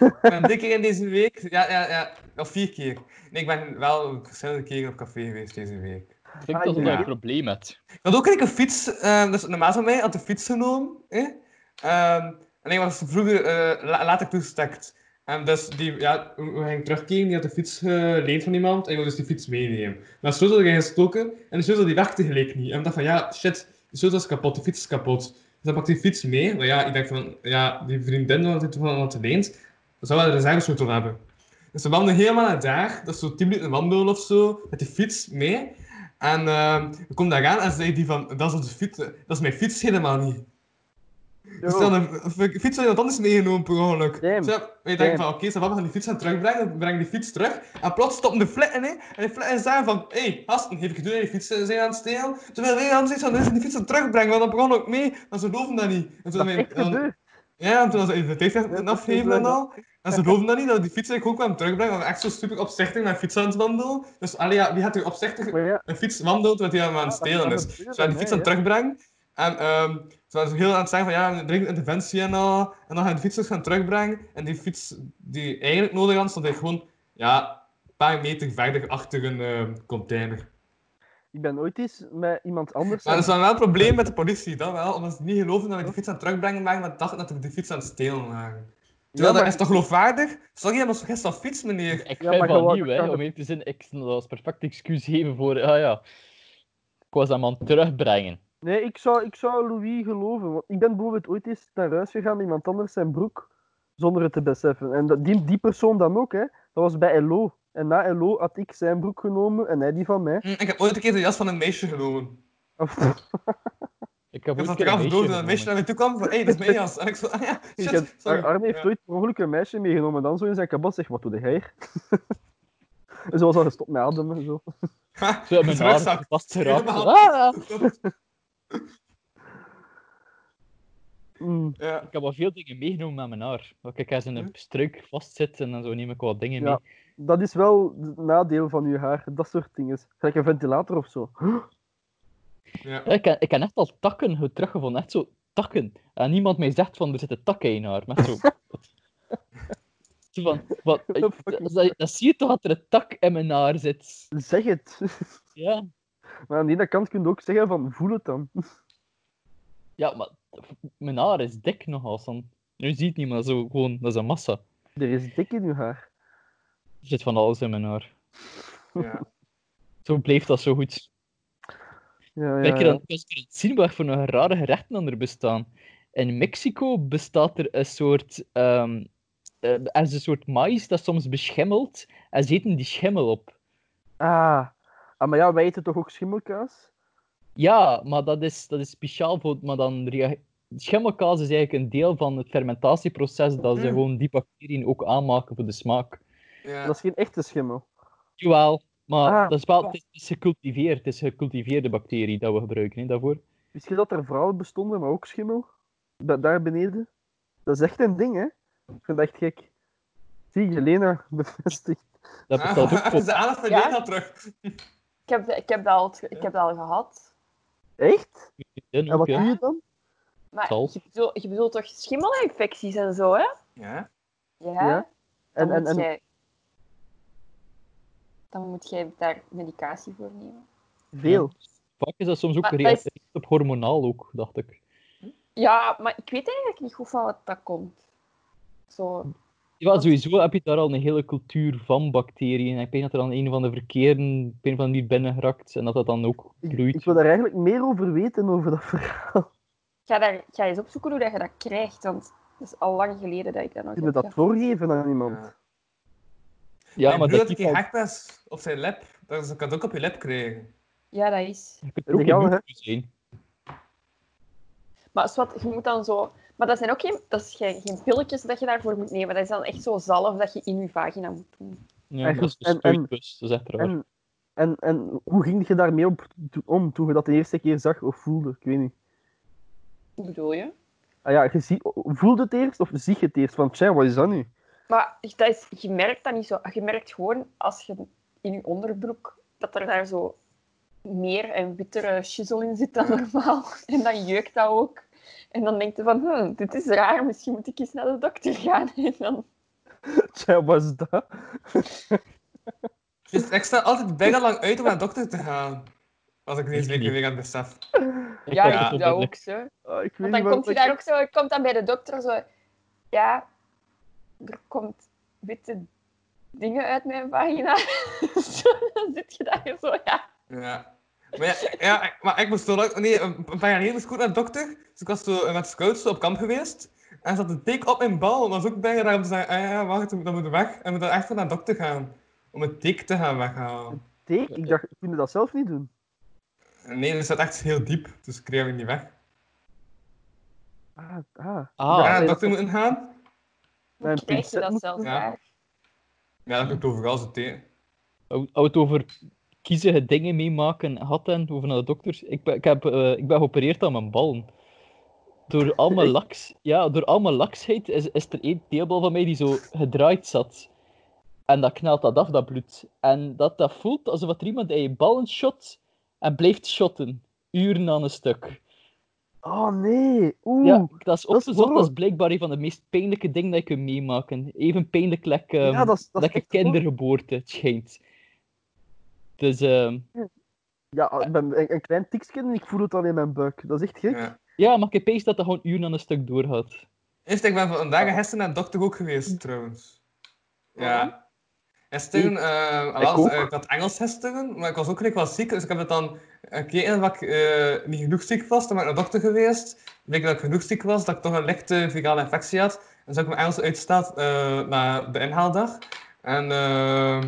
D: Ik ben drie keer in deze week. Ja, ja, ja. Of vier keer. Nee, ik ben wel verschillende keren op café geweest deze week.
B: Ah,
A: Klinkt alsof
D: ja.
A: je een probleem hebt.
D: Ik had ook een keer een fiets. ehm dus normaal van mij had de fiets genomen. hè. Ehm, en ik was vroeger eh, la- later toegestekt. En dus die, ja, we we gingen terugkeren, die had de fiets geleend van iemand en ik wilde dus die fiets meenemen. Maar de sleutel ging gestoken en de sleutel die werkte gelijk niet. En ik dacht van, ja, shit, de sleutel is kapot, de fiets is kapot. Dus dan pakte ik die fiets mee, maar ja, ik denk van, ja, die vriendin had die toevallig had geleend, zou wel de reservesleutel hebben. Dus we wandelden helemaal naar daar, dat is zo 10 minuten wandelen of zo, met die fiets mee. En ehm ik kom daar aan en zei die van, dat is onze fiets, eh, dat is mijn fiets helemaal niet. Dus dan een f- fiets had iemand anders meegenomen per ongeluk.
B: Damn.
D: Dus ja, wij
B: Damn.
D: denken van, oké, ze we gaan die fiets gaan terugbrengen, we brengen die fiets terug. En plots stoppen de flitten, hè. En de flitten zagen van, hé, hey, gasten, heeft ik die fiets eh, zijn aan het stelen? Terwijl wij anders iets van, dit is die fiets aan het terugbrengen, want dat begon ook mee. Maar ze geloven dat niet. En toen
B: Dat is
D: wij-
B: echt
D: dan-
B: gebeurd.
D: ja, en toen was de
B: Ja, dat
D: tekst
B: is
D: afgeven
B: wel
D: en al. En ze geloven dat niet, dat die fiets eigenlijk ook kwam terugbrengen, want echt zo super opzichtig naar fiets aan het wandelen. Dus, allee, ja, wie had er opzichtig
B: Maar ja,
D: een fiets wandelt wat hij aan het stelen is. Ze gaan die fiets aan het terugbrengen. En ehm, ze waren zo heel aan het zeggen van ja, dringend interventie en al. En dan gaan de fietsers gaan terugbrengen. En die fiets die eigenlijk nodig had, stond hij gewoon ja, een paar meter verder achter een ehm, container.
B: ik ben ooit eens met iemand anders...
D: Maar er is dan wel een probleem met de politie, dat wel. Omdat ze niet geloven dat we die fiets aan het terugbrengen waren, maar dachten dat we die fiets aan het stelen waren. Terwijl
B: maar-
D: dat is toch geloofwaardig? Sorry, je hebt ons vergist van fiets, meneer.
A: Ik
B: Ja,
A: vind
B: maar
A: wel
B: gewoon-
A: nieuw, hè. Om eerlijk te zijn, ik zou dat als perfect excuus geven voor... Ah ja, ik was hem aan het terugbrengen.
B: Nee, ik zou, ik zou Louis geloven. Want ik ben bijvoorbeeld ooit eens naar huis gegaan met iemand anders zijn broek, zonder het te beseffen. En dat, die, die persoon dan ook, hè. Dat was bij LO. En na LO had ik zijn broek genomen en hij die van mij.
D: Hm, Ik heb ooit een keer de jas van een meisje genomen.
B: Of-
A: Ik heb
D: Ik
A: ooit
D: heb
A: een
D: dat
A: keer
D: eraf
A: een
D: door dat
A: meisje
D: een meisje
A: genomen.
D: naar mij toe kwam van, hé, hey, dat is mijn jas. En ik zo, ah ja,
B: ik
D: shit,
B: heb,
D: sorry.
B: Arne heeft
D: Ja.
B: ooit per ongeluk een meisje meegenomen en dan zo in zijn kabas zegt, wat doe jij hier? en zo was al gestopt met ademen. en Zo.
D: Ha,
A: Zo in mijn
D: zijn
A: haar
D: rugzak.
A: vastgeraakt.
D: Helemaal.
A: Ah!
B: Mm.
D: Ja.
A: Ik heb al veel dingen meegenomen met mijn haar. Ook ik als in een struik vastzit en dan zo neem ik wat dingen
B: Ja.
A: mee.
B: dat is wel het nadeel van je haar. Dat soort dingen. Gelijk een ventilator of zo.
D: Ja.
A: Ja, ik, heb, ik heb echt al takken ge- teruggevonden, echt zo takken. En niemand mij zegt van, er zitten takken in haar. Maar zo... zo van, wat,
B: What the fuck is
A: dat, dat zie je toch dat er een tak in mijn haar zit.
B: Zeg het.
A: Ja,
B: Maar aan de ene kant kun je ook zeggen van, voel het dan.
A: ja maar mijn haar is dik nogal. Sam. Nu zie je het niet, maar zo gewoon, dat is een massa. Er
B: Er is dik in je haar.
A: zit van alles in mijn haar.
D: Ja.
A: Zo bleef dat zo goed.
B: Ja, ja,
A: Kijk je
B: ja.
A: dan, als je het zien wat voor een rare gerechten dan er bestaan. In Mexico bestaat er een soort, ehm eh, er is een soort maïs dat soms beschimmelt en ze eten die schimmel op.
B: Ah. ah, maar ja, wij eten toch ook schimmelkaas?
A: Ja, maar dat is, dat is speciaal voor, maar dan rea- schimmelkaas is eigenlijk een deel van het fermentatieproces dat ze
D: Mm.
A: gewoon die bacteriën ook aanmaken voor de smaak.
D: Ja.
B: Dat is geen echte schimmel.
A: Jawel, maar
B: Ah.
A: dat is wel, het is, het is gecultiveerd, het is gecultiveerde bacterie dat we gebruiken hè, daarvoor.
B: Wist je dat er vrouwen bestonden, maar ook schimmel? Da- daar beneden? Dat is echt een ding, hè? Ik vind dat echt gek. Zie je, Lena bevestigt.
D: Ah.
A: Dat bestaat ook voor
D: de aandacht Dus van
C: Ja.
D: Lena terug.
C: Ik heb, ik heb, dat, al, ge- ik heb dat al gehad.
B: Echt?
A: dieren
B: En
A: ook,
B: wat
A: ja.
B: doe je dan?
C: Maar
A: Zal.
C: je bedoelt, je bedoelt toch schimmelinfecties en zo, hè?
D: Ja.
C: Ja.
B: Ja. En,
C: Dan,
B: en,
C: moet
B: en
C: Jij, dan moet jij daar medicatie voor nemen.
B: veel.
A: Vaak is dat soms ook
C: Maar dat
A: gereageerd
C: is-
A: op hormonaal ook, dacht ik.
C: Ja, maar ik weet eigenlijk niet goed van wat dat komt. Zo.
A: Ja, sowieso heb je daar al een hele cultuur van bacteriën. En ik denk dat er dan een van de verkeerden op een van die binnen gerakt en dat dat dan ook
B: Ik,
A: bloeit.
B: ik wil daar eigenlijk meer over weten, over dat verhaal.
C: Ik ga, daar, ik ga eens opzoeken hoe dat je dat krijgt, want het is al lang geleden dat ik dat nog
B: Kun je
C: heb
B: dat
C: gehad.
B: voorgeven aan iemand?
A: Ja, maar
D: dat
A: dat
D: ik
A: die
D: die hackpas op zijn lip, dat is- ik kan het ook op je lip krijgen.
C: Ja, dat is.
A: kan er ook
B: Legaal,
A: een
B: hè?
A: muur zijn.
C: Maar zwart, je moet dan zo... Maar dat zijn ook geen, dat is geen, geen pilletjes dat je daarvoor moet nemen. Dat is dan echt zo zalf dat je in je vagina moet doen.
A: Ja, dat is de
B: En- en-
A: spuitbus, dat is echt raar.
B: En, en, en hoe ging je daarmee op, to- om toen je dat de eerste keer zag of voelde? Ik weet niet.
C: Hoe bedoel je?
B: Ah ja, je zie, voelde het eerst of zie je het eerst? Van, tja, wat is dat nu?
C: Maar dat is, je merkt dat niet zo. Je merkt gewoon als je in je onderbroek dat er daar zo meer en wittere shizzle in zit dan normaal. En dan jeukt dat ook. En dan denk je van, hm, dit is raar, misschien moet ik eens naar de dokter gaan. En dan,
B: Tja, wat is dat?
D: Dus ik sta altijd bijna lang uit om naar de dokter te gaan. Als ik
A: Ik
D: deze week
A: niet.
D: weer aan het besef.
A: Ik
C: ja,
A: had
D: ja.
A: het
C: ik doe
A: op
C: dat
A: de-
C: ook zo.
B: Ah, ik weet
C: Want
B: niet
C: dan
B: waarom
C: komt je
B: dat
C: daar ook zo, komt dan bij de dokter zo, ja, er komt witte dingen uit mijn vagina. Zo, dan zit je daar zo, ja.
D: Ja. Maar, ja, ja, maar ik moest zo lang... Nee, een een paar jaar geleden moest ik ook naar de dokter. Dus ik was zo met scouts op kamp geweest. En er zat een teken op mijn bal. En dat was ook bijna raar om te zeggen, ah ja, wacht, dan moet ik weg. En moet dan echt naar de dokter gaan. Om het teken te gaan weghalen.
B: Teek, ik dacht, kun je dat zelf niet doen?
D: En Nee, dat zat echt heel diep. Dus ik kreeg hem niet weg.
B: Ah, ah.
A: Ah,
D: ja, naar de
B: nee,
D: dokter moeten gaan.
C: Hoe
B: Mijn
C: krijg je
B: pincet
C: dat
B: moet-
C: zelfs
D: Ja.
C: daar?
D: Ja, dat ik overal zo tegen.
A: Hou hou het over kiezige dingen meemaken, had en over naar de dokter. Ik ben, ik, heb, eh, ik ben geopereerd aan mijn ballen. Door al mijn, laks, ja, door al mijn laksheid is, is er één teelbal van mij die zo gedraaid zat. En dat knelt dat af, dat bloed. En dat, dat voelt alsof er iemand in je ballen shot en blijft shotten. Uren aan een stuk.
B: Oh nee, oeh.
A: Ja, dat is opgezocht. Dat
B: horror.
A: is blijkbaar een van de meest pijnlijke dingen dat je kunt meemaken. Even pijnlijk like, ehm,
B: Ja, dat is, dat is
A: lekker
B: echt horror.
A: kindergeboorte, het schijnt. Dus ehm,
B: Ja, ik ben een, een klein tikje en ik voel het al in mijn buik. Dat is echt gek.
D: Ja.
A: ja, maar ik heb eens dat dat gewoon uren aan een stuk doorgaat.
D: Eerst, ik ben vandaag
B: Ah.
D: en gisteren naar de dokter ook geweest, trouwens. Ja. Gisteren, eh
B: Ik
D: wel,
B: ook.
D: eh, ik had Engels gisteren, maar ik was ook redelijk wel ziek, dus ik heb het dan gekeken dat ik eh, niet genoeg ziek was. Toen ben ik naar de dokter geweest, bleek dat ik genoeg ziek was, dat ik toch een lichte virale infectie had. En zo heb ik mijn Engels uitgesteld eh, naar de inhaaldag. En eh,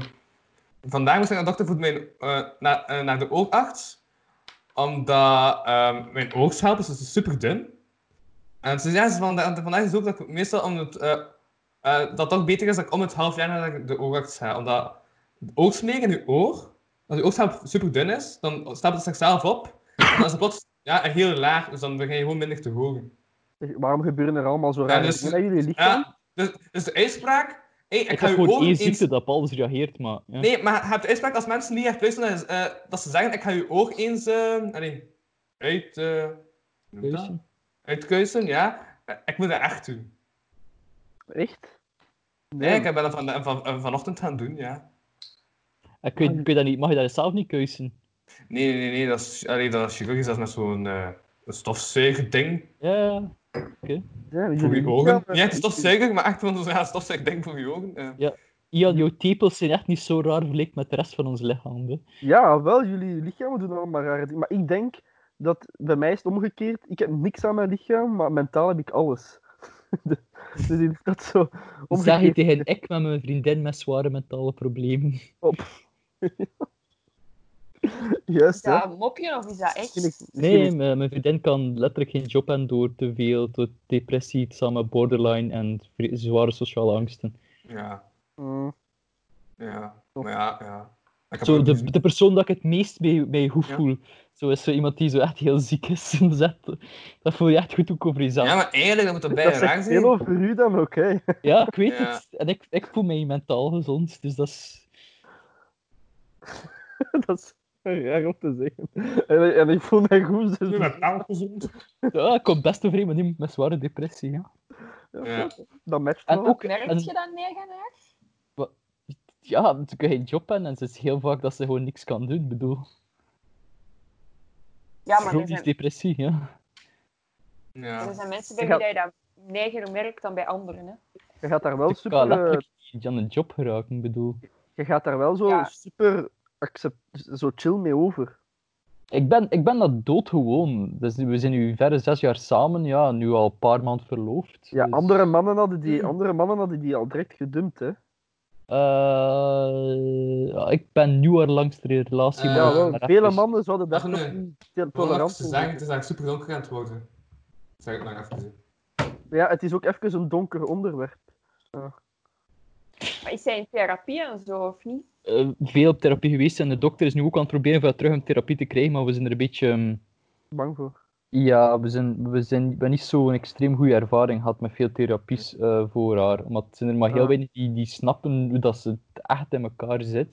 D: vandaag moest ik naar de dokter voor mijn, eh, naar, eh, naar de oogarts, omdat eh, mijn oogschelp is dus super dun. En ze zeggen ze van, de, de- vandaag is ook dat ik meestal om het, eh, eh, dat het toch beter is dat ik om het half jaar naar de- de oogarts ga. Omdat de oogsmeer in je oor, als je oogschelp super dun is, dan stapt het zichzelf op. En dan is het plots ja, heel laag, dus dan begin je gewoon minder te horen.
B: Zeg, Waarom gebeuren er allemaal zo
D: Ja,
B: rare
D: dus-
B: dingen aan jullie lichaam?
D: Ja, dus, dus de uitspraak Hey, ik
A: Ik
D: ga
A: heb
D: je
A: gewoon
D: ogen
A: één
D: eens...
A: ziekte dat op alles reageert, maar... Ja.
D: Nee, maar je hebt de uitspraak als mensen niet echt luisteren, is, eh, dat ze zeggen, ik ga je oog eens... eh allee, uit... eh, hoe noemt dat?
A: Kuisen?
D: Uitkuisen, ja. Eh, Ik moet dat echt doen.
B: Echt?
D: Nee, ik ben dat van, van, van- vanochtend gaan doen, ja.
A: Ik weet, ik weet dat niet, mag je dat zelf niet kuisen?
D: Nee, nee, nee, dat is, allee, dat is chirurgisch, dat is met zo'n eh stofzuigding
A: Ja,
B: Ja,
D: voor je ogen.
B: Mhm. Ja,
D: Ja, het is stofzuiger, maar echt van zo'n ja, stofzuigding voor je ogen. eh.
A: Ian, jouw tepels zijn echt niet zo raar vergeleken met de rest van ons lichaam. Hè.
B: Ja, wel, jullie lichamen doen allemaal rare dingen. Maar ik denk dat bij mij is het omgekeerd. Ik heb niks aan mijn lichaam, maar mentaal heb ik alles. dus ik is dat zo
A: Dat zeg je
B: omgekeerd.
A: tegen ik met mijn vriendin met zware mentale problemen.
C: Is
B: Juist, hè?
C: dat een mopje of is dat echt?
B: Misschien is- misschien
A: Nee,
B: is-
A: mijn, mijn vriendin kan letterlijk geen job hebben door te veel, door depressie, samen borderline en vre- zware sociale angsten.
D: Ja,
B: Mm,
D: ja, maar ja, ja. Ik heb
A: Zo,
D: ook
A: de,
D: gezien-
A: de persoon dat ik het meest bij, bij goed
D: Ja.
A: voel. Zo is zo iemand die zo echt heel ziek is. en zet, dat voel je echt goed ook over jezelf.
D: Ja,
A: Ja,
D: maar eigenlijk, dat moet er bij
B: dat
D: raar
B: zegt
D: zijn.
B: veel over u dan ook, hè?
A: ik weet
D: Ja.
A: het. En ik, ik voel mij mentaal gezond, dus dat is...
B: dat is raar om te zeggen. En, en ik voel mij goed, dus...
D: Ik ben mentaal gezond.
A: Ja, ik kom best overeen met iemand met zware depressie, ja.
D: Ja.
B: Dat matcht
A: En
B: wel.
A: ook...
C: Merk
A: en-
C: je dat negenhaar?
A: ja, ze kan geen job hebben en ze is heel vaak dat ze gewoon niks kan doen, ik bedoel.
C: Ja, maar er
A: Chronisch
C: zijn,
A: depressie, ja.
D: Ja.
C: er zijn mensen bij
B: Ik
C: wie
B: ga-
C: dat je dat neiger merkt dan bij anderen. Hè.
B: Je gaat daar wel
A: Ik kan
B: super... eh,
A: letterlijk niet aan een job geraken, ik bedoel.
B: je gaat daar wel zo
C: Ja.
B: super accept, zo chill mee over.
A: Ik ben, ik ben dat doodgewoon. Dus we zijn nu verre zes jaar samen, ja, nu al een paar maanden verloofd.
B: Ja,
A: dus,
B: andere, mannen hadden die, andere mannen hadden die al direct gedumpt, hè.
A: eh, ja, ik ben nu haar langste relatie.
D: Eh,
A: maar
B: Ja,
A: ik
B: wel,
A: ben echt
B: vele
A: dus-
B: mannen zouden daar
D: Wacht,
B: toch
D: nee.
B: niet te-
D: Wat ik
B: tolerant
D: te zeggen,
B: zijn.
D: het is eigenlijk super donker aan het worden. Zeg ik maar even.
B: Ja, het is ook even een donker onderwerp.
C: Maar is zij in therapie en zo of niet?
A: eh, veel op therapie geweest en de dokter is nu ook aan het proberen om haar terug in therapie te krijgen, maar we zijn er een beetje... ehm,
B: Bang voor.
A: Ja, we zijn, we zijn we hebben niet zo'n extreem goede ervaring gehad met veel therapies eh, voor haar. Omdat het zijn er maar heel
B: Ah.
A: weinig die, die snappen hoe dat ze het echt in elkaar zit.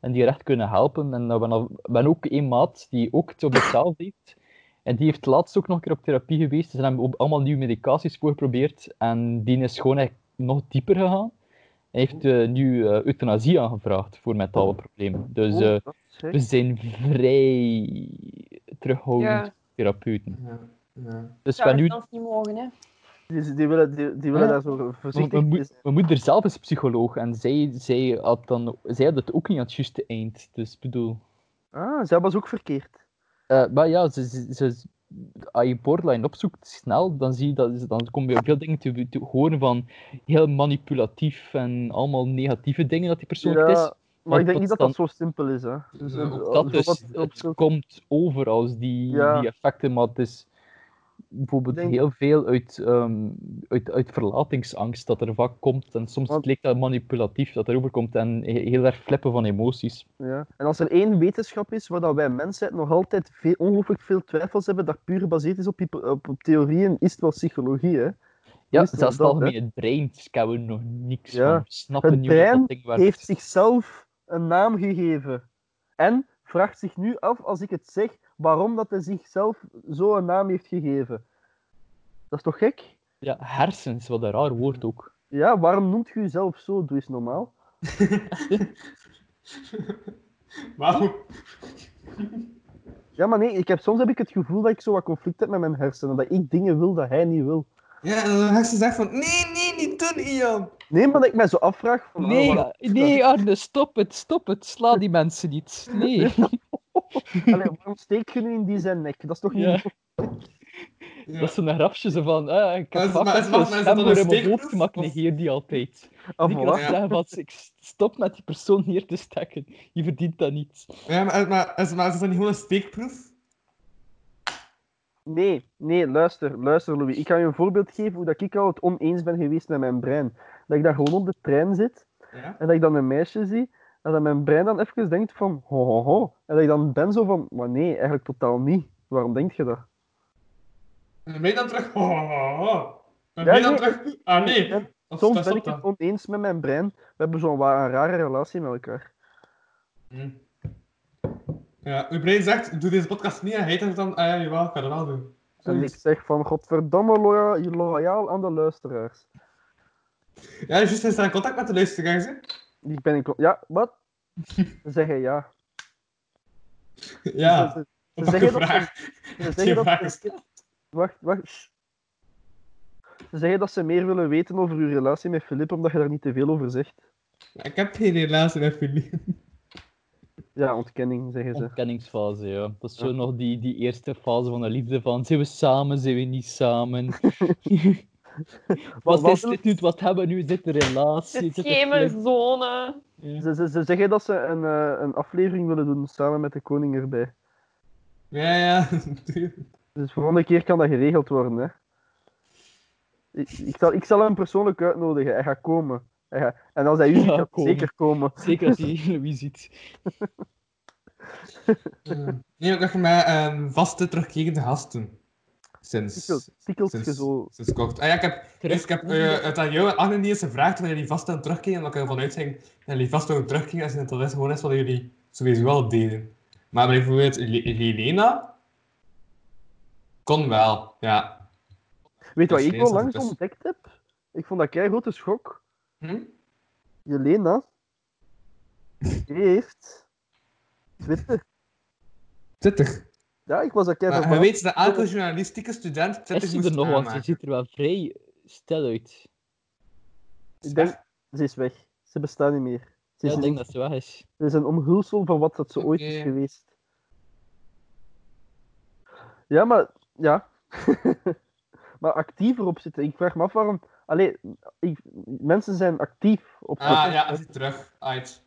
A: En die haar echt kunnen helpen. En dan ben, al- ben ook één maat die ook het op hetzelfde heeft. En die heeft laatst ook nog een keer op therapie geweest. Ze hebben ook allemaal nieuwe medicaties voor geprobeerd. En die is gewoon echt nog dieper gegaan. Hij heeft eh, nu eh, euthanasie aangevraagd voor mentale problemen. Dus eh,
B: Oh, dat is gek.
A: we zijn vrij
B: Oh,
A: terughoudend
C: Ja.
A: therapeuten.
D: Ja, ja.
A: Dus
C: Zou
A: we, nu,
C: dat zelf niet mogen, hè?
B: die, die willen, die, die willen
A: Ja.
B: daar zo
A: mijn,
B: voorzichtig
A: mijn,
B: mee
A: moe-
B: zijn.
A: mijn moeder zelf is psycholoog en zij, zij, had, dan, zij had het ook niet aan het juiste eind. Dus ik bedoel.
B: Ah, zij was ook verkeerd.
A: Eh, maar ja, ze, ze, ze- als je borderline opzoekt snel, dan, zie je dat, dan kom je veel dingen te, te horen van heel manipulatief en allemaal negatieve dingen dat die persoon
B: Ja,
A: echt Dus is.
B: Maar
A: Want
B: ik denk
A: dat
B: niet dat
A: dan-
B: dat zo simpel is, hè. Dus,
D: Ja,
B: eh,
D: ook
B: zo
A: Dat dus,
B: wat- op
A: het
B: zo-
A: komt over als die,
B: Ja.
A: die effecten, maar het is bijvoorbeeld
B: Ik denk-
A: heel veel uit, ehm, uit, uit verlatingsangst dat er vaak komt. En soms
B: Want-
A: lijkt dat manipulatief dat erover komt en he- heel erg flippen van emoties.
B: Ja. En als er één wetenschap is waar dat wij mensheid nog altijd veel, ongelooflijk veel twijfels hebben, dat puur gebaseerd is op, hypo- op, op theorieën, is het wel psychologie. Hè?
A: Ja,
B: Juist,
A: zelfs het
B: dat, hè.
A: algemeen het brein kennen we nog niks
B: Ja.
A: van. We snappen
B: Het
A: niet hoe
B: brein
A: dat ding werkt.
B: Heeft zichzelf een naam gegeven. En vraagt zich nu af, als ik het zeg, waarom dat hij zichzelf zo een naam heeft gegeven. Dat is toch gek?
A: Ja, hersens, wat een raar woord ook.
B: Ja, waarom noemt je jezelf zo? Doe eens normaal.
D: Waarom?
B: Ja, maar nee, ik heb, soms heb ik het gevoel dat ik zo wat conflict heb met mijn hersenen. Dat ik dingen wil dat hij niet wil.
D: Ja, en dan had ze gezegd van, nee, nee, niet doen, Ian.
B: Nee, maar dat ik mij zo afvraag...
D: Oh,
B: Van, ah,
A: Nee,
B: waarom-
A: nee Arne, stop het, stop het. Sla die mensen niet. Nee.
B: Allee, waarom steek je nu in die zijn nek? Dat is toch niet...
A: Ja.
D: Ja.
A: Dat zijn grapjes van, eh, ik heb
D: Maar is-
A: vaak
D: maar is-
A: echt zo'n
D: mag- maar is dat
A: stem
D: dan
A: door
D: een
A: in mijn
D: steekproef,
A: hoofd, maar ik
D: of-
A: negeer die altijd.
B: Ah,
A: Die
B: voilà.
A: kan
D: Ja.
A: zeggen van, ik stop met die persoon neer te steken. Je verdient dat niet.
D: Ja, maar, maar, is, maar is dat niet gewoon een steekproef?
B: Nee, nee, luister, luister Louis. Ik ga je een voorbeeld geven hoe dat ik al het oneens ben geweest met mijn brein. Dat ik daar gewoon op de trein zit
D: Ja.
B: en dat ik dan een meisje zie en dat mijn brein dan even denkt van ho ho ho. En dat ik dan ben zo van, maar nee, eigenlijk totaal niet. Waarom denk je dat?
D: En dan ben je dan terug, oh, oh, oh.
B: Ja,
D: Dan ben je dan
B: nee.
D: terug, ah nee,
B: En-
D: Of
B: Soms
D: dat
B: ben ik
D: stopt
B: het
D: dan?
B: oneens met mijn brein. We hebben zo'n wa- een rare relatie met elkaar.
D: Hm. Ja, uw brein zegt, doe deze podcast niet en hij zegt dan, ah ja, jawel, ik ga dat wel doen.
B: En ik
D: Zoiets.
B: zeg van, godverdomme, loya- loyaal aan de luisteraars.
D: Ja, juist, hij staat in contact met de luisteraars, hè.
B: Ik ben in... con- Ja, wat? Ze zeggen ja.
D: Ja,
B: Ze- ze-
D: op
B: ze
D: elke
B: zeggen Dus dat ze-
D: vraag.
B: Ze
D: Geen
B: zeggen dat
D: vraag
B: ze-
D: gesteld.
B: Wacht, wacht. Sst. Ze zeggen dat ze meer willen weten over uw relatie met Filip, omdat je daar niet te veel over zegt.
D: Ik heb geen relatie met Philippe.
B: Ja, ontkenning, zeggen ze.
A: Ontkenningsfase, ja. Dat is zo nog die, die eerste fase van de liefde van zijn we samen, zijn we niet samen. wat,
B: wat
A: is
B: wil-
A: dit nu? Wat hebben we nu? Is dit een relatie?
C: De
A: Is dit een flip?
C: schemerzone.
B: Ze, ze, ze zeggen dat ze een, eh, een aflevering willen doen samen met de koning erbij.
D: Ja, ja.
B: Dus de volgende keer kan dat geregeld worden, hè. Ik, ik, zal, ik zal hem persoonlijk uitnodigen. Hij gaat komen. Hij gaat- en als hij u ziet,
A: Ja,
B: gaat hij
A: komen.
B: zeker komen.
A: Zeker als je wie ziet.
D: Ja. Nee, ook echt met een vaste terugkerende gasten. Sinds...
B: Tikkelt- tikkelt je
D: sinds,
B: zo.
D: sinds kort. Ah ja, ik heb, eerst, ik heb eh, het aan jou en Anne niet eens gevraagd wanneer jullie vast aan het terugkeren. Omdat ik ervan uitging dat jullie vast aan het terugkeren. Als het al is, gewoon is wat jullie sowieso wel deden. Maar bijvoorbeeld Li- Lilena... Kon wel, ja.
B: Weet je wat
D: Dus
B: ik
D: lees
B: wel
D: dat
B: langs
D: het is.
B: ontdekt heb? Ik vond dat een grote schok.
D: Hm?
B: Jelena heeft Twitter.
D: Twitter.
B: Ja, ik was dat kei
D: Maar je
B: verbaasd.
D: weet dat elke journalistieke student Twitter
A: Is ze
D: moest
A: er
B: Ah,
A: nog? Want ze
D: aanmaken.
A: ziet er wel vrij stel uit.
B: Ik denk, ze is weg. Ze bestaat niet meer. Ze
A: Ja,
B: is,
A: ik
B: een,
A: denk dat ze weg is.
B: ze is een omhulsel van wat dat ze ooit is
D: Oké.
B: geweest. Ja, maar... Ja. maar actiever op zitten. Ik vraag me af waarom... Allee, ik, mensen zijn actief op
D: Ah ja, hij zit terug. Uit.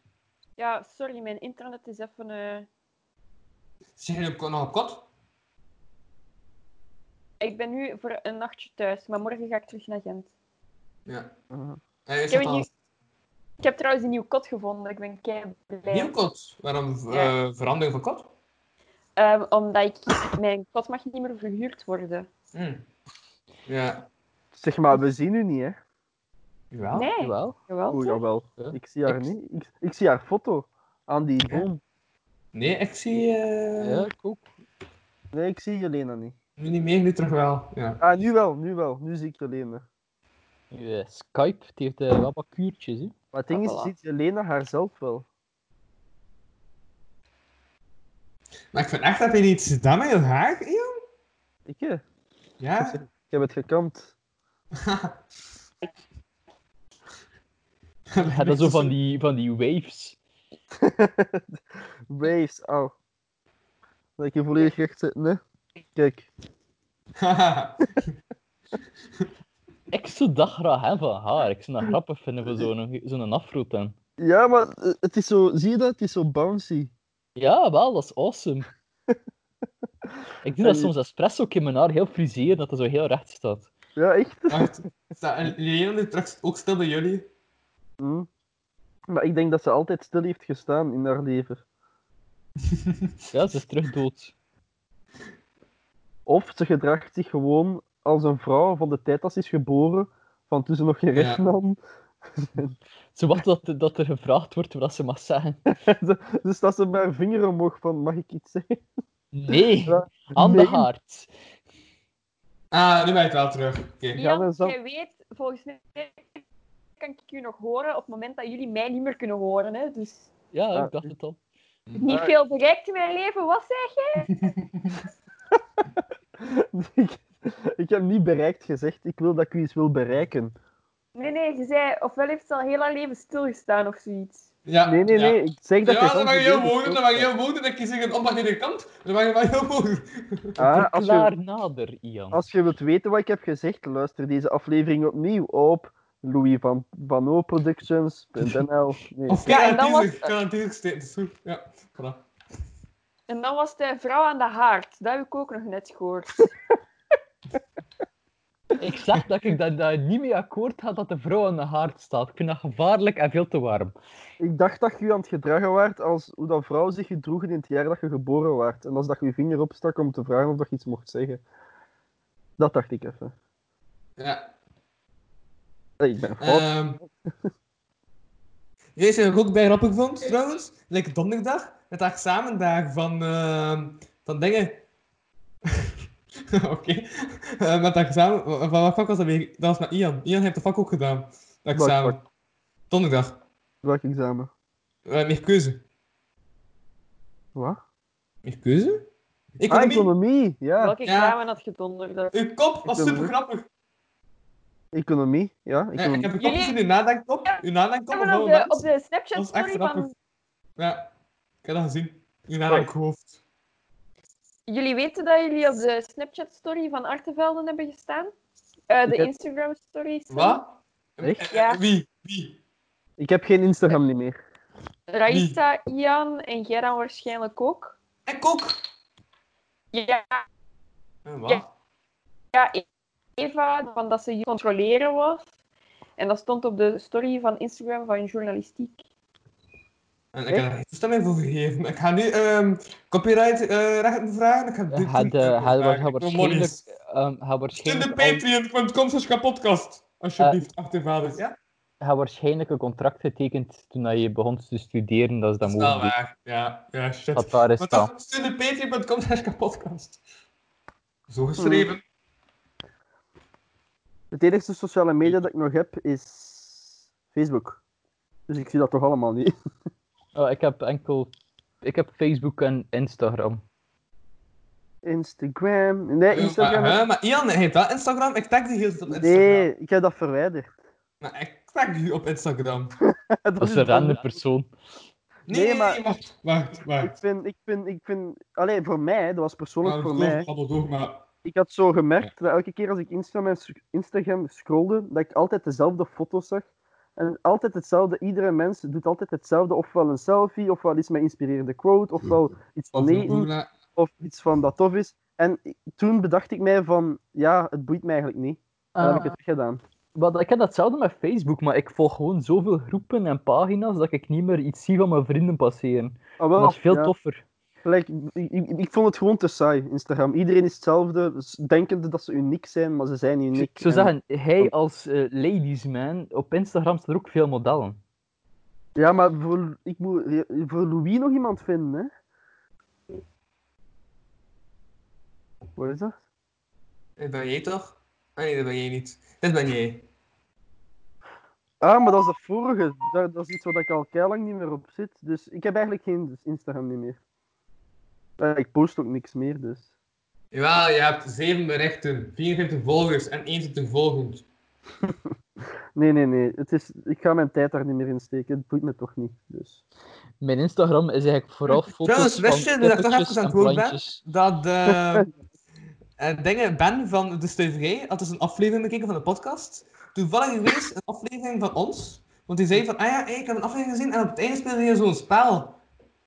C: Ja, sorry, mijn internet is even... eh,
D: Zeg je ook nog op kot?
C: Ik ben nu voor een nachtje thuis, maar morgen ga ik terug naar Gent.
D: Ja.
B: Ah.
D: Hij
C: Ik
D: is
C: heb
D: dat
C: een
D: al.
C: nieuw- Ik heb trouwens een nieuw kot gevonden, ik ben kei blij.
D: Nieuw kot? Waarom eh,
C: Ja.
D: verandering van kot?
C: Ehm, omdat ik, mijn kot mag niet meer verhuurd worden.
D: Hm. Ja.
B: Zeg maar, we zien u niet, hè?
D: Jawel.
C: Nee,
A: Jawel.
C: jawel.
B: Oh, jawel.
A: Ja.
B: Ik zie haar
A: Ik-
B: niet. Ik, ik zie haar foto aan die
D: Ja.
B: boom.
D: Nee, ik zie eh,
A: Ja, ik ook.
B: Nee, ik zie Jelena niet.
D: nu niet meer, nu terug wel. Ja.
B: Ah, nu wel, nu wel. Nu zie ik Jelena.
A: Ja, Skype, die heeft eh, wel wat kuurtjes. Hè.
B: Maar het ding is,
C: Ah, voilà.
B: ziet Jelena haarzelf wel.
D: Maar ik vind echt dat je iets gedaan met je haar, Ian?
B: Ik, eh,
D: Ja.
B: ik heb het gekampt.
A: Ja, dat is zo van die, van die waves.
B: Waves, au. Dat ik hier volledig recht zit, hè? Kijk.
A: Ik zou dat graag hebben van haar. Ik zou dat grappig vinden voor zo'n zo'n afro pen.
B: Ja, maar eh, het is zo, zie je dat? Het is zo bouncy.
A: Ja, wel, dat is awesome. Ik doe dat
B: En-
A: soms espresso in mijn haar heel friseren, dat dat zo heel recht staat.
B: Ja, echt.
D: Wacht. Staat Lilian nu terug ook stil bij jullie?
B: Hm. Maar ik denk dat ze altijd stil heeft gestaan in haar leven.
A: Ja, ze is terug dood.
B: Of ze gedraagt zich gewoon als een vrouw van de tijd als ze is geboren, van toen ze nog geen recht
D: Ja.
B: nam.
A: Ze wacht dat, dat er gevraagd wordt wat ze mag zeggen.
B: dus dat ze met haar vinger omhoog van, mag ik iets zeggen?
A: Nee,
B: Ja,
A: aan de
B: nee.
A: haard.
D: Ah, nu ben je het wel terug. Oké.
B: Ja,
C: Jan,
B: dat is wel-
C: jij weet, volgens mij kan ik u nog horen op het moment dat jullie mij niet meer kunnen horen. Hè? Dus
A: Ja,
B: Ah.
A: ik dacht het al.
C: niet
B: Ah.
C: veel bereikt in mijn leven, was zeg je?
B: ik, ik heb niet bereikt gezegd, ik wil dat ik u iets wil bereiken.
C: Nee, nee, je zei, ofwel heeft ze al heel haar leven stilgestaan of zoiets.
D: Ja.
B: Nee, nee,
D: ja.
B: nee, ik zeg dat
D: Ja,
B: je
D: dan mag je
B: heel
D: heel woorden, dan mag je heel woorden. Dan kies ik een omgekeerde kant. Dan mag je wel heel woorden.
B: Ah, als,
A: Klaar
B: je,
A: nader, Ian.
B: als je wilt weten wat ik heb gezegd, luister deze aflevering opnieuw op Louis van, van O Productions.nl. Nee.
D: Of
C: Ja,
D: kan
C: en dan was-
D: natuurlijk, kan natuurlijk steken. Dat is goed. Ja, voilà.
C: En dan was het eh, vrouw aan de haard. Dat heb ik ook nog net gehoord.
A: Ik zeg dat ik dat, dat niet mee akkoord ga dat de vrouw aan de haard staat. Ik vind dat gevaarlijk en veel te warm.
B: Ik dacht dat je u aan het gedragen waart als hoe dat vrouwen zich gedroegen in het jaar dat je geboren waart. En als dat je je vinger opstak om te vragen of dat je iets mocht zeggen. Dat dacht ik even.
D: Ja.
B: Allee, ik ben fout.
D: Ehm Weet je wat ik ook bij grappig vond, trouwens? Like donderdag, de dag samen dag van, ehm, van dingen. Oké. Eh, met dag samen, van wat vak was dat weer? Dat was met Ian. Ian heeft de vak ook gedaan. Dag
B: Welk
D: samen. Donderdag.
B: Welk examen?
D: Eh, meer keuze.
B: Wat?
D: Meer keuze?
B: Ah,
D: Economie.
B: economie. Ja,
C: Welk examen had je donderdag?
D: Uw kop was
B: Economie.
D: super grappig.
B: economie. Ja,
D: Ja, ik
B: economie.
D: heb een kop
C: Jullie-
D: gezien, uw nadenkkop. Uw nadenkkop
C: Ja,
D: op
C: maar
D: dat
C: op de,
D: moment.
C: op de
D: Dat
C: Snapchat
D: is echt
C: story
D: grappig.
C: van...
D: Ja, ik heb dat gezien. Uw nadenkhoofd.
C: Jullie weten dat jullie op de Snapchat story van Artevelden hebben gestaan? Eh, de
B: Ik heb-
C: Instagram stories.
D: Wat?
B: Echt?
D: Eh,
C: Ja.
D: Wie? Wie?
B: Ik heb geen Instagram niet meer.
C: Raisa, Ian en Geran waarschijnlijk ook.
D: En kok.
C: Ja,
D: En wat?
C: Ja. ja, Eva, van dat ze hier controleren was. En dat stond op de story van Instagram van journalistiek.
D: En ik heb daar geen toestemming voor gegeven. Ik ga nu ehm copyright eh, rechten vragen. Ik ga dit
A: Hij
D: niet
A: had, eh, hij
D: vragen.
A: had
D: Ik wil
A: waarschijnlijk...
D: monies.
A: ehm, hij had
D: In de
A: waarschijnlijk, al-
D: patreon.com slash kapotkast. Alsjeblieft,
B: Eh,
D: achtervaders. Ja?
A: hij had waarschijnlijk een contract getekend toen hij je begon te studeren, dat is dan
D: Dat is wel
A: mogelijk.
D: waar. Ja, ja shit.
A: Dat daar is
D: Maar
A: staan.
D: toch, stuur de patreon.com slash kapotkast. Zo
B: Hmm.
D: geschreven.
B: Het enige sociale media dat ik nog heb is Facebook. Dus ik zie dat toch allemaal niet.
A: Oh, ik heb enkel... Ik heb Facebook en Instagram.
B: Instagram. Nee,
D: Eh,
B: Instagram.
D: Maar, hè, maar Ian heeft wel Instagram. Ik tag die heel veel op Instagram.
B: Nee, ik heb dat verwijderd.
D: Maar ik tag die op Instagram.
A: Dat is een random persoon.
D: Nee,
B: Nee,
D: nee,
B: maar-
D: nee, wacht, wacht,
B: Ik
D: wacht.
B: vind, ik vind, ik vind, allee, voor mij, dat was persoonlijk
D: Nou,
B: voor
D: door,
B: mij.
D: babbel door, maar...
B: Ik had zo gemerkt dat elke keer als ik Instagram, Instagram scrollde, dat ik altijd dezelfde foto's zag. En altijd hetzelfde, iedere mens doet altijd hetzelfde. Ofwel een selfie, ofwel iets met inspirerende quote, ofwel iets van
D: Of een
B: eten,
D: oela-
B: of iets van dat tof is. En ik- toen bedacht ik mij van, ja, het boeit mij eigenlijk niet. En dan heb
A: Ah.
B: ik het gedaan.
A: Wel, ik heb datzelfde met Facebook, maar ik volg gewoon zoveel groepen en pagina's dat ik niet meer iets zie van mijn vrienden passeren.
B: Ah, wel,
A: dat is veel
B: ja.
A: toffer.
B: Gelijk, ik, ik, ik vond het gewoon te saai, Instagram. Iedereen is hetzelfde, dus denkende dat ze uniek zijn, maar ze zijn
A: Ik,
B: uniek.
A: zou
B: En- Oh.
A: zeggen, hij als eh, ladiesman, op Instagram staan er ook veel modellen.
B: Ja, maar voor, ik moet re- voor Louis nog iemand vinden, hè? Wat is dat?
D: Dit ben jij toch? Ah, Nee, dat ben jij niet. Dit ben jij.
B: Ah, maar dat is de vorige. Dat, dat is iets waar ik al lang niet meer op zit. Dus ik heb eigenlijk geen Instagram niet meer. Eh, Ik post ook niks meer, dus.
D: Jawel, je hebt 7 berichten, 54 volgers en 21 volgend.
B: Nee, nee, nee. Het is, ik ga mijn tijd daar niet meer in steken. Het boeit me toch niet. Dus.
A: Mijn Instagram is eigenlijk vooral foto's
D: Trouwens, wist
A: van
D: je dat ik toch
A: kippetjes
D: even aan
A: en
D: het woord ben?
A: plantjes.
D: Dat eh eh, dingen, Ben van de Stuiverij had dus een aflevering bekeken van de podcast. Toevallig geweest een aflevering van ons. Want die zei van, ah ja, hey, ik heb een aflevering gezien en op het einde speelde je zo'n spel. En toen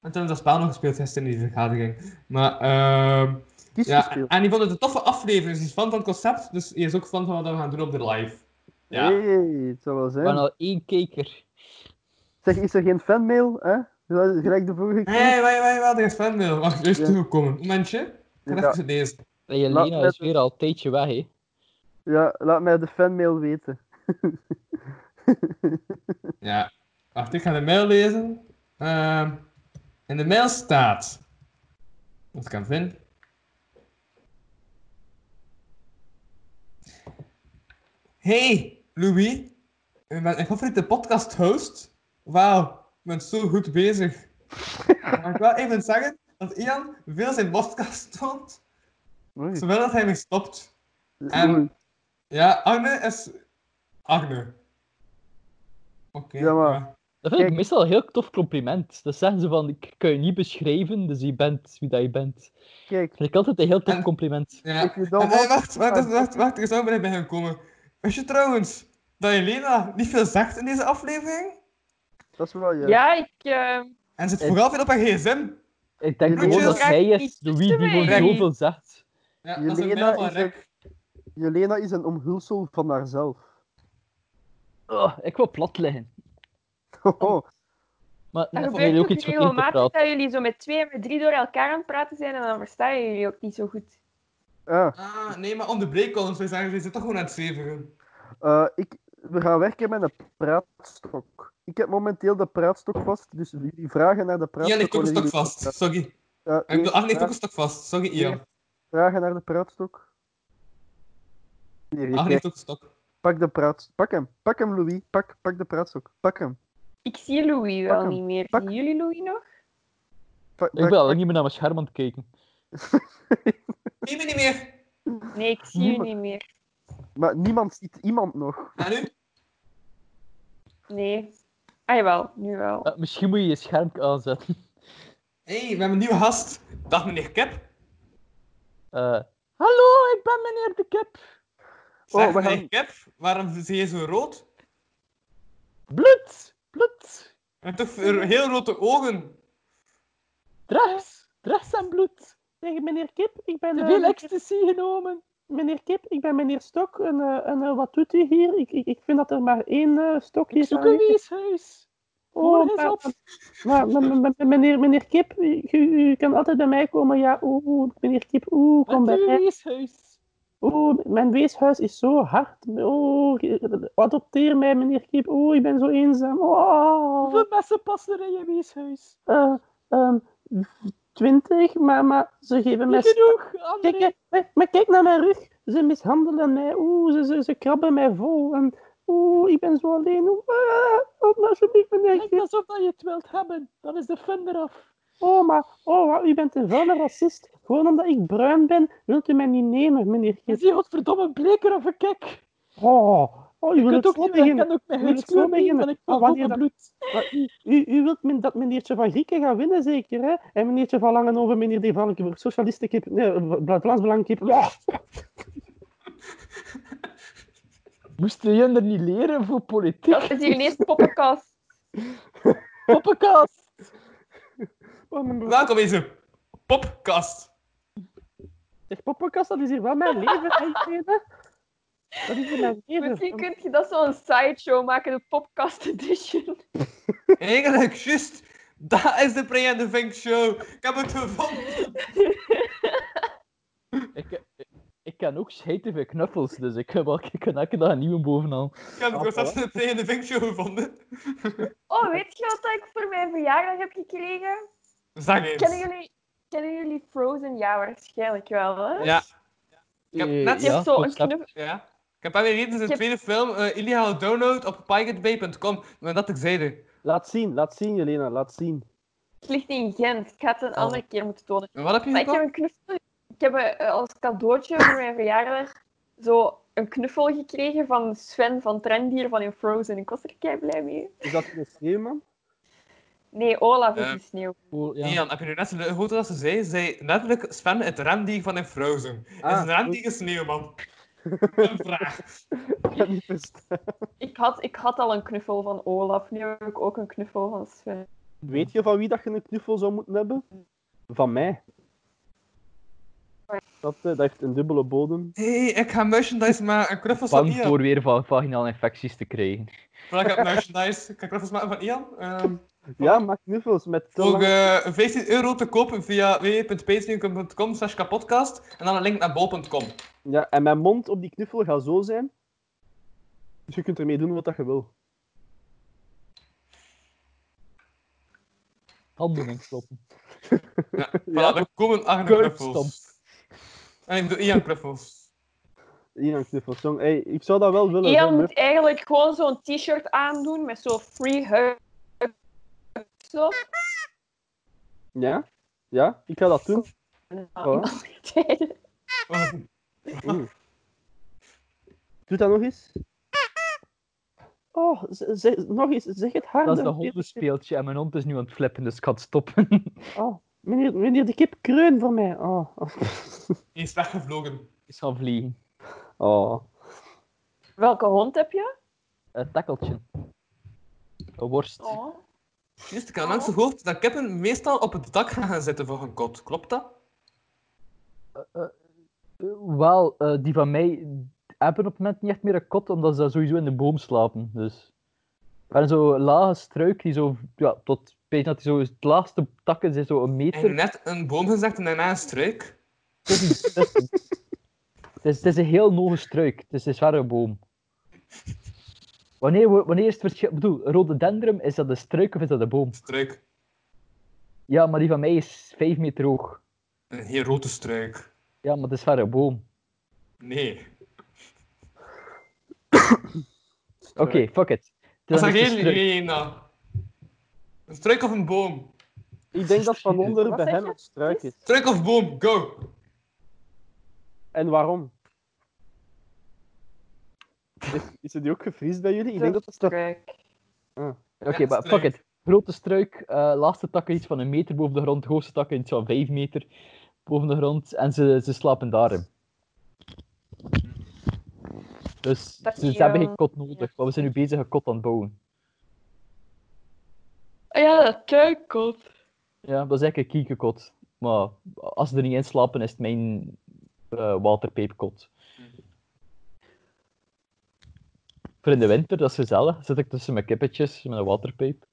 D: hebben we dat spel nog gespeeld gisteren in die vergadering. Maar, ehm
B: Kies
D: ja,
B: gespeeld.
D: en die vond het een toffe aflevering. Ze is fan van het concept, dus die is ook fan van wat we gaan doen op de live. Ja.
B: Hey, het zou wel
A: Ik
B: zijn.
A: ben al één kijker.
B: Zeg, is er geen fanmail, hè? Gelijk- Gelijk de vorige keer.
D: Hé, wij, wij, wij, er is fanmail. Wacht, juist
B: Ja.
D: toegekomen. Momentje. Ik ga
B: Ja.
D: even deze.
A: En Jelena
B: Laat-
A: is weer al een tijdje weg, hè.
B: Ja, laat mij de fanmail weten.
D: Ja. Wacht, ik ga de mail lezen. Ehm, in de mail staat... Wat ik kan vinden. Hey, Louis. Je bent mijn favoriete podcast-host. Wauw, je bent zo goed bezig. Mag ik wel even zeggen dat Ian veel zijn podcast toont,
B: Oei.
D: zowel dat hij mee stopt. En- Ja, Agne is. Agne. Oké.
B: Ja, maar-
A: Dat vind
B: Kijk.
A: ik meestal een heel tof compliment. Dat zeggen ze van, ik kan je niet beschrijven, dus je bent wie dat je bent. Dat
B: Kijk,
A: vind ik altijd een heel tof
D: En-
A: compliment.
D: Ja.
B: if you
D: En,
B: don't
D: eh,
B: want...
D: wacht, wacht, wacht, wacht, wacht, ik zou bij hem komen. Wist je trouwens dat Elena niet veel zegt in deze aflevering?
B: Dat is wel
C: Ja,
B: juist.
C: ik... eh,
D: En zit
A: Eh.
D: vooral veel op haar gsm.
A: Ik denk
B: Moet je
A: gewoon dat
C: graag
A: hij is
C: iets
A: de wie die gewoon
C: tussen mij?
A: zoveel zegt.
D: Ja, dat is een
B: Jelena
D: mail van
B: is een,
D: Rick.
B: Jelena is een omhulsel van haarzelf.
A: Oh, ik wil plat liggen.
B: Hoho.
A: Maar
C: dat
A: net vond
C: gebeurt
A: jullie
C: ook
A: ook iets van in te
C: regelmatig
A: praten.
C: dat jullie zo met twee of met drie door elkaar aan het praten zijn en dan verstaan jullie ook niet zo goed.
B: Ah,
D: Ah, nee, maar onderbreek ons. Wij zeggen, ze zit toch gewoon aan het zeveren.
B: eh, ik, we gaan werken met een praatstok. Ik heb momenteel de praatstok vast, dus jullie vragen naar de
D: Ian
B: praatstok...
D: heeft ook een
B: worden
D: stok
B: jullie-
D: vast. Sorry.
B: Ja,
D: Ik bedoel, Arne heeft ook
B: vragen-
D: een stok vast. Sorry, Ian.
B: Vragen naar de praatstok. Hier, je
D: Arne
B: kijkt.
D: heeft ook een stok.
B: Pak de praat... Pak hem. Pak hem, Louis. Pak, pak de praatstok. Pak hem.
C: Ik zie Louis
B: Pak
C: wel
B: hem,
C: niet meer.
B: pak.
C: Zien jullie Louis nog?
B: Pak,
A: Ik ben al lang niet meer naar mijn scherm aan het kijken.
D: Nee, nee, niet meer.
C: Nee, ik zie u
B: Niemand.
C: niet meer.
B: Maar niemand ziet iemand nog.
D: En nu?
C: Nee. Ah, jawel. Nu wel.
A: Eh, misschien moet je je scherm aanzetten.
D: Hé, hey, we hebben een nieuwe gast. Dag meneer
B: Oh,
D: Kip.
A: Eh, Hallo, ik ben meneer de Kip.
D: Zeg,
B: Oh, we
D: meneer Kip, waarom zie je zo rood?
A: Bloed, bloed.
D: Je hebt toch heel rode ogen?
A: Drugs, drugs en bloed.
G: Zeg, meneer Kip, ik ben...
A: Te
G: eh,
A: veel
G: meneer-
A: ecstasy genomen.
G: meneer Kip, ik ben meneer Stok. En, eh, en eh, wat doet u hier? Ik, ik, ik vind dat er maar één eh stok
A: Ik
G: hier
A: zoek
G: aan
A: een
G: ligt.
A: weeshuis.
G: Oh,
A: Morgen is
G: maar-
A: op.
G: maar- maar- maar- maar- meneer, meneer Kip, u, u- u kan altijd bij mij komen. Ja, oeh, oeh, meneer Kip, oeh, kom
A: Met
G: bij
A: uw
G: mij.
A: weeshuis.
G: Oeh, mijn weeshuis is zo hard. Oh, adopteer mij, meneer Kip. Oeh, ik ben zo eenzaam. Oh.
A: Hoeveel mensen passen er in je weeshuis?
G: Eh, ehm, 20, maar, maar ze geven mij...
A: Niet genoeg, André.
G: Kijk, eh, hè, hè, maar kijk naar mijn rug. Ze mishandelen mij. Oeh, ze, ze, ze krabben mij vol. En, oeh, ik ben zo alleen. Oeh, ah, help me alsjeblieft, meneer.
A: Kijk alsof dat je het wilt hebben. Dan is de fun eraf.
G: Oh, maar oh, wauw, u bent een vuile racist. Gewoon omdat ik bruin ben, wilt u mij niet nemen, meneer
A: Je
G: Kip.
A: ziet godverdomme bleker of een kek.
G: Oh, oh, u
A: Je
G: wilt
A: kunt
G: ook
A: ook
G: zo
A: niet meer, ik
G: beginnen.
A: kan ook mijn
G: Je wilt zo
A: huidskleur niet,
G: beginnen.
A: want ik
G: Maar
A: van
G: wanneer
A: rode
G: dat-
A: bloed.
G: Maar U, u, u wilt men- dat meneertje van Grieken gaat winnen, zeker, hè? En meneertje van Langenhoven, meneer De Valkenburg, socialistenkip, nee, Vla- Vlaams Oh, Belangkip. Ja.
A: Moest je er niet leren voor
C: Dat
A: politiek?
C: is hier ineens poppenkast.
A: Poppenkast.
G: Oh, mijn broer.
D: Welkom in zijn popkast.
G: Zeg, poppenkast, dat is hier wel mijn leven, hè, iedereen, hè? Dat is hier mijn
C: Misschien
G: leven.
C: kun je dat zo'n sideshow maken, de popcast edition.
D: Eigenlijk, juist. Dat is de Pre en de Vink show. Ik heb het gevonden.
A: Ik, eh, ik kan ook schijten veel knuffels, dus ik heb elke, ik kan elke dag een nieuwe bovenaan.
D: Ik heb het concept van de Pre en de Vink show gevonden.
C: Oh, weet je wat ik voor mijn verjaardag heb gekregen?
D: Zeg eens.
C: Kennen jullie, kennen jullie Frozen? Ja, waarschijnlijk wel. Hè?
D: Ja. Ik heb
A: Eh,
D: net-
C: Je hebt zo een
A: concept.
C: knuffel.
D: Ja. Ik heb alweer reden zijn
C: Ik heb-
D: tweede film, eh, Illegal Download, op piratebay.com. Maar dat ik zeide.
B: Laat zien, laat zien, Jelena, laat zien.
C: Het ligt in Gent. Ik ga het een andere keer moeten tonen.
D: En Wat heb je
C: Maar ik heb
D: gekocht?
C: een knuffel. Ik heb eh, als cadeautje voor mijn verjaardag zo een knuffel gekregen van Sven van Trendier van in Frozen. Ik was er kei blij mee.
B: Is dat de sneeuwman?
C: Nee, Olaf is
D: Eh.
C: de sneeuw.
A: Voor- ja.
D: Ian, heb je nu net gehoord wat ze zei? Ze Zei letterlijk Sven, het rendier van in Frozen.
B: Ah,
D: is een rendier sneeuwman. een vraag.
B: Ik heb niet verstaan.
C: Ik had, ik had al een knuffel van Olaf. Nu heb ik ook een knuffel van Sven.
B: Weet je van wie dat je een knuffel zou moeten hebben? Van mij. Dat, eh, dat heeft een dubbele bodem.
D: Hé, hey, ik ga merchandise maken en knuffels van
A: Bang
D: Ian.
A: voor weer va- vaginale infecties te krijgen.
D: Voordat ik heb merchandise, ik kan knuffels maken van Ian. Ehm,
B: Ja, maak knuffels met te
D: Voor
B: lang-
D: eh, 15 euro te kopen via www.patreon.com slash kapodcast en dan een link naar bol.com.
B: Ja, en mijn mond op die knuffel gaat zo zijn. Dus je kunt ermee doen wat dat je wil.
A: Handen ontstoppen.
D: Voilà, er komen aan knuffels.
A: Kurkstomp.
D: En ik doe Ian knuffels.
B: Hier een knuffels. Jong, hey, ik zou dat wel willen. zo,
C: Ian
B: maar-
C: moet eigenlijk gewoon zo'n t-shirt aandoen met zo'n free hug. Zo.
B: Ja? Ja? Ik ga dat doen. Voilà.
D: Oh,
B: Oeh. Doe dat nog eens.
G: Oh, ze- ze- nog eens, zeg het harder.
A: Dat is dat hondenspeeltje en mijn hond is nu aan het flippen, dus ik ga het stoppen.
G: Oh, meneer, meneer de Kip, kreun voor mij. Oh, oh.
D: die is weggevlogen.
A: Ik zal vliegen.
B: Oh.
C: Welke hond heb je?
A: Een Eh, takkeltje. Een worst.
C: Oh.
D: Juist, ik had langs gehoord dat kippen meestal op het dak gaan zitten voor hun kot. Klopt dat?
A: Eh, Wel, eh, die van mij hebben op het moment niet echt meer een kot, omdat ze sowieso in de boom slapen. Dus. En zo'n lage struik, die zo, ja, tot bijna dat die zo, het laatste takken zijn zo een
D: En
A: meter.
D: net een boom gezegd en daarna een struik.
A: Het is, niet- het is- het is, het is een heel noge struik, het is een zware boom. Wanneer, wo- wanneer is het verschil? Ik bedoel, rhododendrum, is dat een struik of is dat een boom?
D: Struik.
A: Ja, maar die van mij is 5 meter hoog.
D: Een heel rode struik.
A: Ja, maar het is wel een boom.
D: Nee.
A: Oké, fuck it.
D: Dat
A: Dan
D: is
A: het
D: geen
A: een struik.
D: idee, nou. Een struik of een boom?
G: Ik denk dat van onder
C: Wat
G: bij
C: zeg
G: hem
C: je?
G: het struik is.
D: Struik of boom, go!
G: En waarom? Is, is het die ook gevriesd bij jullie? Ik denk dat het struik
C: Struik.
A: Oké,
D: Ja,
A: maar
D: struik.
A: fuck it. Grote struik, eh, laatste takken iets van een meter boven de grond, hoogste takken iets van 5 meter boven de grond. En ze, ze slapen daarin. Dus
C: Dat
A: ze,
C: is
A: ze hebben
C: wel-
A: geen kot nodig, want we zijn nu bezig een kot aan het bouwen.
C: Ah ja, dat tuikkot.
A: Ja, dat is eigenlijk een kiekenkot. Maar als ze er niet in slapen, is het mijn eh waterpeepkot. Voor in de winter, dat is gezellig. Zit ik tussen mijn kippetjes met een waterpeep.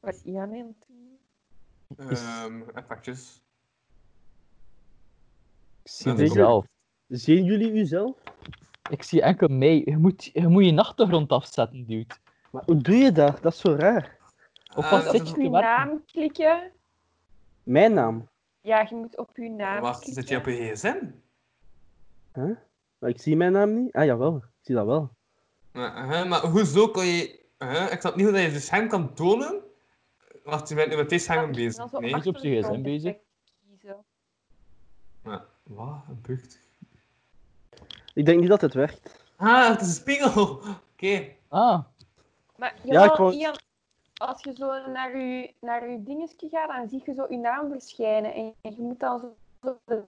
C: Waar is Ian aan het doen?
D: Ehm, effectjes.
A: Zie
D: dat is
A: mezelf.
G: Zien jullie uzelf?
A: Ik zie enkel mij. Je moet je, moet je nachtergrond afzetten, dude.
G: Maar hoe doe je dat? Dat is zo raar.
A: Op
D: Eh,
A: wat
D: dat
A: zit
D: is-
A: je
C: Oh, Op
A: te
C: uw
A: werken?
C: naam klikken.
G: Mijn naam.
C: Ja, je moet op uw naam
D: Wacht,
C: klikken.
D: zit je op je gsm?
G: Maar ik zie mijn naam niet. Ah, jawel. Ik zie dat wel.
D: Ja, hè, maar hoezo kan je... hè, ik snap niet hoe dat je de scherm kan tonen. Wacht, je bent nu met deze
C: Ja,
D: scherm
C: ik ben al
D: bezig.
C: zo
D: Nee.
A: achter- op zijn gsm bezig.
C: kiezen.
D: Ja, Wat? Een bucht.
G: Ik denk niet dat het werkt.
D: Ah, het is een spiegel. Oké.
A: Ah,
C: Maar
G: Ja,
C: jawel,
G: ik wou-
C: Ian, als je zo naar je, naar je dingetje gaat, dan zie je zo je naam verschijnen. En je moet dan zo, zo-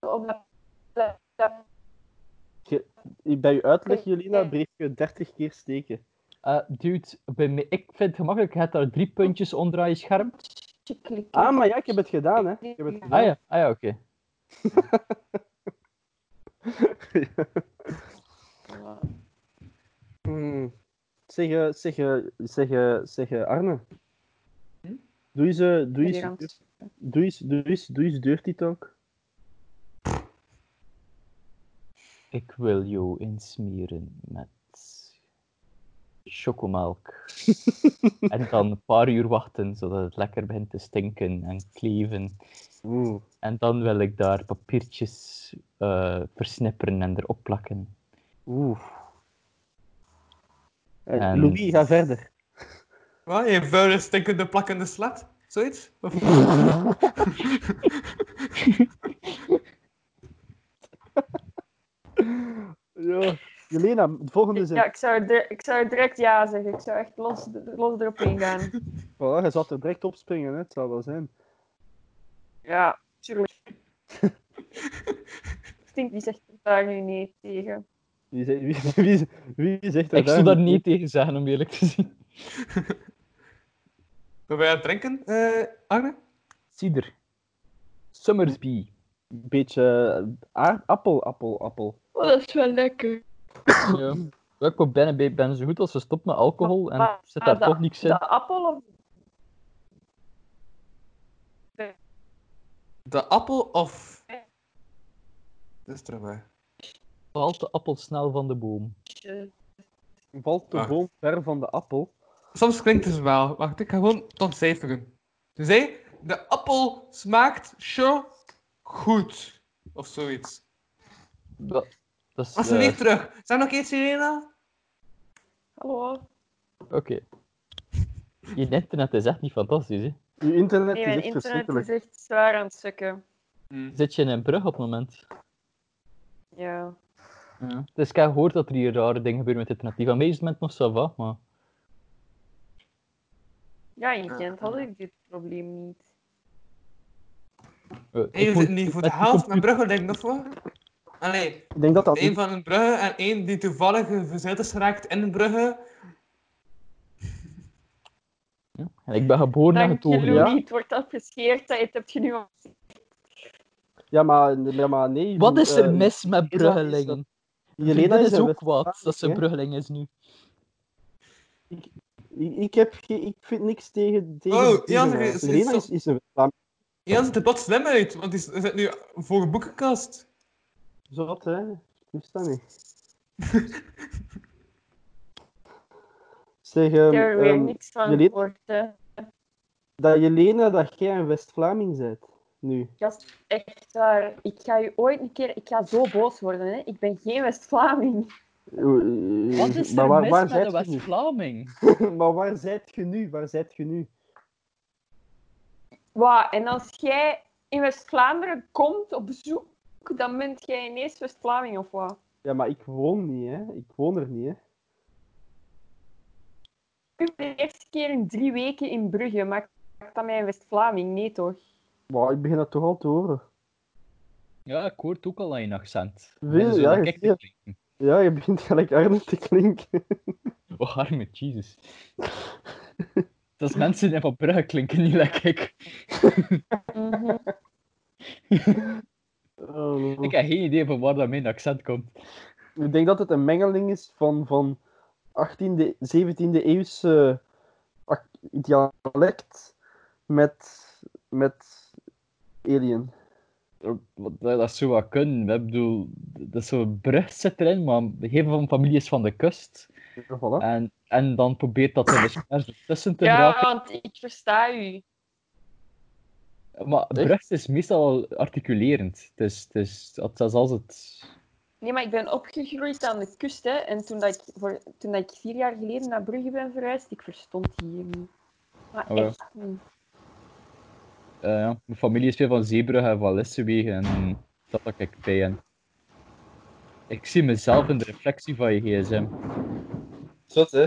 C: zo op dat- dat... dat-
G: Bij uw uitleg, Jolina, bleef je 30 keer steken.
A: eh, dude, bij mij, ik vind het gemakkelijk. Je hebt daar drie puntjes onder aan je scherm.
C: je klikken.
G: Ah, maar ja, ik heb het gedaan, hè. Ik heb het
A: Ah
G: gedaan.
A: ja, ah, ja oké.
G: Hmm. Zeg, eh, zeg, eh, zeg, eh, zeg eh, Arne. Doe eens, eh, doe
C: Ik
G: eens,
C: ben aan het-
G: doe eens, doe eens, doe eens dirty talk.
A: Ik wil jou insmeren met chocomelk. en dan een paar uur wachten, zodat het lekker begint te stinken en kleven.
G: Oeh.
A: En dan wil ik daar papiertjes eh, versnipperen en erop plakken.
G: Oeh. Eh,
A: En-
G: Louis, ga verder.
D: Wat? Je vuile, stinkende, plakkende slat? Zoiets? Of...
G: Ja. Jelena, de volgende zin.
C: Ja, ik zou, dir- ik zou direct ja zeggen. Ik zou echt los, los erop ingaan.
G: Voilà, je zat er direct op springen, hè. het zou wel zijn.
C: Ja, tuurlijk. Stink, die zegt daar nu nee tegen.
G: Wie, zei- wie, wie, wie zegt dat
A: Ik zou daar niet tegen zeggen, om eerlijk te zijn.
D: Wat ben je aan het drinken, eh, Arne?
A: Cider. Summersby.
G: Een beetje eh, aard- appel, appel, appel.
C: Oh, dat is wel lekker.
A: Ja. Ik ben bijna ben zo goed als ze stopt met alcohol en
C: Maar
A: zit daar
C: de-
A: toch niks in.
C: De appel of
D: De appel of... Dat is terug, hè.
A: Valt de appel snel van de boom.
C: de
G: Valt de
D: Ah.
G: boom ver van de appel?
D: Soms klinkt het wel. Wacht, ik ga gewoon het ontcijferen. Dus hé, de appel smaakt zo goed. Of zoiets.
A: Dat, dat is...
D: Was ze
A: eh,
D: niet terug? Zijn nog iets, Irena?
C: Hallo?
A: Oké. Je internet is echt niet fantastisch, hè?
G: Uw internet
C: Nee,
G: is
C: mijn
G: echt
C: internet is
G: verschrikkelijk.
C: echt zwaar aan het sukken.
A: Zit je in een brug op het moment?
C: Ja.
A: Dus ik heb gehoord dat er hier rare dingen gebeuren met internet. Die van mij is het moment nog zo va, maar...
C: Ja, in Gent had ik dit probleem niet.
A: eh,
D: Hé,
A: ik
D: je
A: moet
D: zit nu voor de
A: met die
D: helft
A: computer-
D: naar Brugge, denk ik, of wat? Allee,
G: Ik denk dat dat...
D: één van Brugge en één die toevallig verzet is geraakt in Brugge.
A: En ik ben geboren en
C: Dank je,
A: getogen.
C: Louis.
A: Ja.
C: Het wordt afgescheerd. Dat heb je nu al
G: Ja, maar, ja, maar nee.
A: Wat is er
G: eh,
A: mis met
G: Jelena is
A: Bruggelingen?
G: Jelena
A: Jelena
G: is
A: is
G: een
A: ook
G: West-Vlaming,
A: kwaad dat ze
G: hè?
A: Bruggeling is nu.
G: Ik, ik heb geen- ik vind niks tegen. tegen
D: Oh,
G: tegen-
D: Jan, is- is
G: Jelena
D: zo-
G: is, is een West-Vlaming.
D: Jan ziet er plots slim uit, want die zit nu voor een boekenkast.
G: Zot, hè? Ik wist dat niet.
B: Zeg,
C: Ik
B: ehm,
C: heb er weer
B: ehm,
C: niks van
B: jullie-
C: gehoord. hè.
B: dat Jelena, dat jij een West-Vlaming bent. Nu.
C: Dat is echt waar. Ik ga u ooit een keer... Ik ga zo boos worden, hè. Ik ben geen West-Vlaming.
B: Wat
A: Wat is
B: eh, maar
A: er
B: waar,
A: mis
B: waar
A: met de
B: zijt je
A: West-Vlaming?
B: nu? Maar waar zijt je nu? Waar zijt je nu?
C: Wauw, en als jij in West-Vlaanderen komt op bezoek, dan bent jij ineens West-Vlaming of wat?
B: Ja, maar ik woon niet, hè. Ik woon er niet, hè.
C: Ik ben de eerste keer in drie weken in Brugge, maar maakt dat mij een West-Vlaming? Nee, toch?
B: Maar ik begin dat toch al te horen.
A: Ja, ik hoor het ook al aan je accent.
B: Wil-
A: Zo
B: ja,
A: dat ik
B: ja.
A: te klinken.
B: Ja, je begint gelijk Arne te klinken.
A: Oh, arme Jesus. dat is mensen die van Brugge klinken, niet lekker ik.
C: Mhm.
B: Oh,
A: Ik heb geen idee van waar dat mijn accent komt.
B: Ik denk dat het een mengeling is van, van 18e, 17e eeuwse ac- dialect met, met alien.
A: Want Dat, dat zou Oh, wat kunnen. Ik bedoel, dat is zo'n brug zit erin, maar de hele van familie is van de kust.
B: Ja, voilà.
A: En, en dan probeert dat er dus ergens tussen te
C: Ja,
A: raken.
C: want ik versta u.
A: Maar brug is meestal articulerend. Dus, dus dat is als het...
C: Nee, maar ik ben opgegroeid aan de kust, hè. En toen, dat ik, voor, toen dat ik vier jaar geleden naar Brugge ben verhuisd, ik verstond die hier niet. Maar
A: Oh ja.
C: echt niet.
A: eh, ja, mijn familie is veel van Zeebrugge en van Lissewegen. En dat pak ik bij. En ik zie mezelf in de reflectie van je gsm.
B: Zot, hè?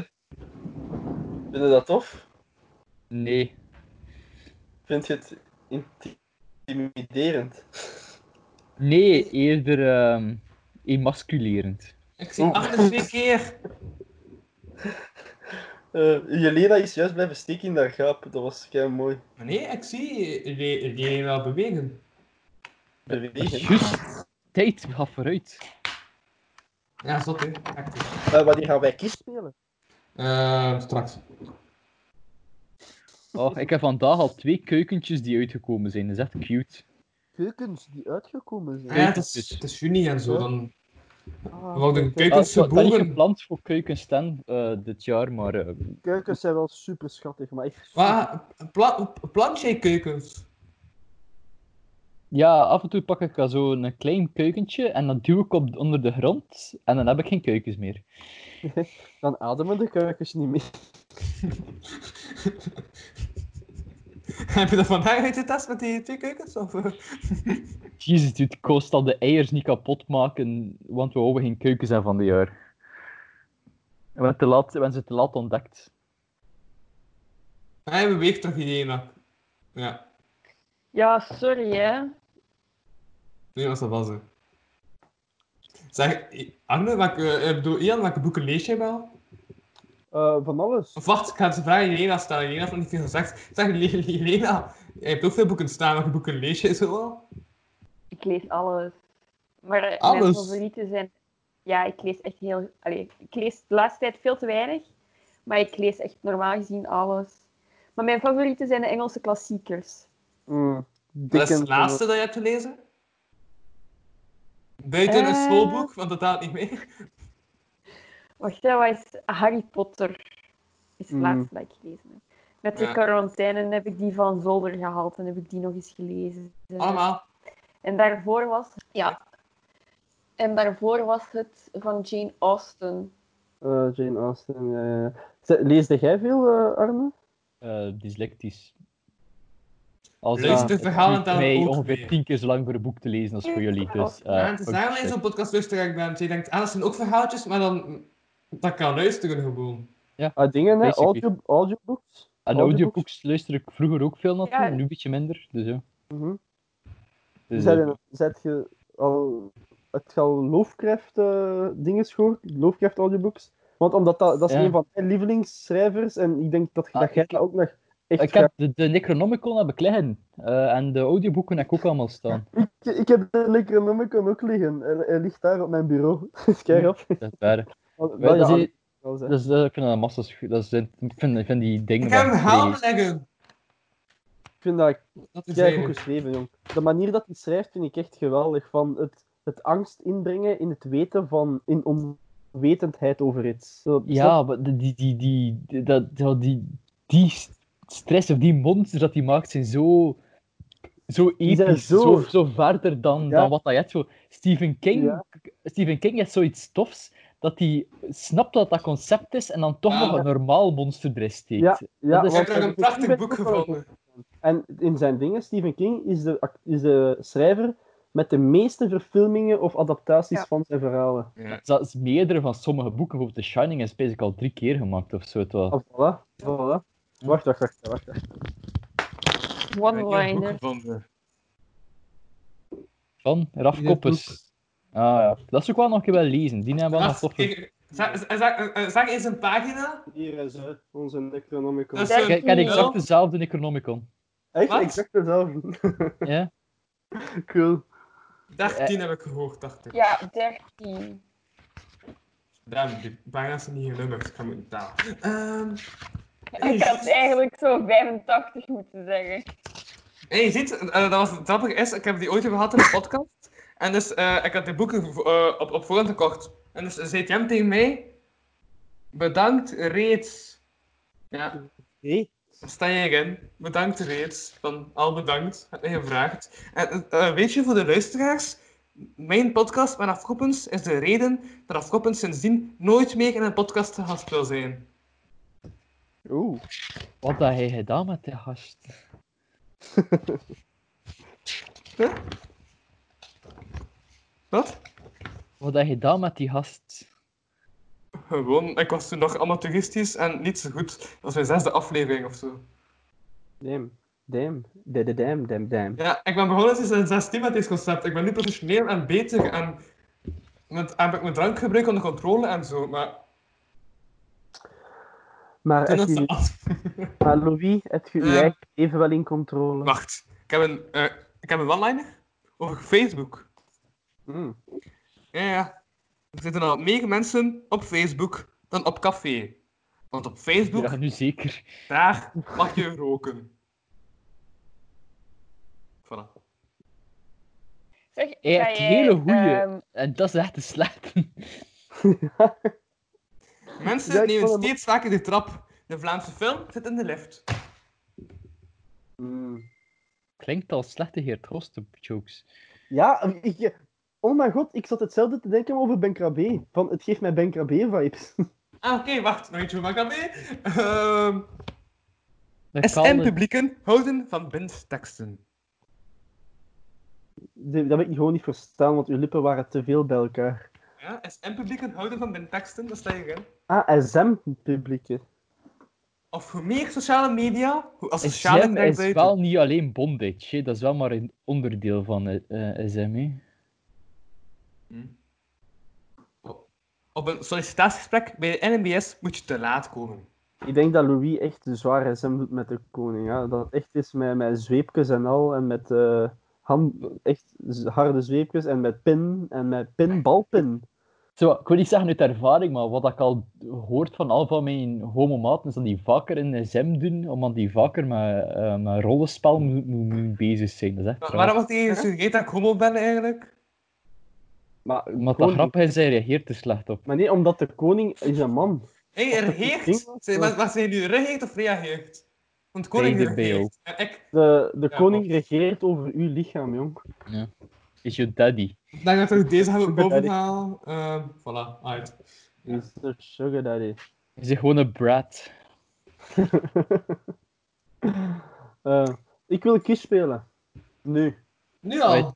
B: Vind je dat tof?
A: Nee.
B: Vind je het intimiderend?
A: Nee, eerder ehm emasculerend.
D: Ik
A: Oh.
D: zie Agnes twee keer.
B: Jelena Eh, is juist blijven steken in dat gaap. Dat was kei mooi.
D: Maar nee, ik zie iedereen wel bewegen.
B: Bewegen.
A: Juist. Tijd, we gaan vooruit.
D: Ja, zot hè. Echt.
B: Eh, wanneer gaan wij kies spelen?
D: Eh, straks.
A: Oh, ik heb vandaag al twee keukentjes die uitgekomen zijn. Dat is echt cute.
B: Keukens die uitgekomen
D: Ah
B: zijn.
D: ja, het is, het is juni en zo. Dan
B: Ah,
D: worden
B: kijk,
D: keukense
A: ik heb
D: bogen.
A: gepland voor keukensten eh dit jaar, maar eh,
B: Keukens zijn wel super schattig, maar echt.
D: Maar pla plant jij keukens?
A: ja, af en toe pak ik al zo een klein keukentje en dat duw ik op, onder de grond en dan heb ik geen keukens meer.
B: Dan ademen de kuikens niet meer.
D: Heb je dat vandaag uitgetest met die twee keukens? Of? eh?
A: Jezus, dude, ik kost al de eiers niet kapot maken, want we houden geen keukens aan van dit jaar. We hebben, te laat, we hebben ze te laat ontdekt.
D: Hij beweegt toch iedereen? Ja,
C: Ja, sorry, hè.
D: nee, was dat wel zo. Zeg, Arne, welke, eh, ik bedoel, Ian, welke boeken lees jij wel?
B: Eh, van alles.
D: Of wacht, ik ga ze vragen aan Jelena stellen. Jelena heeft nog niet veel gezegd. Zeg, Le- Jelena, jij hebt ook veel boeken staan. Welke boeken lees jij zo wel?
C: Ik lees alles. Maar eh, mijn
D: Alles?
C: favorieten zijn... Ja, ik lees echt heel... Allee, ik lees de laatste tijd veel te weinig. Maar ik lees echt normaal gezien alles. Maar mijn favorieten zijn de Engelse klassiekers.
B: Mm,
D: Dat is
B: Dickens
D: het
B: en-
D: laatste dat je hebt gelezen? Buiten een
C: Eh.
D: schoolboek, want dat daalt niet mee.
C: Wacht, hè, wat is Harry Potter? Is
A: Mm.
C: het
B: Mhm.
C: laatste dat ik gelezen heb. Met de
D: Ja.
C: quarantaine heb ik die van Zolder gehaald en heb ik die nog eens gelezen.
D: Allemaal.
C: En daarvoor was... Ja. En daarvoor was het van Jane Austen.
B: Eh, Jane Austen, ja, ja. Ze- Leesde jij veel, eh, Arne?
A: Eh dyslectisch. Als
D: Luister
A: het
D: verhalen
A: duurt
D: tellen
A: mij
D: ook
A: ongeveer
D: mee.
A: tien keer zo lang voor een boek te lezen als voor jullie. Dus, eh,
D: Ja, het is
A: fuck
D: daarom dat je
A: shit.
D: zo'n podcastluisteraar bent. Je denkt, ah, dat zijn ook verhaaltjes, maar dan... Dat kan luisteren gewoon.
B: Ah, dingen, hè?
A: Basically.
B: Audio, audiobooks?
A: En audiobooks luister ik vroeger ook veel naartoe,
C: Ja.
A: nu een beetje minder. Dus, ja.
B: Mhm.
A: Dus,
B: Zijn
A: eh,
B: er- Zet je al... Het al Lovecraft eh, dingen gehoord? Lovecraft audiobooks? Want omdat dat, dat is
A: Ja.
B: een van mijn lievelingsschrijvers en ik denk dat,
A: Ah,
B: dat jij
A: ik-
B: dat ook nog echt
A: ik heb de, de Necronomicon heb ik liggen. eh, en de audioboeken heb ik ook allemaal staan.
B: Ik, ik heb de Necronomicon ook liggen. Hij, hij ligt daar op mijn bureau. Oh, Kijk op.
A: Dat is waar.
B: Wat-
A: Wel,
B: wat je
A: dat is-
B: al zei.
A: dat is- eh, ik vind dat massas goed. Dat is- ik vind, ik vind die dingen
D: Ik heb
A: van-
D: een verhaal leggen.
B: Ik vind dat
D: Dat is
B: kei goed
D: eigenlijk...
B: geschreven, jong. De manier dat hij schrijft vind ik echt geweldig. Van het, het angst inbrengen in het weten van in
G: wetendheid over iets. Zo, snap
A: Ja, maar die, die, die, die, die- dat, dat- die, die st- stress of die monsters dat die maakt zijn zo, zo
G: zijn
A: episch,
G: zo-
A: zo... Zo, verder dan,
G: Ja.
A: dan wat dat je hebt. Zo, Stephen, King,
G: Ja.
A: Stephen King heeft zoiets tofs dat hij snapt dat dat concept is en dan toch
D: Ja.
A: nog een normaal monster erin steekt.
G: Ja, ja,
A: dat is-
D: Ik heb
G: want-
D: daar een prachtig boek gevonden.
G: En in zijn dingen, Stephen King is de, act- is de schrijver met de meeste verfilmingen of adaptaties
C: Ja.
G: van zijn verhalen.
D: Ja.
A: Dat is meerdere van sommige boeken. Bijvoorbeeld The Shining is basic al drie keer gemaakt of zo. Het was.
G: Ah, voilà, voilà. Wacht, wacht, wacht, wacht. wacht.
D: Ik heb een boek
C: One-liner.
D: gevonden.
A: Van Raf
D: Ja,
A: Koppes. Ah ja, dat is ook wel nog een keer wel lezen. Die hebben wel nog
D: Wacht,
A: toffe-
D: kijk, Zag zag- eh, zag eens een pagina?
G: Hier is eh, onze Necronomicon.
D: Dat is
C: Kijk,
D: zo'n
A: Ik had
D: nul.
A: exact dezelfde Necronomicon.
G: Echt
D: Dus wat?
G: exact hetzelfde.
A: Ja?
G: cool.
D: 13 heb ik gehoord, dacht ik.
C: Ja, 13.
D: Damn, die pagina's zijn niet genummerd. Ik ga moeten talen. Ehm,
C: Ik had eigenlijk zo 85 moeten zeggen.
D: hey, je ziet, eh, dat was het grappige is, ik heb die ooit gehad in een podcast. En dus, eh, ik had die boeken vo- eh, op, op voorhand gekocht. En dus zei hem tegen mij, bedankt reeds. Ja,
G: Hey.
D: daar sta je in. Bedankt reeds. Van al bedankt, heb mij gevraagd. En eh, eh, weet je, voor de luisteraars, mijn podcast met Afkoppens is de reden dat Afkoppens sindsdien nooit meer in een podcast te gast wil zijn.
G: Oeh.
A: Wat had hij gedaan met de gast?
D: Wat?
A: Wat had hij gedaan met die gast?
D: Gewoon, ik was toen nog amateuristisch en niet zo goed. Dat was mijn zesde aflevering of zo.
G: Damn. Damn. Da- da- Damn, damn, damn.
D: Ja, ik ben begonnen sinds mijn 16 met dit concept. Ik ben nu professioneel en beter en met, heb ik mijn drankgebruik onder controle en zo. Maar
G: Maar,
D: toen
G: heb
D: is
G: je,
D: het af.
G: maar Louis, heb je je
D: Ja.
G: eigen even wel in controle?
D: Wacht, ik heb een, eh, ik heb een one-liner over Facebook.
G: Hmm.
D: Ja, ja. Er zitten al meer mensen op Facebook dan op café. Want op Facebook,
A: Ja, nu zeker.
D: daar mag je roken. Voilà.
C: Zeg,
A: Hij
C: ga
A: heeft
C: jij,
A: hele goeie.
C: ehm,
A: En dat is echt een slechte.
D: Mensen
G: Ja, ik
D: nemen
G: vond hem-
D: steeds vaker de trap. De Vlaamse film zit in de lift.
G: Hmm.
A: Klinkt als slechte Geert Hoste jokes.
G: Ja, ik, oh mijn god, ik zat hetzelfde te denken over Ben Krabbe. Van, het geeft mij Ben Krabbe vibes.
D: Ah, oké, wacht. Nog eentje van Macabé. Ehm
A: Dat kan het.
D: SM-publieken houden van bindteksten.
G: De- Dat heb ik gewoon niet verstaan, want uw lippen waren te veel bij elkaar.
D: Ja, SM-publieken houden van bindteksten, dat sta je in.
G: Ah, SM-publieke.
D: Of hoe meer sociale media, hoe asociaal ik
A: SM
D: denk
A: is
D: buiten.
A: wel niet alleen bondage, hè. dat is wel maar een onderdeel van eh, eh, SM. hè.
D: Op een sollicitatiegesprek bij de NMBS moet je te laat komen.
G: Ik denk dat Louis echt zwaar SM doet met de koning. Ja. Dat het echt is met, met zweepjes en al. En met eh, hand, echt z- harde zweepjes. En met pin. En met pin, balpin.
A: Zo, ik wil niet zeggen uit ervaring, maar wat ik al hoort van al van mijn homomaten, is dat die vaker een SM doen, omdat die vaker met, eh, met rollenspel moet, moet, moet bezig zijn. Dat is echt
D: Wa-
A: raar.
D: waarom wordt hij gesuggereerd dat ik homo ben eigenlijk?
G: Maar,
A: Omdat dat
G: koning-
A: grappig is, hij reageert er slecht op.
G: Maar nee, omdat de koning is een man.
D: Hé, hey, reageert. Zijn- Wat wat zijn nu, reageert of reageert? Want koning
A: Beide bij jou.
D: reageert. En ik,
G: De, de
D: Ja,
G: koning regeert over uw lichaam, jong.
A: Is je daddy.
D: Ik denk dat ik deze hebben
G: Sugar daddy.
D: bovenhaal. Ehm voilà, uit.
G: Is de sugar daddy.
A: Is hij gewoon een brat?
G: Eh, ik wil kies spelen. Nu.
D: Nu
A: al?
D: al?
A: Uit.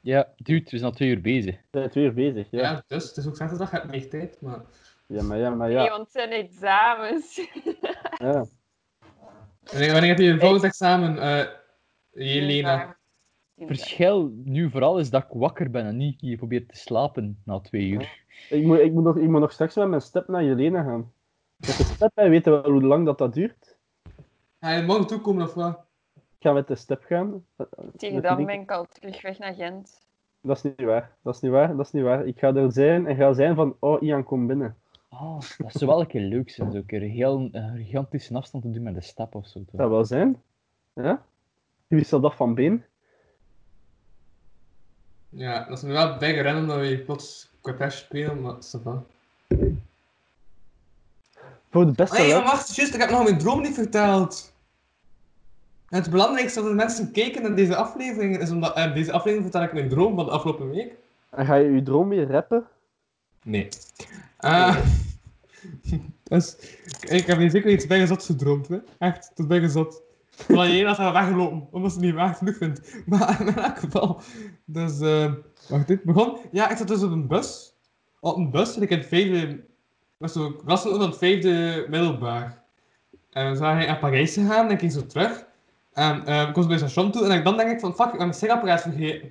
A: Ja, dude, we zijn al twee uur bezig.
G: We zijn twee uur bezig,
D: Ja.
G: ja. ja.
D: dus het is ook zaterdag, heb meer tijd, maar...
G: maar ja, maar
C: Nee,
G: ja.
C: want het zijn examens.
G: ja.
D: Wanneer, wanneer heb je je volgend examen, eh Jelena?
C: Dinsdag. Dinsdag.
A: verschil nu vooral is dat ik wakker ben en niet je probeert te slapen na twee uur.
G: Ik, moet, ik, moet nog, ik moet nog straks met mijn step naar Jelena gaan. Met de step, wij weten wel hoe lang dat, dat duurt.
D: Ga je morgen toekomen of wat?
G: Ik ga met de step gaan. Eh, eh,
C: Tegen
G: met
C: dan
G: die-
C: ben ik al terug weg naar Gent.
G: Dat is niet waar. Dat is niet waar. Dat is niet waar. Ik ga er zijn en ga zijn van, oh, Ian, kom binnen.
A: Ah, dat zou wel een keer leuk zijn, zo'n keer heel, een gigantische afstand te doen met de stap of zo.
G: Dat wel zijn. Ja? Wie zal dat van been?
D: Ja, dat is me wel bijgerend omdat we hier plots kwartier spelen, maar ça va.
B: Voor de beste
D: Nee, maar
B: luid-
D: wacht, juist, ik heb nog mijn droom niet verteld. En het belangrijkste dat de mensen kijken naar deze aflevering is omdat... eh, deze aflevering vertel ik mijn droom van de afgelopen week.
B: En ga je je droom weer rappen?
D: Nee. Eh, dus, ik heb hier zeker iets bijgezot gedroomd, hè. Echt, het is bijgezot. Terwijl je één had haar weggelopen, omdat ze het niet waar genoeg vindt. Maar in elk geval... Dus, eh, wacht, dit begon... Ja, ik zat dus op een bus. Op een bus, en ik in het vijfde... Was zo, ik was zo van het vijfde middelbaar. En we waren naar Parijs gegaan, en ik ging zo terug. En eh, ik was bij het station toe, en ik dan denk ik van, fuck, ik heb mijn sigapparaat vergeten.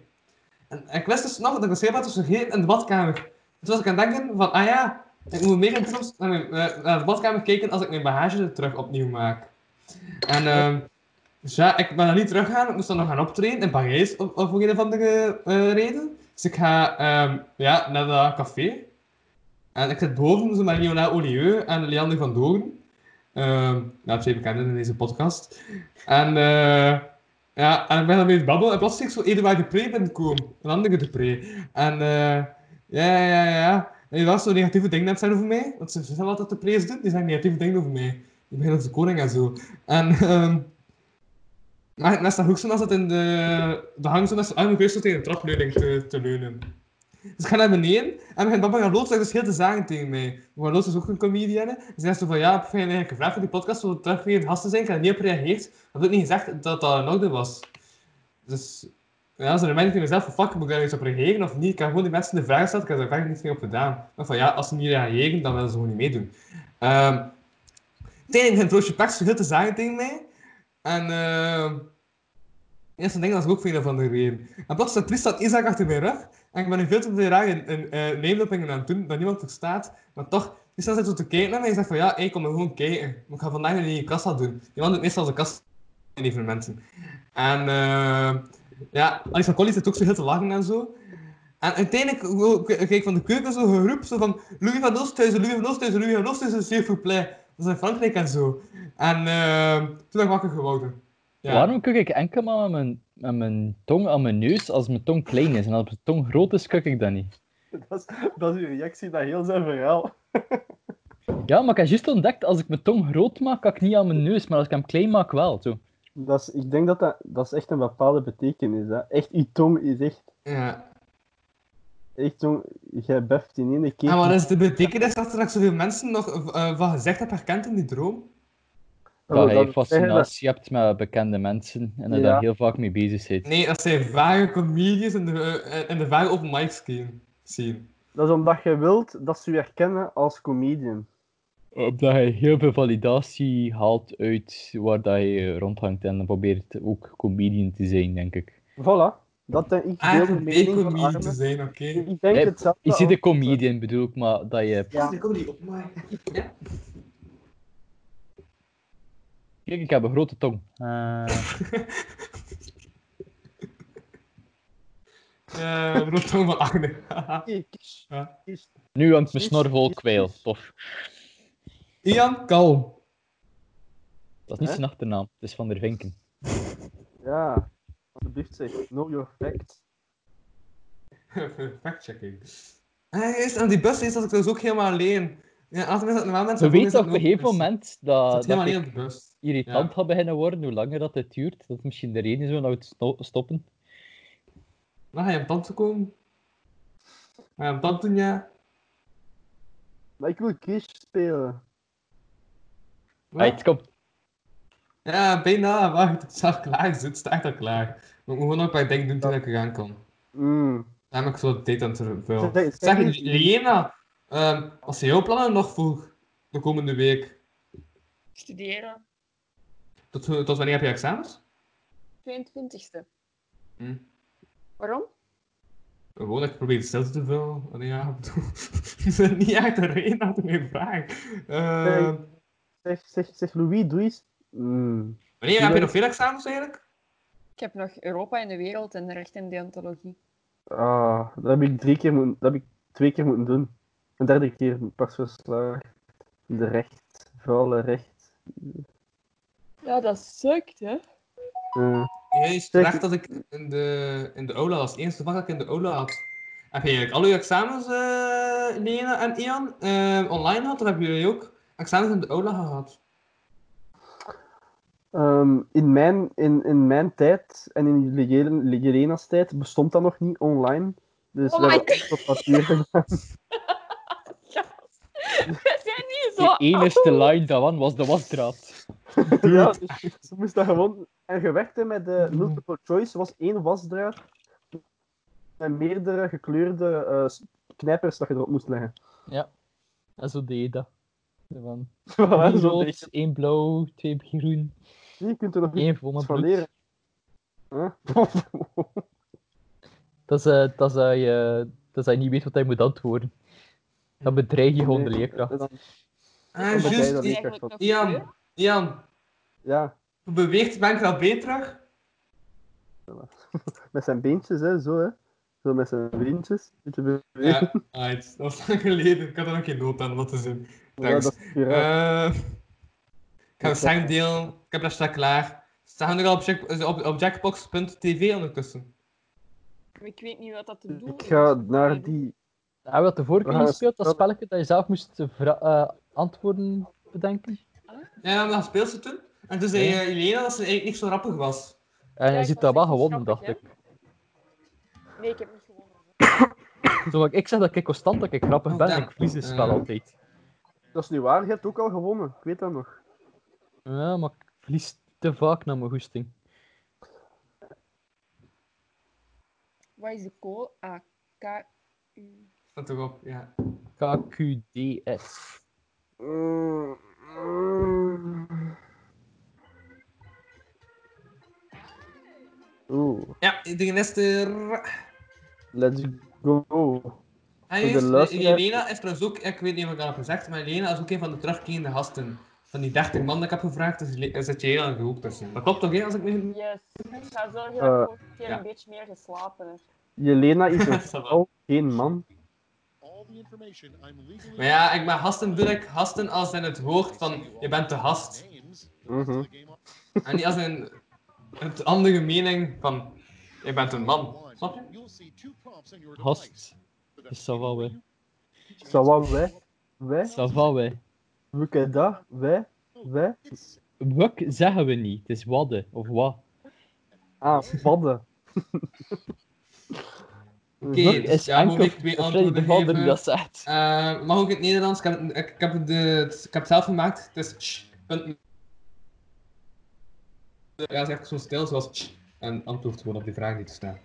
D: En ik wist dus nog dat ik mijn sigapparaat was vergeten in de badkamer. Toen was ik aan het denken van, ah ja, ik moet meer in de toekomst naar, mijn, eh, naar de badkamer kijken als ik mijn bagage er terug opnieuw maak. En ehm dus ja, ik ben er niet teruggaan, ik moest dan nog gaan optreden in Parijs of, of voor een of andere eh, reden. Dus ik ga ehm, ja, naar dat café. En ik zit boven zo met Leona Olieu en Leander van Doorn. Ehm nou, twee bekenden in deze podcast. En, eh, ja, en ik ben dan mee te babbelen en plots zie ik zo Eduard Depree binnenkomen. Een andere Depree. En eh, ja, ja, ja, ja. En die was zo'n negatieve dingen aan het zijn over mij. Want ze zeggen altijd de prees doen, die zijn negatieve dingen over mij. Ik ben als de koning en zo. En ehm maar naast dat hoeksen was het in de, de hang zo met zijn armen geweest om tegen de trapleuning te, te leunen. Dus ik ga naar beneden en mijn papa gaat loods zegt dus heel te zagen tegen mij. Maar loods is ook een comedian. hè. Ze zegt zo van ja, heb je eigenlijk gevraagd voor die podcast om terug weer een gast te zijn? Ik heb er niet op gereageerd. Dat heb ik niet gezegd dat dat in orde was. Dus ja, ze remind ik mezelf van fuck, moet ik daar iets op reageren of niet? Ik heb gewoon die mensen de vraag gesteld, ik heb daar verder niets mee op gedaan. Maar van ja, als ze niet reageren, dan willen ze gewoon niet meedoen. Ehm Tijdens een broodje paks heel te zagen tegen mij. En ehm ja, ze denken dat is ook veel van de reden. En plots staat Tristan Isaac achter mijn rug. En ik ben nu veel te veel raar in, in eh, name-droppingen aan het doen, dat niemand verstaat. Maar toch, Tristan zit zo te kijken naar mij en zegt van ja, ik kom er gewoon kijken. Maar ik ga vandaag niet in je kassa doen. Die man doet meestal de kassa in evenementen. En ehm ja, Alisa Collins zit ook zo heel te lachen en zo. En uiteindelijk wo- k- kreeg ik van de keuken zo geroep zo van Louis van Oosthuizen, Louis van Oosthuizen, Louis van Oosthuizen, s'il vous plaît. Dat is in Frankrijk en zo. En ehm, toen ben ik wakker geworden. Ja.
A: Waarom kuk ik enkel maar met mijn, met mijn tong aan mijn neus als mijn tong klein is? En als mijn tong groot is, kuk ik dat niet.
B: Dat is, dat is uw reactie naar heel zijn verhaal.
A: Ja, maar ik heb juist ontdekt, als ik mijn tong groot maak, kan ik niet aan mijn neus. Maar als ik hem klein maak, wel. Zo.
B: Dat is, ik denk dat, dat dat is echt een bepaalde betekenis hè. Echt, uw tong is echt...
D: Ja.
B: Echt, jong, jij beft in één keer.
D: En wat is de betekenis dat er zoveel mensen nog eh, van gezegd hebben herkend in die droom?
B: Oh,
A: Dat je
B: dat-
A: fascinatie hebt met bekende mensen en dat je
B: Ja.
A: daar heel vaak mee bezig bent.
D: Nee, dat zijn vage comedians in de, eh, in de vage open mics scene- scene.
B: Dat is omdat je wilt dat ze je herkennen als comedian.
A: Omdat je heel veel validatie haalt uit waar dat je rondhangt en dan probeert ook comedian te zijn, denk ik.
B: Voilà. Dat denk ik deel de
D: Eigenlijk een
B: mening van
D: comedian te
B: Arne.
D: zijn, oké.
B: Ik
D: Okay.
B: ik denk
A: Nee,
B: hetzelfde.
A: Je ziet de
B: als-
A: comedian bedoel ik, maar dat je...
B: Ja.
D: Ik kom niet op, maar... Ja.
A: Kijk, ik heb een grote tong. Eh,
D: Eh, Rotterdam van Arne.
B: Oké, kies,
D: Ja.
B: kies.
A: nu hangt mijn snor vol kwijl. Tof.
D: Ian, kalm.
A: Dat is niet
B: Hè?
A: zijn achternaam, het is Van der Vinken.
B: Ja. Alsjeblieft zeg. Know your facts.
D: Fact-checking. Hij is aan die bus is dat ik dus ook helemaal alleen. Ja, als mensen zaten wel mensen
A: Je
D: voor mij
A: weet dat
D: zaten
A: op een
D: ook dus-
A: gegeven
D: mensen.
A: moment
D: Ik zat
A: dat, dat
D: helemaal alleen
A: ik
D: op de bus.
A: irritant
D: ja.
A: ga beginnen worden, hoe langer dat het duurt. Dat is misschien de reden is waarom we het sto- stoppen.
D: Dan ga je op tand komen. Ga je op tand doen, ja.
B: Maar ik wil Kish spelen.
D: Wat?
A: Right, kom.
D: Ja, bijna. Wacht, het staat klaar. Het staat echt al klaar. Maar ik moet gewoon nog een paar dingen doen toen ik eraan kom.
B: Mm.
D: Dan heb ik zo de tijd aan het vullen.
B: Zeg- zeg
D: Zeg,
B: eens-
D: Liena, ehm, wat zijn jouw plannen nog voor de komende week?
C: Studeren,
D: Tot, tot wanneer heb je examens?
C: 22e.
D: Hm.
C: Waarom?
D: Gewoon dat ik probeer het stil te vullen. Allee, ja, ik bedoel, is er niet echt een reden achter mijn vraag. Eh,
B: Nee. Zeg, zeg, zeg Louis, doe eens. Mm.
D: wanneer heb je nog veel examens eigenlijk?
C: Ik heb nog Europa en de wereld en recht en deontologie.
B: Ah, dat heb ik drie keer moeten, dat heb ik twee keer moeten doen. Een derde keer pas verslagen. De recht, vuile recht.
C: Ja, dat sukt, hè?
B: Eh,
D: Jij is
B: Zeg-
D: terecht dat ik in de, in de aula was. Het eerste vak dat ik in de aula had. Heb je eigenlijk al uw examens, eh, Lena en Ian, eh, online gehad? Of hebben jullie ook examens in de aula gehad?
G: Ehm, in, mijn, in, in mijn tijd en in Ligel- Ligerena's tijd bestond dat nog niet online. Dus
C: Oh
G: we
C: my
G: hebben echt op papier gedaan.
C: We zijn niet zo
H: De
C: oud.
H: enige lijn daarvan was de wasdraad.
G: ja, dus ze moest dat gewoon... En gewerkt hè, met de multiple choice was één wasdraad en meerdere gekleurde eh, s- knijpers dat je erop moest leggen.
A: En zo deed je dat. Zo Van,
G: Voilà,
A: drie
G: zo
A: rood,
G: denk je.
A: één blauw, twee groen,
G: Zie, Je kunt er nog iets
A: één volle
G: van
A: bloed.
G: leren. Huh?
A: Dat is, eh, dat, is, dat je, dat hij niet weet wat hij moet antwoorden. Dan bedreig je gewoon de
G: Nee,
A: leerkracht.
G: dat-
D: Ah,
G: dat jij
D: juist.
G: dat
D: I-
G: niet
C: eigenlijk
G: krijgt van-
C: nog
D: Ian, Ian,
G: Ja,
D: hoe beweegt je bankraad terug?
G: met zijn beentjes, hè, zo, hè. Zo met zijn beentjes. Beetje bewegen.
D: Ja, uit. Dat was lang geleden. Ik had er nog geen nood aan om dat te zien.
G: Ja,
D: Thanks.
G: dat is piraat.
D: Eh, ik ga een stelling delen. Ik heb dat straks klaar. Staan we nog al op, Jack- op, op jackbox.tv ondertussen?
C: Ik weet niet wat dat te doen
G: ik ga
C: is.
G: naar die...
A: Hebben we dat de vorige
G: We
A: keer
G: gaan
A: gespeeld, dat
G: spel-
A: spelletje dat je zelf moest vra- eh, antwoorden bedenken?
D: Ja, maar dat speelde ze toen. En toen zei eh, Elena dat ze eigenlijk niet zo rappig was.
A: En
C: Ja,
A: je
C: ik
A: ziet
C: was
A: dat wel
C: echt niet
A: gewonnen, dacht
C: grappig,
A: ik.
C: Nee, ik heb niet gewonnen.
A: Zo, maar ik zeg dat ik constant dat ik grappig
D: Oh,
A: ben
D: daar.
A: en ik verlies het spel
D: Eh.
A: altijd.
G: Dat is niet waar, je hebt ook al gewonnen. Ik weet dat nog.
A: Ja, maar ik verlies te vaak naar mijn goesting.
C: Wat is de code? A, K, U.
D: Dat toch op, ja.
A: KQDS.
G: Oeh,
D: Ja, de rest er...
G: let's go.
D: Hij
G: Voor de
D: is,
G: luisteraar-
D: Elena is trouwens ook, ik weet niet of ik dat heb gezegd, maar Elena is ook een van de terugkerende gasten. Van die 30 man die ik heb gevraagd, is Ele- zit Elena er ook tussen. dus Dat klopt toch, hè, als ik me...
C: Yes. Ik ga zorgen dat
G: Eh,
C: ik vorige keer
D: ja.
C: een beetje meer geslapen heb.
G: Jelena is een
D: Dat zal wel.
G: vrouw, geen man.
D: maar ja, ik ben gasten, doe ik gasten als in het woord van, je bent de gast.
G: Mhm.
D: En niet als in het andere mening van, je bent een man. Snap je?
H: Gast. Dus ça va, we.
G: Ça va, wij, wij,
H: Ça va, we.
G: we kunnen dat, wij, wij.
H: Wuk zeggen we niet. Het is wadden, of wat.
G: Ah, badden.
D: Oké,
H: Wuk
D: dus
H: Mhm. is
D: ja, moet
H: enkel...
D: ik twee
H: dat Freddy
D: antwoorden
H: de Valder die
D: geven?
H: dat zegt.
D: Eh, mag ook in het Nederlands. Ik heb, ik, ik heb, de, het- ik heb het zelf gemaakt. Het is sh. punt. Ja, het is echt zo stil zoals sh. En antwoord gewoon op die vraag die te staan.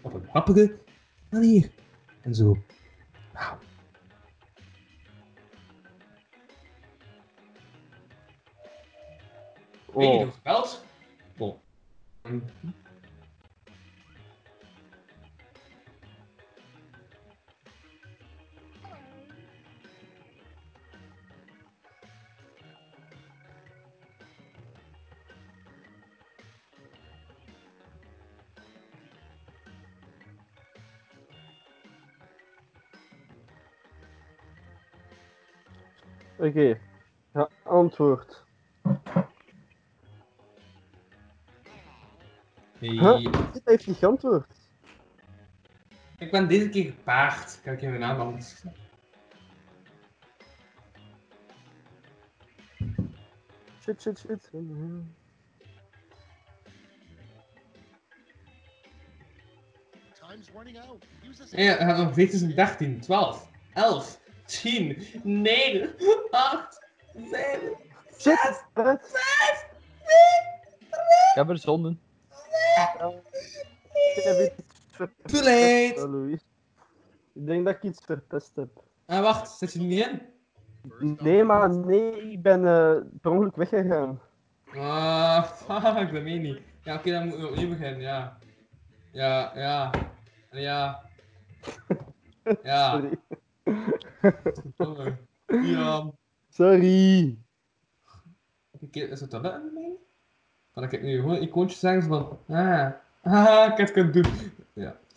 D: Op een happige manier. En zo. Wauw. Weet je
G: Oh,
D: nog gebeld? Oh. Hm.
G: oké. Ja, antwoord.
D: Nee.
G: Huh? Dit heeft niet geantwoord.
D: Ik ben deze keer gepaard. Kijk in mijn naam anders.
G: Shit, shit, shit.
D: Ja, we hebben nog 14, 13, 12, 11, 10, 9, 8, 7,
G: Shit, het.
A: Ik heb er zonden.
G: Ik heb iets verpest,
D: Too late!
G: Louis. Ik denk dat ik iets verpest heb.
D: Ah, wacht, zit je er niet in?
G: Nee, maar nee, ik ben eh, per ongeluk weggegaan.
D: Ah, fuck, dat meen je niet. Ja, oké, dan moeten we opnieuw beginnen, ja. Ja, ja. Ja. Ja.
G: Sorry.
D: Verdomme. Ja.
G: Sorry.
D: Oké, is het dat wel een meen? Kan ik nu gewoon een icoontje zeggen zo van, ah, ah, ik heb het kunnen doen.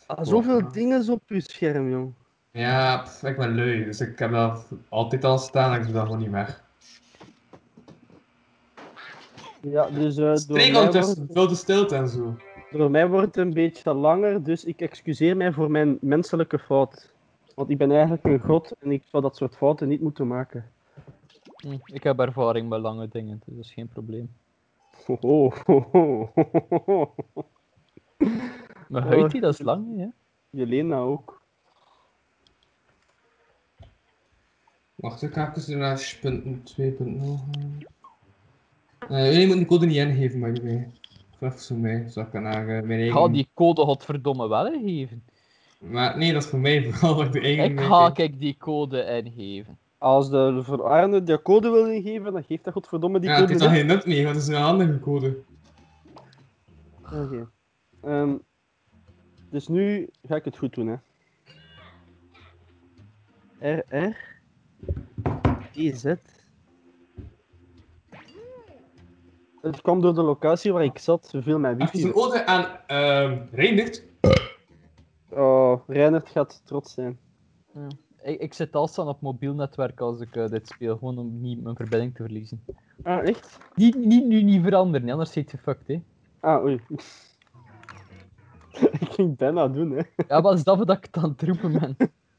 G: Ah,
D: zoveel
G: zoveel dingen zo op je scherm, jong.
D: Ja, pff, ik ben lui, dus ik heb dat altijd al staan en ik doe dat gewoon niet weg.
G: Ja, dus eh door
D: Spreek
G: mij dus,
D: ondertussen,
G: eh, wordt-
D: vul de stilte en zo.
G: Door mij wordt het een beetje langer, dus ik excuseer mij voor mijn menselijke fout. Want ik ben eigenlijk een god en ik zou dat soort fouten niet moeten maken.
A: Hm, Ik heb ervaring met lange dingen, dus dat is geen probleem.
G: Ho, ho, ho, ho, ho, ho, ho.
A: Mijn
G: Oh.
A: huid, die, dat is lang, hè?
G: Jelena ook.
D: Wacht, ik ga even naar 2.0 gaan. Eh, jullie moeten die code niet ingeven, by the way. Vraag ze mij, zo ik kan naar eh, mijn
A: Ik
D: eigen...
A: ga die code godverdomme wel ingeven.
D: Maar nee, dat is voor mij vooral, dat ik de eigen...
A: Ik ga kijk die code ingeven.
G: Als de verarende de code wil ingeven, dan geeft dat godverdomme die
D: Ja, het
G: code
D: is al
G: niet.
D: geen nut meer, want het is een handige code.
G: Oké. Ehm, dus nu ga ik het goed doen, hè. RR DZ Het kwam door de locatie waar ik zat, veel mijn
D: Even
G: wifi.
D: een ode aan ehm Reinert.
G: Oh, Reinert gaat trots zijn.
A: Ik, ik zit al staan op mobiel netwerk als ik eh, dit speel, gewoon om niet mijn verbinding te verliezen.
G: Ah, echt?
A: Niet, niet, nu niet veranderen, anders zit je fucked, hè?
G: Ah, oei. ik ging het bijna doen, hè.
A: Ja, wat is dat wat ik aan het roepen ben?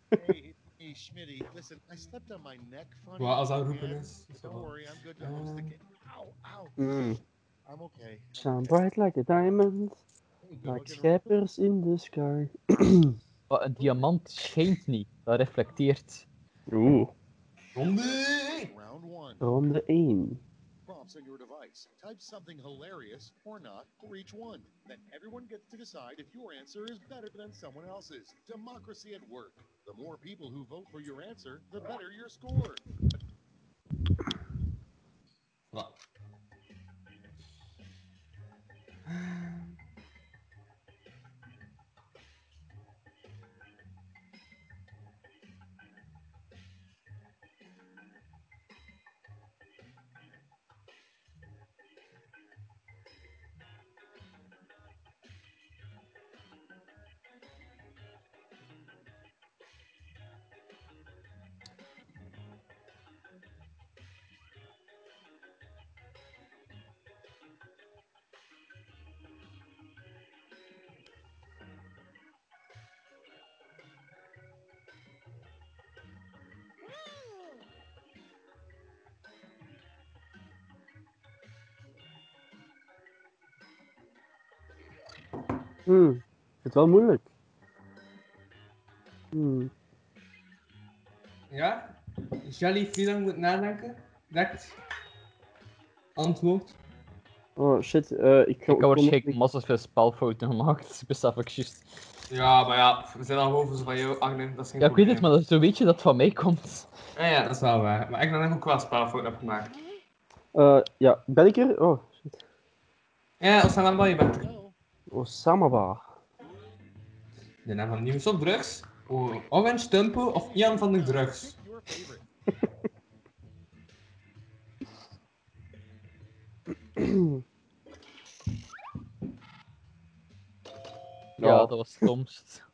H: Hey, hey, Schmitty, listen, I slipped on my neck. Funny.
D: Wat als dat roepen
H: man.
D: is. is dat
H: Don't
D: wel-
H: worry, I'm good to host the
D: Ehm.
H: game. Ow, ow. I'm okay.
G: Shine bright like a diamond, like scheppers in the sky.
A: Wat, een diamant schijnt niet, dat reflecteert.
G: Oeh.
D: Ronde!
H: Round one.
G: Ronde 1.
H: Prompts on your device. Type something hilarious or not for each one. Then everyone gets to decide if your answer is better than someone else's. Democracy at work. The more people who vote for your answer, the better your score.
D: Voilà.
G: Hmm. Ik vind Het wel moeilijk. Hmm.
D: Ja? Jelly, wie dan moet nadenken? Direct. Antwoord.
G: Oh shit, eh, ik ga
A: Ik heb
G: ook om-
A: waarschijnlijk massas veel spelfouten gemaakt, besef ik juist.
D: Ja, maar ja, we zijn al boven zo van jou, Agne. Dat is geen
A: Ja, ik weet het,
D: probleem.
A: maar dat- zo weet je dat het van mij komt.
D: Ja, ja, dat is wel waar. Maar ik dan ook wel spelfout heb gemaakt.
G: Eh, ja, ben ik er? Oh, shit.
D: Ja, Osama Bal, je bent er.
H: No.
G: Oh, Osamaba.
D: De naam van de nieuwe soort drugs. O- Orange Tempo of Ian van de Drugs.
H: Pick your favorite.
A: Ja,
G: Ja.
A: dat was stomst.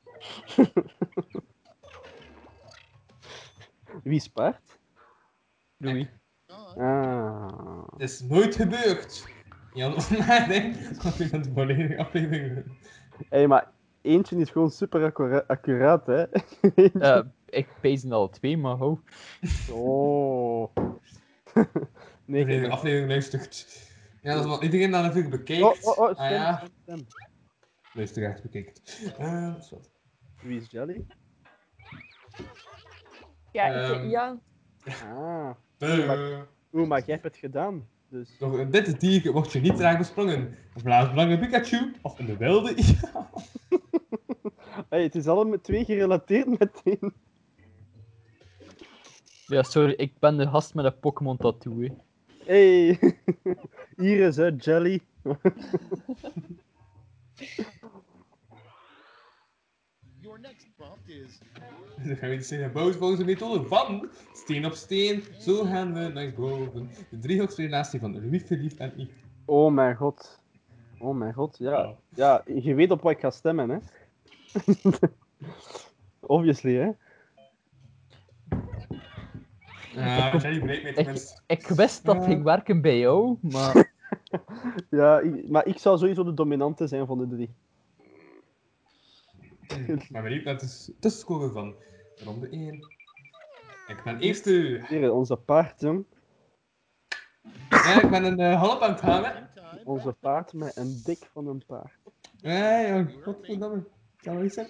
G: Wie spaart?
A: Louis.
H: Don,
G: Ah.
D: Het is nooit gebeurd. Jan was nadenken, want ik ben de volledige aflevering. doen.
G: Hé, hey, maar eentje is gewoon super accura- accuraat, hè?
A: Eh, ik pees al twee, maar ho.
G: Oh.
D: De
G: nee,
D: volledige
G: ik...
D: aflevering luistert. Ja, dat is wat iedereen dan natuurlijk bekijkt.
G: Oh, oh, oh,
D: ah,
G: stem,
D: ja,
G: stem, stem.
D: luisteraars bekijkt. Eh, dat is wat.
G: Wie is Jelly?
C: Ja, ik
D: Ehm.
C: ja,
G: Ah.
D: Eh,
G: Oeh, maar jij hebt het gedaan, dus...
D: Door een witte dier word je niet traag besprongen. Een blaasbelangen Pikachu of een wilde i-
G: Hey, het is allemaal twee gerelateerd meteen.
A: Ja, sorry, ik ben de gast met een Pokémon-tattoo, hè.
G: Hey. Hier is het, Jelly.
H: Your next prompt is
D: Dan gaan we iets zeggen bouwen volgens de methode van steen op steen. Zo gaan we naar boven. De driehoeksrelatie van Louis, Philippe en ik.
G: Oh mijn god. Oh mijn god, ja.
D: Oh.
G: Ja, je weet op wat ik ga stemmen, hè. Obviously, hè.
D: Ja, Jelly breekt mij
A: Ik,
D: Ah, tenminste.
A: ik wist dat
D: Ja.
A: ging werken bij jou, maar...
G: Ja, ik- maar ik zou sowieso de dominante zijn van de drie.
D: Ik ben benieuwd naar de s- tussenscore dus van ronde 1. Ik ben eerste.
G: Hier, onze paard, jong.
D: Ja, ik ben een eh, halp aan het gaan, hè.
G: Onze paard met een dik van een paard.
D: Nee, jong. Godverdamme. Kan wel iets zijn.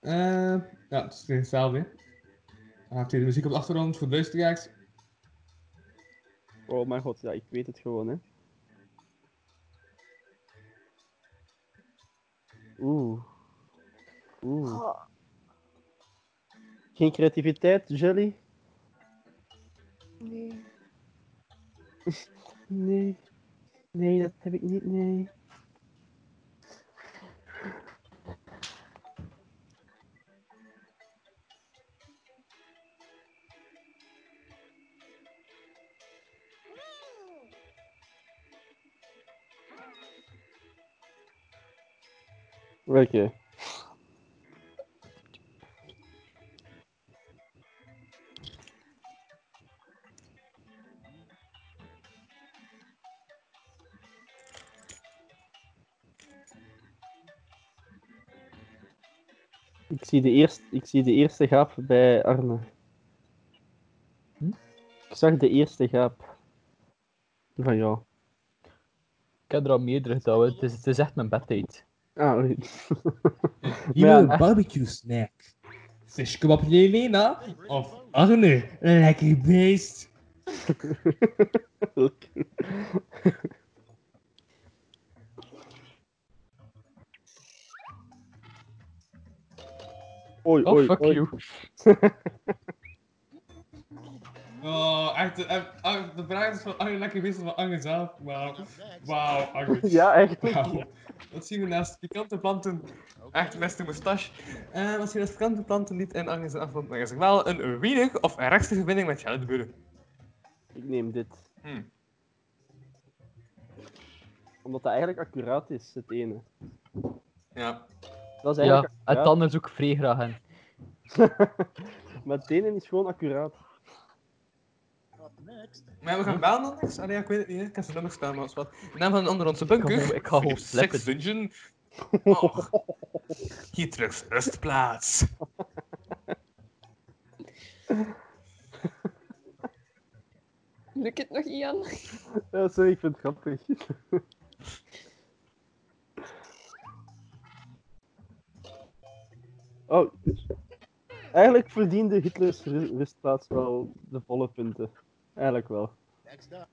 D: Eh, ja, het is weer hetzelfde, hè. Dan gaat hier de muziek op de achtergrond voor de luisteraars.
G: Oh mijn god, ja, ik weet het gewoon, hè. Oeh. Oeh.
C: Oh,
G: Geen creativiteit, Jelly?
C: nee.
G: Nee. Nee, dat heb ik niet, nee. Oké. Ik zie de eerste, ik zie de eerste gaap bij Arne. Ik zag de eerste gaap. Van jou.
A: Ik heb er al meerdere gedaan. hè. Het is, het is echt mijn bedtijd.
G: Ah, oei.
D: Hier
G: Ja,
D: een barbecue snack. Zeg, Dus kom op Jelena. Of Arne, een lekker beest.
G: oei,
A: Oh,
G: oei,
A: fuck
G: oei.
A: you.
D: Oh, echt. eh, eh, Arne- de vraag is van Arne lekker beest of van Arne zelf. Wauw. Wauw, Arne.
G: Ja, echt.
D: Wauw. Wat zien we naast pikante planten? Echt beste moustache. Eh wat zien we naast pikante planten niet in Arne zelf? Want er is wel een weinig of een rechtste verbinding met Janet Buren.
G: Ik neem dit.
D: Hmm.
G: Omdat dat eigenlijk accuraat is, het ene.
D: Ja.
G: Dat is
A: Ja,
G: eigenlijk
A: en
G: accuraat.
A: dan is ook vrij graag hen.
G: Maar het ene is gewoon accuraat.
H: Up next,
D: Maar
A: Hm?
D: we gaan wel nog niks. Allee, ja, ik weet het niet. hè. Ik heb zijn nummer staan, maar dat is wat. De naam van een ondergrondse bunker.
A: Ik ga gewoon- ik ga gewoon
D: Philips Sex
A: flippen.
D: Dungeon.
G: Oh.
D: Hitrux rustplaats.
C: Lukt het nog, Ian?
G: sorry, ik vind het grappig. Oh. Eigenlijk verdiende Hitlers ru- rustplaats wel de volle punten. Eigenlijk wel.
H: next up,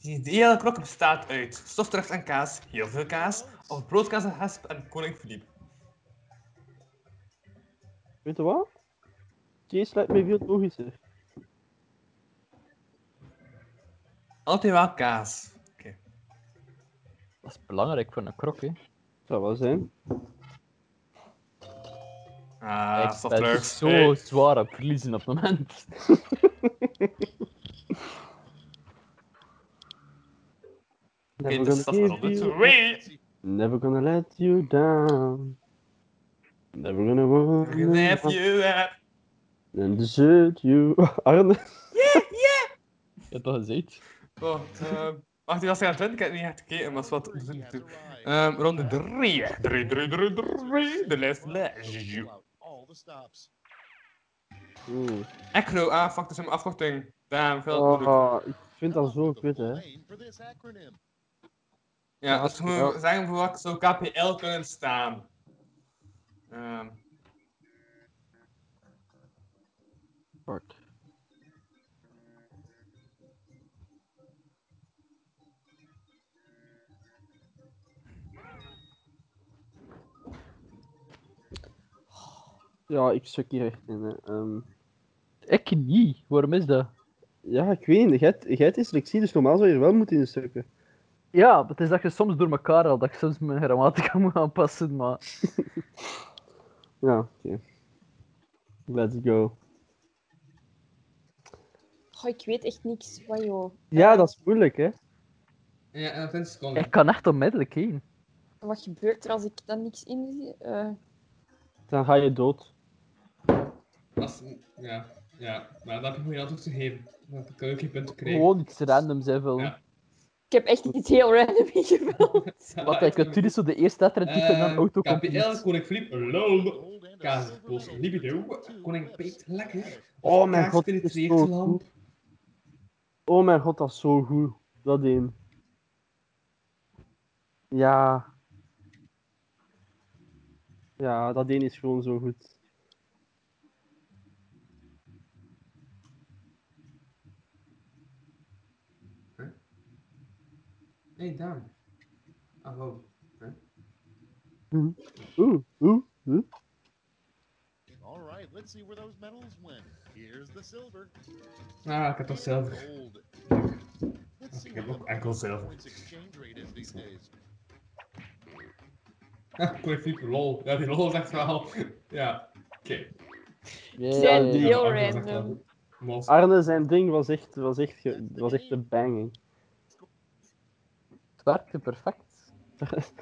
D: Die ideale klok bestaat uit stofdracht en kaas, heel veel kaas, of broodkaas en hasp en koning Filip.
G: Weet je wat? Chase lijkt mij veel logischer.
D: Altijd wel kaas. Oké.
A: Dat is belangrijk voor een krok, hè.
G: Zou wel zijn.
D: Ah,
A: ik ben
D: stofdracht.
A: zo
D: Hey.
A: zwaar aan het verliezen op het moment.
D: Oké,
G: Never
D: dit is
G: gonna,
D: dat van
G: give
D: ronde
G: you,
D: 2.
G: never gonna let you down. Never gonna walk
D: If you have...
G: and desert you. Arne.
A: Je hebt dat gezegd.
D: Oh, ehm, wacht, die was er aan het winnen. Ik heb het niet echt gekeken, maar is wat.
H: Bernie has arrived.
D: Ehm, ronde 3. 3, 3, 3, 3. De lijst lijst.
H: Pull out all the stops.
G: Oeh.
D: Acro, ah, fuck, dat is mijn afkorting. Damn, veel
G: Oh,
D: moeilijk.
G: ik vind dat zo
H: The
G: kut,
H: full
G: hè.
H: name for this acronym.
D: Ja, dat is
G: ja.
D: gewoon zeggen voor wat zou KPL kunnen staan. Ehm,
G: Fuck. Ja, ik suk hier echt in. Hè. Ehm,
A: Ik niet. Waarom is dat?
G: ja, ik weet niet. Jij hebt- jij hebt dyslexie, dus normaal zou je er wel moeten in sukken.
A: Ja, het is dat je soms door elkaar haalt, dat ik soms mijn grammatica moet aanpassen, maar...
G: Ja, oké. Let's go.
C: Oh, ik weet echt niks. Wat joh. Eh,
G: Ja, dat is moeilijk, hè?
D: ja, en dat is gewoon.
A: Ik kan echt onmiddellijk heen.
C: Wat gebeurt er als ik dan niks in zie? Eh,
G: Dan ga je dood.
D: Dat is- Ja, ja, maar dat heb ik me niet altijd gegeven. Dat kan ook geen punten krijgen.
A: Gewoon iets randoms invullen.
D: Ja.
C: Ik heb echt iets heel random ingevuld.
A: Want hij kunt dus zo de eerste letter typen en dan
D: Eh, KPL,
A: autocomplete.
D: Koning Filip, lol.
H: Gold and a
D: Kaas,
H: silver
D: boos,
H: medal
D: libido.
H: for two
D: Koning
H: refs.
D: Peet, lekker.
G: Oh mijn
D: Kaas
G: god, dit is
D: penetreert
G: zo
D: lamp.
G: Oh mijn god, dat is zo goed. Dat één. Ja. Ja, dat één is gewoon zo goed.
D: Hey, Daan. Hallo.
G: Oeh, oeh.
H: All right, let's see where those medals went. Here's the silver.
D: Ah, ik heb toch zelf.
H: Gold. Let's see
D: Dus Ik heb
H: what
D: ook
H: the
D: enkel zelf.
H: points exchange rate is these days.
D: Ah, Koning Filip, lol. Ja, die lol zegt wel. Ja, oké.
A: Ja,
C: Het
A: ja,
C: zijn
A: ja.
D: Ja,
C: heel
D: dat zegt wel.
C: random.
D: Mos.
G: Arne, zijn ding was echt, was echt, ge- was echt een banging.
A: Het werkte perfect.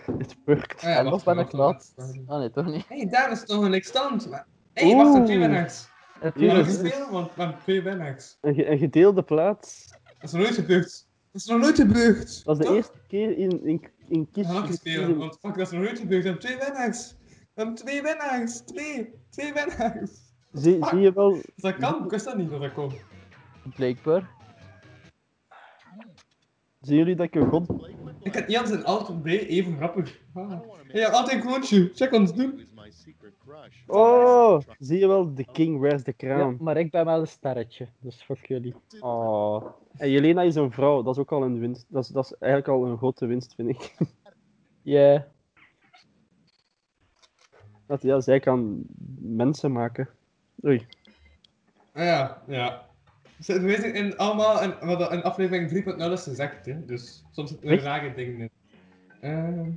G: Het werkt.
D: Ah ja,
A: en nog
D: wacht,
A: ben ik
D: wacht,
A: laat.
D: wacht, wacht.
A: Ah nee, toch niet.
D: Hey, daar is nog een extant. Hey, wacht, er twee
G: Oeh.
D: winnaars.
G: Ja,
D: Ja,
G: dat
D: niet
G: is-
D: spelen, want we hebben twee winnaars.
G: Een, ge- een gedeelde plaats.
D: Dat is nog nooit gebeurd. Dat is nog nooit gebeurd.
G: Dat is de
D: Toch?
G: eerste keer in, in, in
D: Ik
G: Kitsch.
D: ga nog eens spelen, want fuck, dat is nog nooit gebeurd. We hebben twee winnaars. We hebben twee winnaars. Twee. Twee winnaars.
G: Zie, zie je wel,
D: Dus dat kan, ik wist dat niet dat dat kon.
A: Blijkbaar.
G: zien jullie dat ik een god...
H: Blake went
D: Ik
H: black.
D: had Jans en altijd B even grappig.
H: I
D: Ah.
H: don't wanna make
D: Hey, altijd een kroontje. Check ons doen.
H: Who's my secret crush?
G: Oh, zie je wel, The King Wears the
A: Ja,
G: Crown.
A: maar ik ben wel een sterretje, dus fuck jullie.
G: Oh. En Jelena is een vrouw, dat is ook al een winst. Dat is, dat is eigenlijk al een grote winst, vind ik.
A: Yeah.
G: Dat, ja, zij kan mensen maken. Oei.
D: Ah ja, ja. Ze we zitten in allemaal in, wat dat in aflevering 3.0 is gezegd, hè. Dus soms zitten er rare dingen in. Ehm.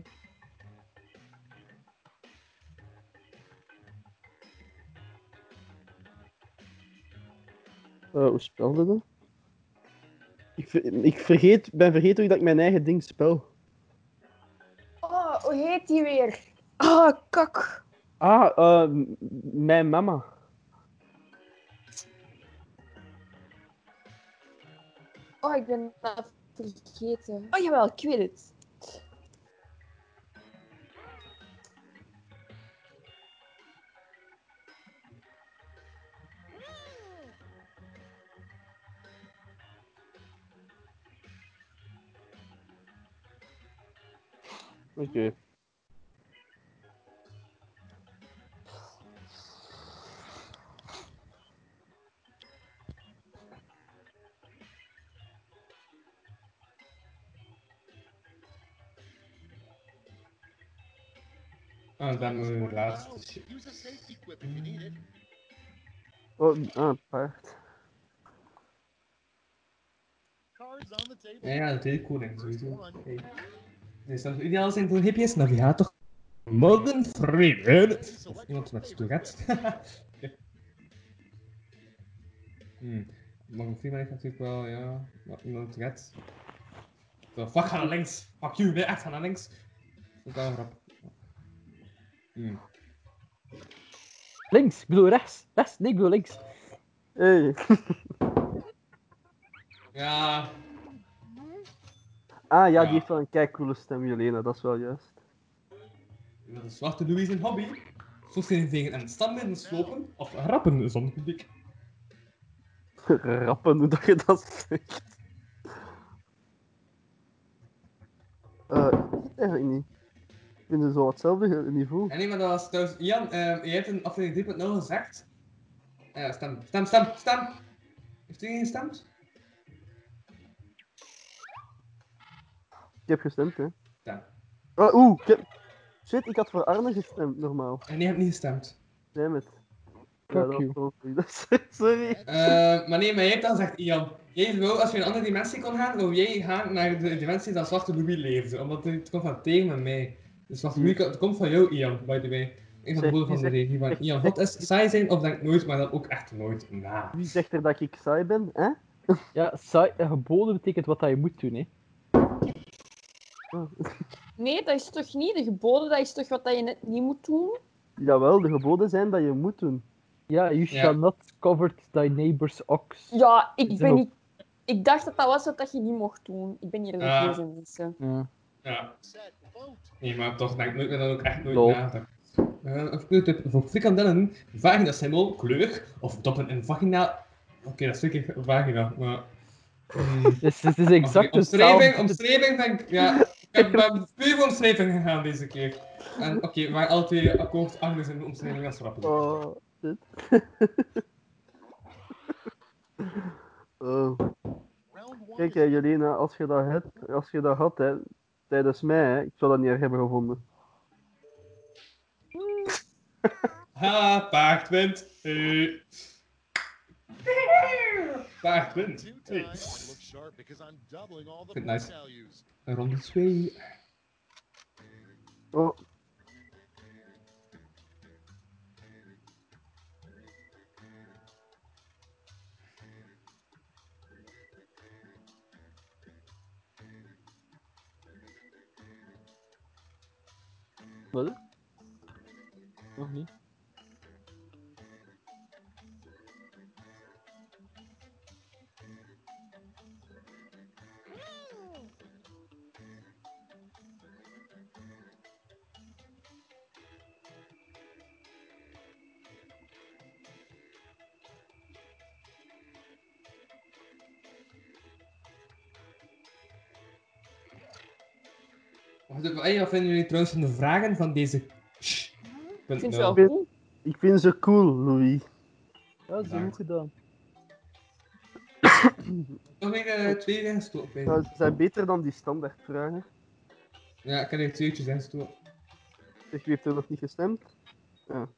G: Eh, hoe spelde dat? Ik, ver- ik vergeet, ben vergeten hoe ik dat ik mijn eigen ding spel.
C: Oh, hoe heet die weer? Oh, kak.
G: Ah, eh, m- mijn mama.
C: Oh, ik ben dat vergeten. Oh, jawel, ik weet het.
G: Oké.
D: Ah, dan moeten we de laatste.
H: House. Use a safety quip if you need it.
G: Oh, ah, paard.
H: Cards on the table.
D: Ja, ja, de tweede koning,
H: First
D: sowieso.
H: one.
D: Hey. Dus dat zou ideaal zijn voor hippies, navigator. Morgen vrienden. Of iemand met Tourette. Ja. hmm. Morgan Freeman heeft natuurlijk wel, ja. Maar iemand met Tourette. Zo, fuck, ga naar links. Fuck you, nee, echt, ga naar links. Dat is wel een grap. Hmm.
A: Links, ik bedoel rechts. Rechts, nee, ik bedoel links.
G: Hey.
D: Ja,
G: Ah ja,
D: Ja.
G: die heeft wel een kei coole stem, Jelena, dat is wel juist.
D: dat is zwarte Louis een hobby. Soms geen tegen en standbeelden slopen of rappen zonder publiek.
G: Rappen, hoe dat je dat zegt. Eh, eigenlijk niet. Ik vind het zo hetzelfde niveau.
D: Ja, nee, maar dat was trouwens... Jan, ehm, jij hebt in aflevering 3.0 gezegd... Ja, stem, stem, stem, stem! Heeft iedereen gestemd?
G: Ik heb gestemd, hè.
D: Ja.
G: Ah, Oeh, ik heb... Shit, ik had voor Arne gestemd, normaal.
D: En nee, je hebt niet gestemd.
G: Damn it.
A: Fuck
G: dat
A: you.
G: was gewoon- Sorry.
D: Eh, maar nee, maar jij hebt dan gezegd, Jan... Jij wil, als je in een andere dimensie kon gaan, wil jij gaan naar de dimensie dat Zwarte Louis leefde. Omdat het komt van tegen met mij. Dus Zwarte Louis het komt van jou, Ian, by the way. Een van de
G: Zeg,
D: broer van de
G: zeg,
D: regie van
G: zeg,
D: Ian.
G: zeg.
D: Wat is saai zijn of denk nooit, maar dan ook echt nooit na.
G: Wie zegt er dat ik saai ben, hè?
A: Ja, saai, eh, geboden betekent wat dat je moet doen, hè.
C: Nee, dat is toch niet de geboden? Dat is toch wat dat je net niet moet doen?
G: Jawel, de geboden zijn dat je moet doen.
A: Ja, you
D: Ja.
A: shall not covet thy neighbor's ox.
C: Ja, ik ben
A: Zo.
C: niet Ik dacht dat dat was wat dat je niet mocht doen. Ik ben hier de
D: Ja.
C: deze mensen.
D: Ja,
H: Set, vote.
D: nee, maar toch denk ik dat ook echt nooit
I: Lol.
D: nadenken. Eh, Of kleurt het voor frikandellen, vagina symbool, kleur of doppen in vagina? Oké, dat is zeker vagina, maar... Hmm.
I: Dus het is exact
D: Oké, omschrijving,
I: hetzelfde.
D: omschrijving denk ik, ja. Ik heb naar puur omschrijving gegaan deze keer. En oké, maar alle twee akkoord anders in de omschrijving als rappelen.
B: Oh, dit. oh.
H: Round one
B: Kijk,
H: is
B: hè, Jelena, als je dat, hebt, als je dat had hè, tijdens mij, hè, ik zou dat niet erg hebben gevonden.
D: Ha, paard wint. Eh. Paard wint.
H: two
D: Hey.
H: times. Look sharp because I'm doubling all the
D: Good night.
H: point values.
D: Ronde 2.
B: Oh,
I: Nog niet.
D: Hey, wat vinden jullie trouwens van de vragen van deze...
C: Ik
D: Punt
C: vind
D: nul.
C: het wel cool.
B: ik vind ze cool, Louis.
I: Ja, ze goed
D: Bedankt.
I: gedaan.
D: Nog weer eh, twee ingestoken. bij.
B: Ja, ze zijn beter dan die standaardvragen.
D: Ja, ik heb er tweetjes ingestoken.
B: Ik heeft er nog niet gestemd.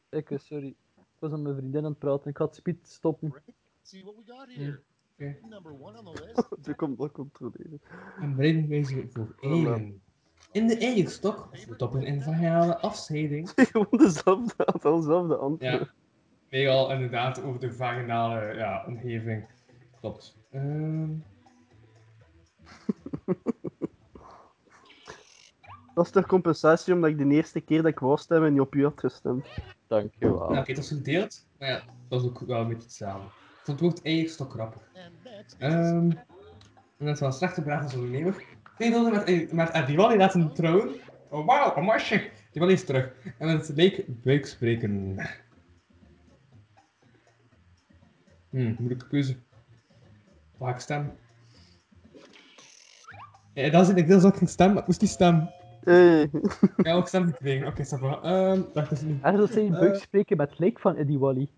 I: Ik, eh, sorry. Ik was aan mijn vriendin aan het praten. Ik had speed stoppen.
H: See what we got here.
D: Hmm. Okay.
H: Number one on the list.
B: Ze komt dat controleren.
D: En breeding bezig voor eieren. In de eierstok, of de doppen in vaginale afscheiding.
B: Gewoon dezelfde, had al dezelfde antwoord.
D: Ja. Meegal inderdaad over de vaginale ja, omgeving. Klopt. Ehm,
B: Dat is ter compensatie omdat ik de eerste keer dat ik wou stemmen niet op u had gestemd.
I: Dankjewel.
D: ja, Oké, dat is gedeeld. Maar ja, dat is ook wel een beetje hetzelfde. Ik vond het woord eierstok grappig.
H: And next is
D: Ehm en dat is wel een slechte vraag als ondernemer. Twee wilden met, eh, met Adiwali laten trouwen. Oh wauw, een masje. Diwali is terug. En het leek buik spreken. Hm, moeilijke keuze. Vaak stem. Ja, dat is ik deels ook geen stem, maar ik moest die stem.
B: Hey.
D: Ja, ook stem gekregen. Oké, ça va. Ehm, dacht dus nu.
I: Er zijn buik spreken met leek van Eddie Wally.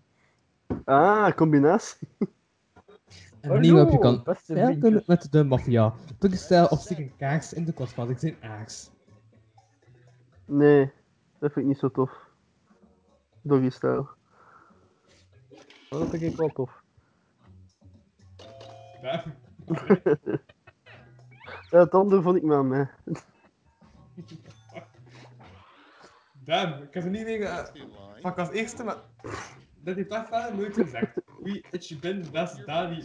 B: Ah, combinatie.
D: En nieuw heb je kan
I: Beste
D: Werken
I: vriendje.
D: met de maffia. Druk een stijl of stik een kaars in de kostvat. Ik zijn aars.
B: Nee, dat vind ik niet zo tof. Doggy style.
I: Maar Dat vind ik wel tof.
D: Ja.
B: Ja, het andere vond ik me aan mij.
D: Damn, ik heb er niet mee
H: that's
D: ge-
H: the line.
D: Pak als eerste, maar dat heeft echt verder nooit gezegd. Wie het bent, dat is Dali.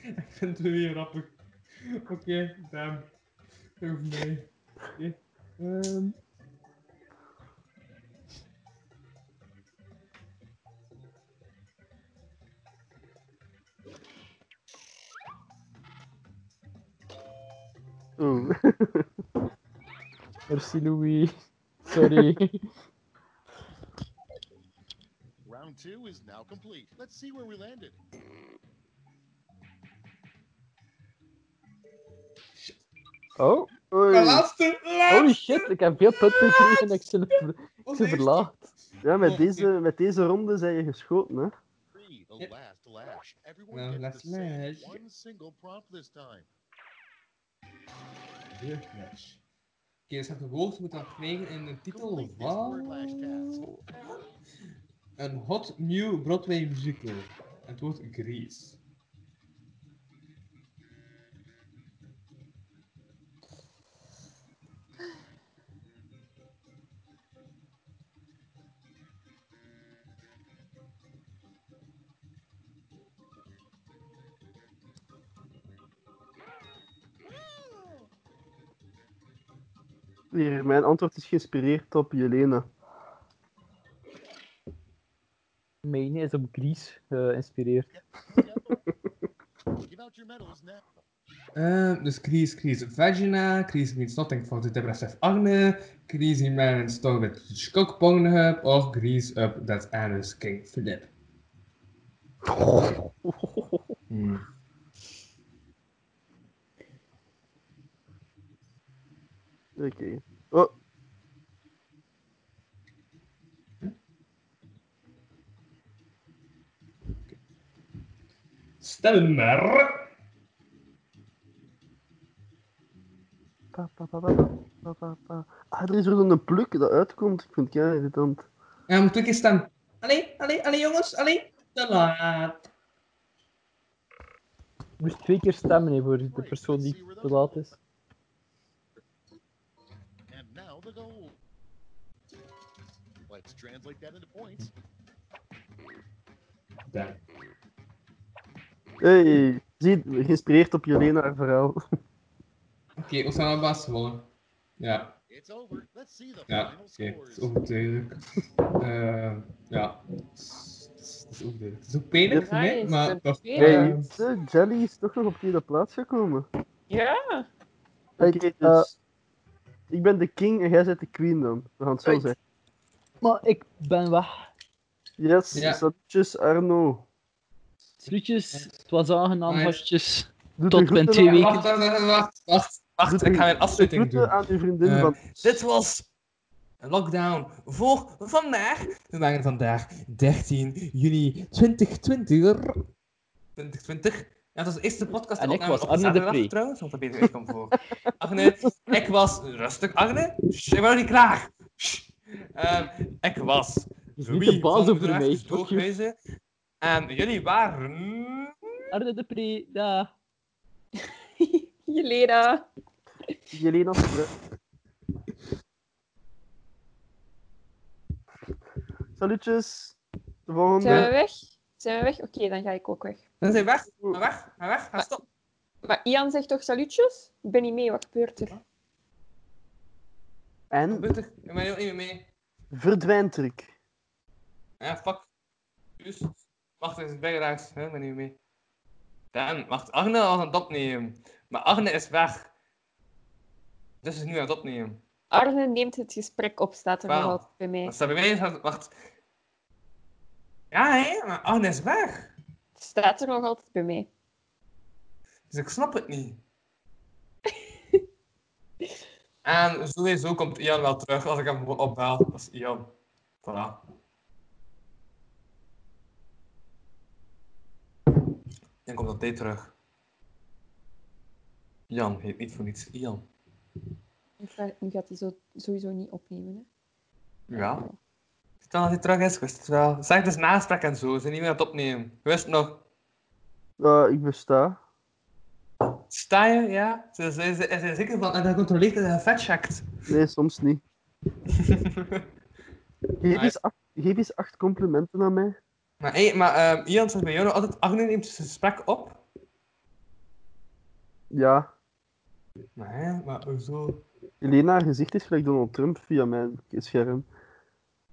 D: ik vind het weer grappig. Oké, damn. Over mij. Oké, ehm.
B: Oeh.
I: Merci Louis. Sorry.
H: Round two is now complete. Let's see where we landed.
I: Oh,
B: Oei.
D: De laatste!
I: holy
D: Laatste!
I: shit, ik heb veel punten gekregen en ik zit ver- ik
D: Onze
I: zit
D: eerste.
I: verlaagd.
B: Ja, met
D: Oh,
B: deze, met deze ronde zijn je geschoten, hè.
H: Three, the
D: Yep.
H: last lash. Everyone
D: Well,
H: gets
D: last
H: the same
D: lash.
H: one single prompt this time.
D: Deurknatch. Oké, dus je hebt een woord moet dat krijgen in de titel
H: Complete this word
D: van...
H: lash task.
D: Een hot new Broadway musical. En het woord Grease.
B: Hier, mijn antwoord is geïnspireerd op Jelena.
I: eh, Mijn is op Grease geïnspireerd.
H: Give out your medals now.
D: Ehm, dus Chris, Chris Vagina, Chris means nothing for the depressive Agne, Chris he man stone with Skok Pornhub, of Chris up that anus King Philip. Hmm.
B: Oké. Oh.
D: Stelmer!
B: Pa, pa, pa, pa, pa, pa, pa. Ah, er is er een pluk dat uitkomt. Ik vind het kei irritant.
D: Ja, moet twee keer stemmen. Allee, allee, allee jongens, allee. Te laat.
I: Je moest twee keer stemmen hè, voor de persoon die te laat is.
H: And now the goal. Let's translate that into points.
D: Daar.
B: Hey, zie, geïnspireerd op Jelena haar verhaal.
D: Oké, we zijn al baas gewonnen. Ja,
H: It's over. Let's see the
D: ja,
H: final
D: oké. Het
H: scores.
D: is overduidelijk. Eh, ja. Het is- het is overduidelijk. Het is ook pijnlijk voor mij,
C: Nice,
D: maar
C: een
D: toch.
C: tweede.
D: eh,
B: Hey, de Jelly is toch nog op tweede plaats gekomen.
C: Ja,
B: Oké,
I: Ik, eh,
B: dus... Ik ben de king en jij bent de queen dan. We gaan het zo
D: Uit.
B: zeggen.
I: Maar ik ben weg.
B: Yes,
D: Ja.
B: salutjes Arno.
I: Truutjes, het was aangenaam,
D: Nice.
I: hartjes.
B: Doe de
I: Tot binnen
B: groeten
I: twee
B: aan-
I: weken.
D: Wacht, wacht, wacht, wacht, wacht, wacht, ik ga mijn
B: De
D: afsluiting doen.
B: groeten aan uw vriendin
D: Eh,
B: van...
D: Dit was Lockdown voor vandaag. We waren vandaag 13 juni 2020. 2020. Ja, dat was de eerste podcast
I: En ik
D: opname
I: was
D: op
I: Arne de
D: zaterdag,
I: Pre.
D: trouwens, want dat beter ik kwam voor. Agne, ik was rustig Agne. Shh, ik ben nog niet klaar. Shh. Ehm, ik was
I: Dus niet
D: Louis
I: de baas
D: van
I: over mij.
D: Bedrijfjes Doorgewezen. En jullie waren...
I: Arne de Pre, daar.
C: Jelena.
B: Jelena Spruit. Salutjes. De volgende.
C: Zijn we weg? Zijn we weg? Oké, dan ga ik ook weg.
D: Dan zijn we weg, ga weg, ga weg, ga stop.
C: Maar Ian zegt toch salutjes? Ik ben niet mee, wat gebeurt er?
B: En
D: Gebeurt er? Ik ben heel niet meer mee.
B: verdwijnt Rick.
D: Ja, fuck. Juist. Wacht, het is bijgeraakt. Hè, ben niet mee. Damn, wacht. Agne was aan het opnemen. Maar Agne is weg. Dus is nu aan het opnemen.
C: Arne neemt het gesprek op, staat er nog
D: Wel.
C: altijd bij mij.
D: Wat staat bij mij? Staat- Wacht. Ja, hè? Maar Agne is weg.
C: Het staat er nog altijd bij mij.
D: Dus ik snap het niet. en sowieso komt Ian wel terug als ik hem gewoon opbel. Dat is Ian. Voilà. Dan komt altijd terug. Jan heet niet voor niets Ian.
C: Nu ga- Nu gaat hij zo, sowieso niet opnemen. Hè?
D: Ja. Stel dat hij terug is, wist het wel. Zeg, het is naspraak en zo. Ze zijn niet meer aan het opnemen. Wist het nog.
B: Eh, ik besta.
D: Sta je? Ja? Ze ze- ze- ze zijn zeker van. En dan controleert dat hij vetcheckt.
B: Nee, soms niet. Geef eens acht, geef eens acht complimenten aan mij.
D: Maar, hey, maar ehm, Ian zegt bij jou nog altijd, Agne neemt zijn gesprek op.
B: Ja.
D: Maar, hè, maar hoezo?
B: Jelena, haar gezicht is gelijk Donald Trump via mijn scherm.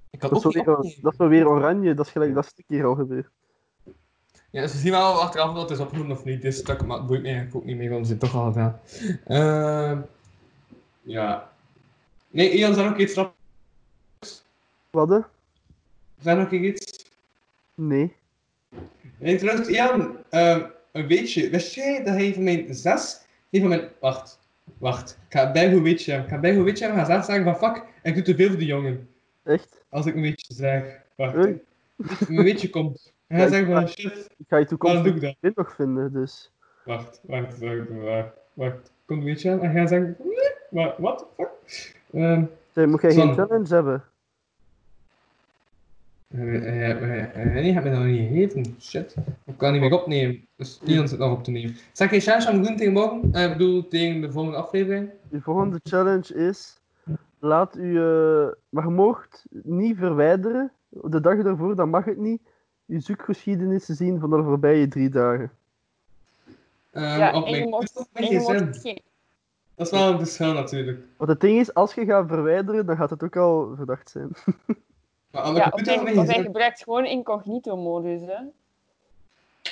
D: Ik kan
B: Dat is,
D: ook
B: wel
D: niet
B: weer, or-
D: opnemen.
B: dat is wel weer oranje. Dat is gelijk dat is een keer al gebeurd.
D: Ja, dus we zien wel achteraf dat het is opgenomen of niet. Dit stuk, maar het boeit me eigenlijk ook niet meer, want we zijn het toch al gedaan. Ehm, ja. Nee, Ian, zeg ook iets rap.
B: Wat? hè?
D: Zeg ook iets.
B: Nee.
D: Nee, trouwens, Ian, ehm, een beetje. Wist jij dat hij van mijn zes, die van mijn... Wacht, wacht. Ik ga bij hoe weet je hem. Ik ga bij hoe weet je hem gaan zes zeggen van, fuck, ik doe te veel voor die jongen.
B: Echt?
D: Als ik een beetje zeg. Wacht.
B: Oei.
D: Een beetje komt. En
B: Ja,
D: hij
B: ik-
D: zegt van, shit,
B: Ik ga je
D: waarom doe
B: toekomstig
D: ik dat?
B: vriend nog vinden, dus.
D: Wacht, wacht, wacht, wacht. wacht. Komt een beetje aan en hij zegt, nee, wa- what the fuck? Ehm,
B: Zeg, moet jij geen
D: Zonde.
B: challenge hebben?
D: hij- hij- hij- hij- Nee, heb mij dat nog niet gegeten. Shit. Ik kan niet meer opnemen. Dus Ian zit nog op te nemen. Zeg je challenge aan het doen tegen morgen? Eh, Ik bedoel, tegen de volgende aflevering?
B: De volgende challenge is. Laat u. eh, maar je moogt niet verwijderen. De dag ervoor, dan mag het niet. Je zoekgeschiedenis te zien van de voorbije drie dagen.
D: Ehm,
C: Ja,
D: op
C: en je
D: mijn
C: mocht-
D: toestel met
C: En je
D: gsm.
C: mocht geen.
D: Dat is wel een verschil natuurlijk.
B: Want het ding is, als je gaat verwijderen, dan gaat het ook al verdacht zijn.
D: Maar aan de
C: Ja, of
D: computer
C: hij,
D: met
C: of hij
D: gsm. Ehm.
C: gebruikt gewoon incognito-modus. Hè?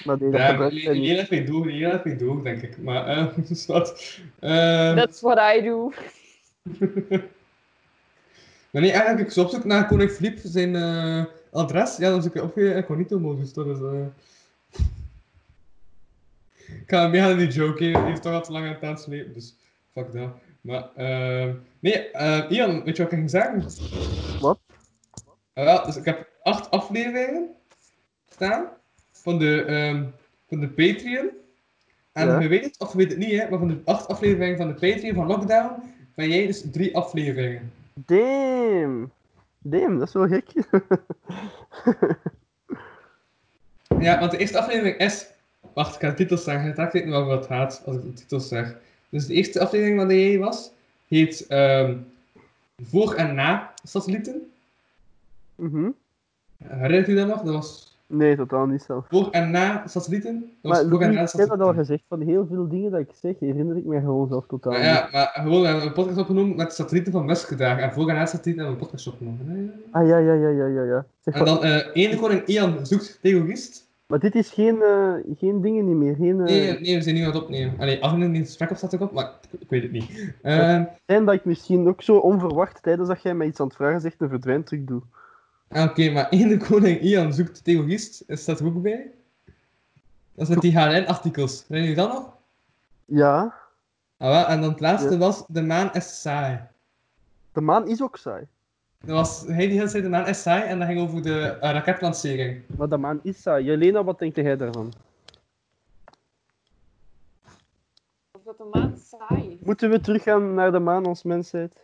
B: Maar die dat
D: Ja,
B: gebruikt
D: niet
B: hij niet.
D: niet dat ik doe, niet dat ik doe, denk ik. Maar, eh, dus wat. Ehm,
C: Dat is wat I do.
D: Maar nee, eigenlijk, ik zocht ook naar koning Filip zijn eh, adres. Ja, dan zoek ik opgegeven incognito-modus. Dat is... eh. Ik ga mee aan die joke, hè. die heeft toch al te lang aan het aanslepen, dus fuck dat. Maar, ehm, nee, eh, Ian, weet je wat ik ging zeggen?
B: Wat?
D: Ah, wel, dus ik heb acht afleveringen staan van de, ehm, van de Patreon. En
B: Ja.
D: je weet het, of je weet het niet, hè, maar van de acht afleveringen van de Patreon van Lockdown, ben jij dus drie afleveringen.
B: Damn. Damn, dat is wel gek.
D: Ja, want de eerste aflevering is. Wacht, ik ga de titels zeggen. Het raakt weet niet over wat het gaat als ik de titels zeg. Dus de eerste aflevering van de jij was, heet ehm, Voor en Na Satellieten.
B: Mhm.
D: Herinnert u dat nog? Dat was
B: Nee, totaal niet zelf.
D: Voor en Na Satellieten. Dat
B: Maar
D: was Voor en
B: Louis,
D: Na
B: ik heb dat al
D: Satellieten.
B: gezegd. Van heel veel dingen dat ik zeg, herinner ik mij gewoon zelf totaal
D: Maar
B: niet.
D: ja, maar gewoon we hebben een podcast opgenomen met satellieten van Westgedaag. En Voor en Na Satellieten hebben we een podcast opgenomen.
B: Ah, ja, ja, ja, ja, ja. ja. Zeg,
D: En
B: maar,
D: dan eh één koning Ian zoekt terrorist.
B: maar dit is geen, eh, geen dingen niet meer. Geen, eh,
D: Nee, nee, we zijn nu aan het opnemen. Allee, af en toe in het gesprek op staat ook op, maar ik, ik weet het niet. Ehm,
B: zijn dat ik misschien ook zo onverwacht tijdens dat jij mij iets aan het vragen zegt een verdwijnt terug doe.
D: Ah, Oké, maar één de koning Ian zoekt terrorist, eh, staat er ook bij. Dat is met die HLN-artikels. Weet je dat nog?
B: Ja,
D: Ah, wel, en dan het laatste
B: Ja.
D: was De Maan is saai.
B: de maan is ook saai.
D: Dat was hij die hele tijd De Maan is saai en dat ging over de eh, raketlancering.
B: Maar de maan is saai. Jelena, wat denk jij daarvan?
C: Of dat de maan saai is.
B: Moeten we teruggaan naar de maan als mensheid?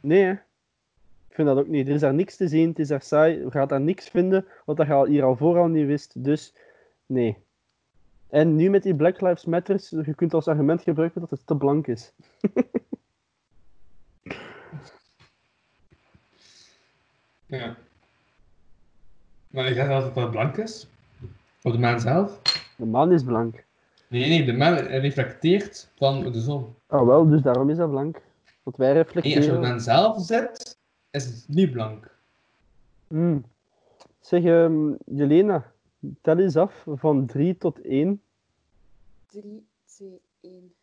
B: Nee, hè? Ik vind dat ook niet. Er is daar niks te zien, het is daar saai. We gaan daar niks vinden, wat dat je al- hier al vooral niet wist. Dus, nee. En nu met die Black Lives Matters, je kunt als argument gebruiken dat het te blank is.
D: Ja. Maar ik dacht dat het wel blank is. Op de maan zelf?
B: De maan is blank.
D: Nee, nee, de maan reflecteert van de zon.
B: Ah wel, dus daarom is dat blank. Want wij
D: Nee, als je op
B: reflecteren...
D: de maan zelf zit, is het niet blank.
B: Hmm. Zeg, ehm, Jelena, tel eens af van 3 tot 1.
C: 3, 2, 1.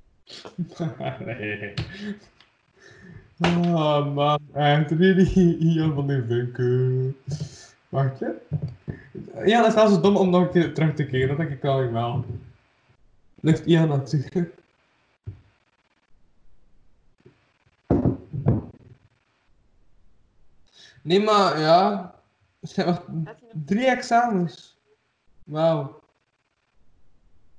D: nee. Oh man, Anthony Ian van de Winkel. Wacht je? Ja, dat is wel zo dom om nog een keer terug te keren, dat denk ik wel. wel. Ligt Ian natuurlijk. Nee, maar ja. Het zijn nog drie examens. Wauw.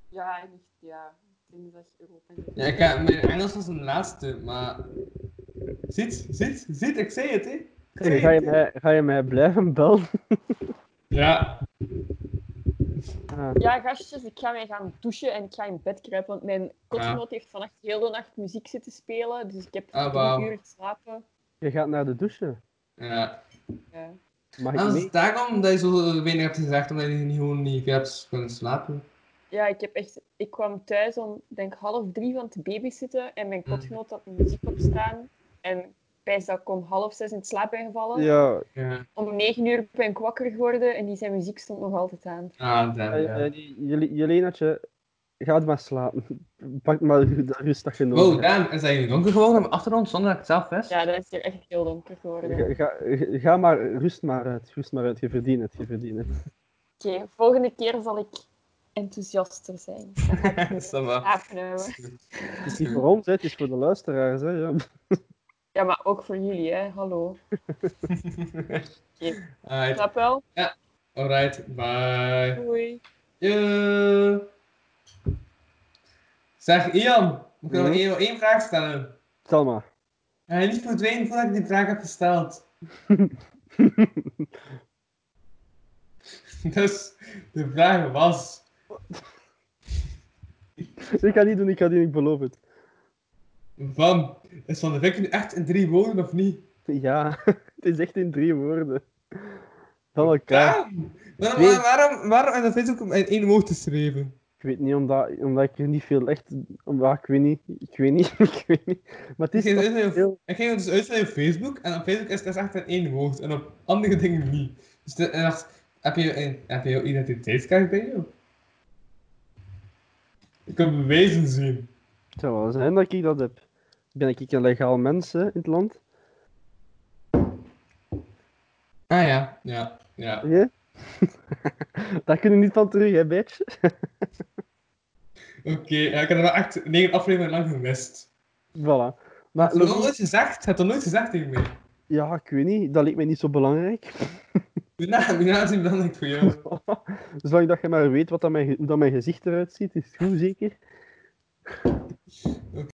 C: Ja, niet, ja. Dinsdag Europa.
D: Ja, ik heb, mijn Engels was een laatste, maar... Ziet, ziet, ziet, ik zei het, hè. Ik zei
B: Ga je
D: het, hè.
B: mij, ga je mij blijven bellen?
D: Ja.
B: Ah,
C: Ja, gastjes, ik ga mij gaan douchen en ik ga in bed kruipen, want mijn kotgenoot heeft vannacht heel de nacht muziek zitten spelen, dus ik heb
D: Ah,
C: drie
D: wauw.
C: uur geslapen.
B: je gaat naar de douche.
D: Ja.
C: Ja.
B: Mag
D: En
B: ik
D: dat
B: mee?
D: is daarom dat je zo weinig hebt gezegd, omdat je niet gewoon niet hebt kunnen slapen.
C: Ja, ik heb echt... Ik kwam thuis om, denk half drie van te babysitten en mijn kotgenoot had muziek op staan. En bij dat ik om half zes in het slaap ben gevallen.
B: Ja,
D: Ja.
C: Om negen uur ben ik wakker geworden en die zijn muziek stond nog altijd aan.
D: Ah, damn,
B: eh,
D: ja.
B: eh, Jele- Jelenatje, ga maar slapen. Pak maar ru- de rust dat je nodig
D: Wow,
B: hebt.
D: damn, is dat hier donker geworden op mijn achtergrond zonder dat ik het zelf wist?
C: Ja, dat is hier echt heel donker geworden.
B: Ga, ga, ga maar, rust maar uit. Rust maar uit, je verdient het, je verdient het.
C: Oké, volgende keer zal ik enthousiaster zijn.
D: Is dat waar?
C: Slapen, hè.
B: Het is niet voor ons, hè, het is voor de luisteraars. Hè, ja.
C: Ja, maar ook voor jullie, hè. Hallo. Oké,
D: Alright,
C: Slaap wel.
D: alright, bye.
C: Doei.
D: Yeah. Zeg, Ian, we kunnen nog
B: Mhm.
D: één- één vraag stellen.
B: Stel maar.
D: En hij niet verdwenen voordat ik die vraag heb gesteld. dus de vraag was.
B: Ik ga niet doen, ik ga die niet, ik beloof het.
D: Van, is Van de Vink nu echt in drie woorden of niet?
B: Ja, het is echt in drie woorden. Van elkaar.
D: Waarom,
B: Nee.
D: waarom, waarom is dat Facebook om in één woord te schrijven?
G: Ik weet niet, omdat, omdat ik er niet veel echt... Omdat, ik weet niet, ik weet niet, ik weet niet. Maar het
D: Ik
G: is
D: ging,
G: toch
D: het uit naar-
G: heel...
D: ik ging het dus uit naar je Facebook en op Facebook is het dus echt in één woord en op andere dingen niet. Dus de, en dacht, heb je een- heb je jouw identiteitskaart bij jou? Ik kan bewijzen zien.
G: Het zou wel zijn dat ik dat heb. Ben ik een legaal mens hè, in het land?
D: Ah ja, ja, ja.
G: Ja? Daar kunnen we niet van terug, hè, bitch?
D: Oké, eh, ik heb er wel echt negen afleveringen lang gemist.
G: Voilà. Maar
D: Heb je dat
G: Louis-
D: nooit gezegd? Heb je dat nooit gezegd tegen mij?
G: ja, ik weet niet, dat leek mij niet zo belangrijk.
D: Mijn naam, mijn naam is niet belangrijk voor jou.
G: Zolang dat je maar weet wat dat mijn, ge- hoe dat mijn gezicht eruit ziet, is het goed, zeker?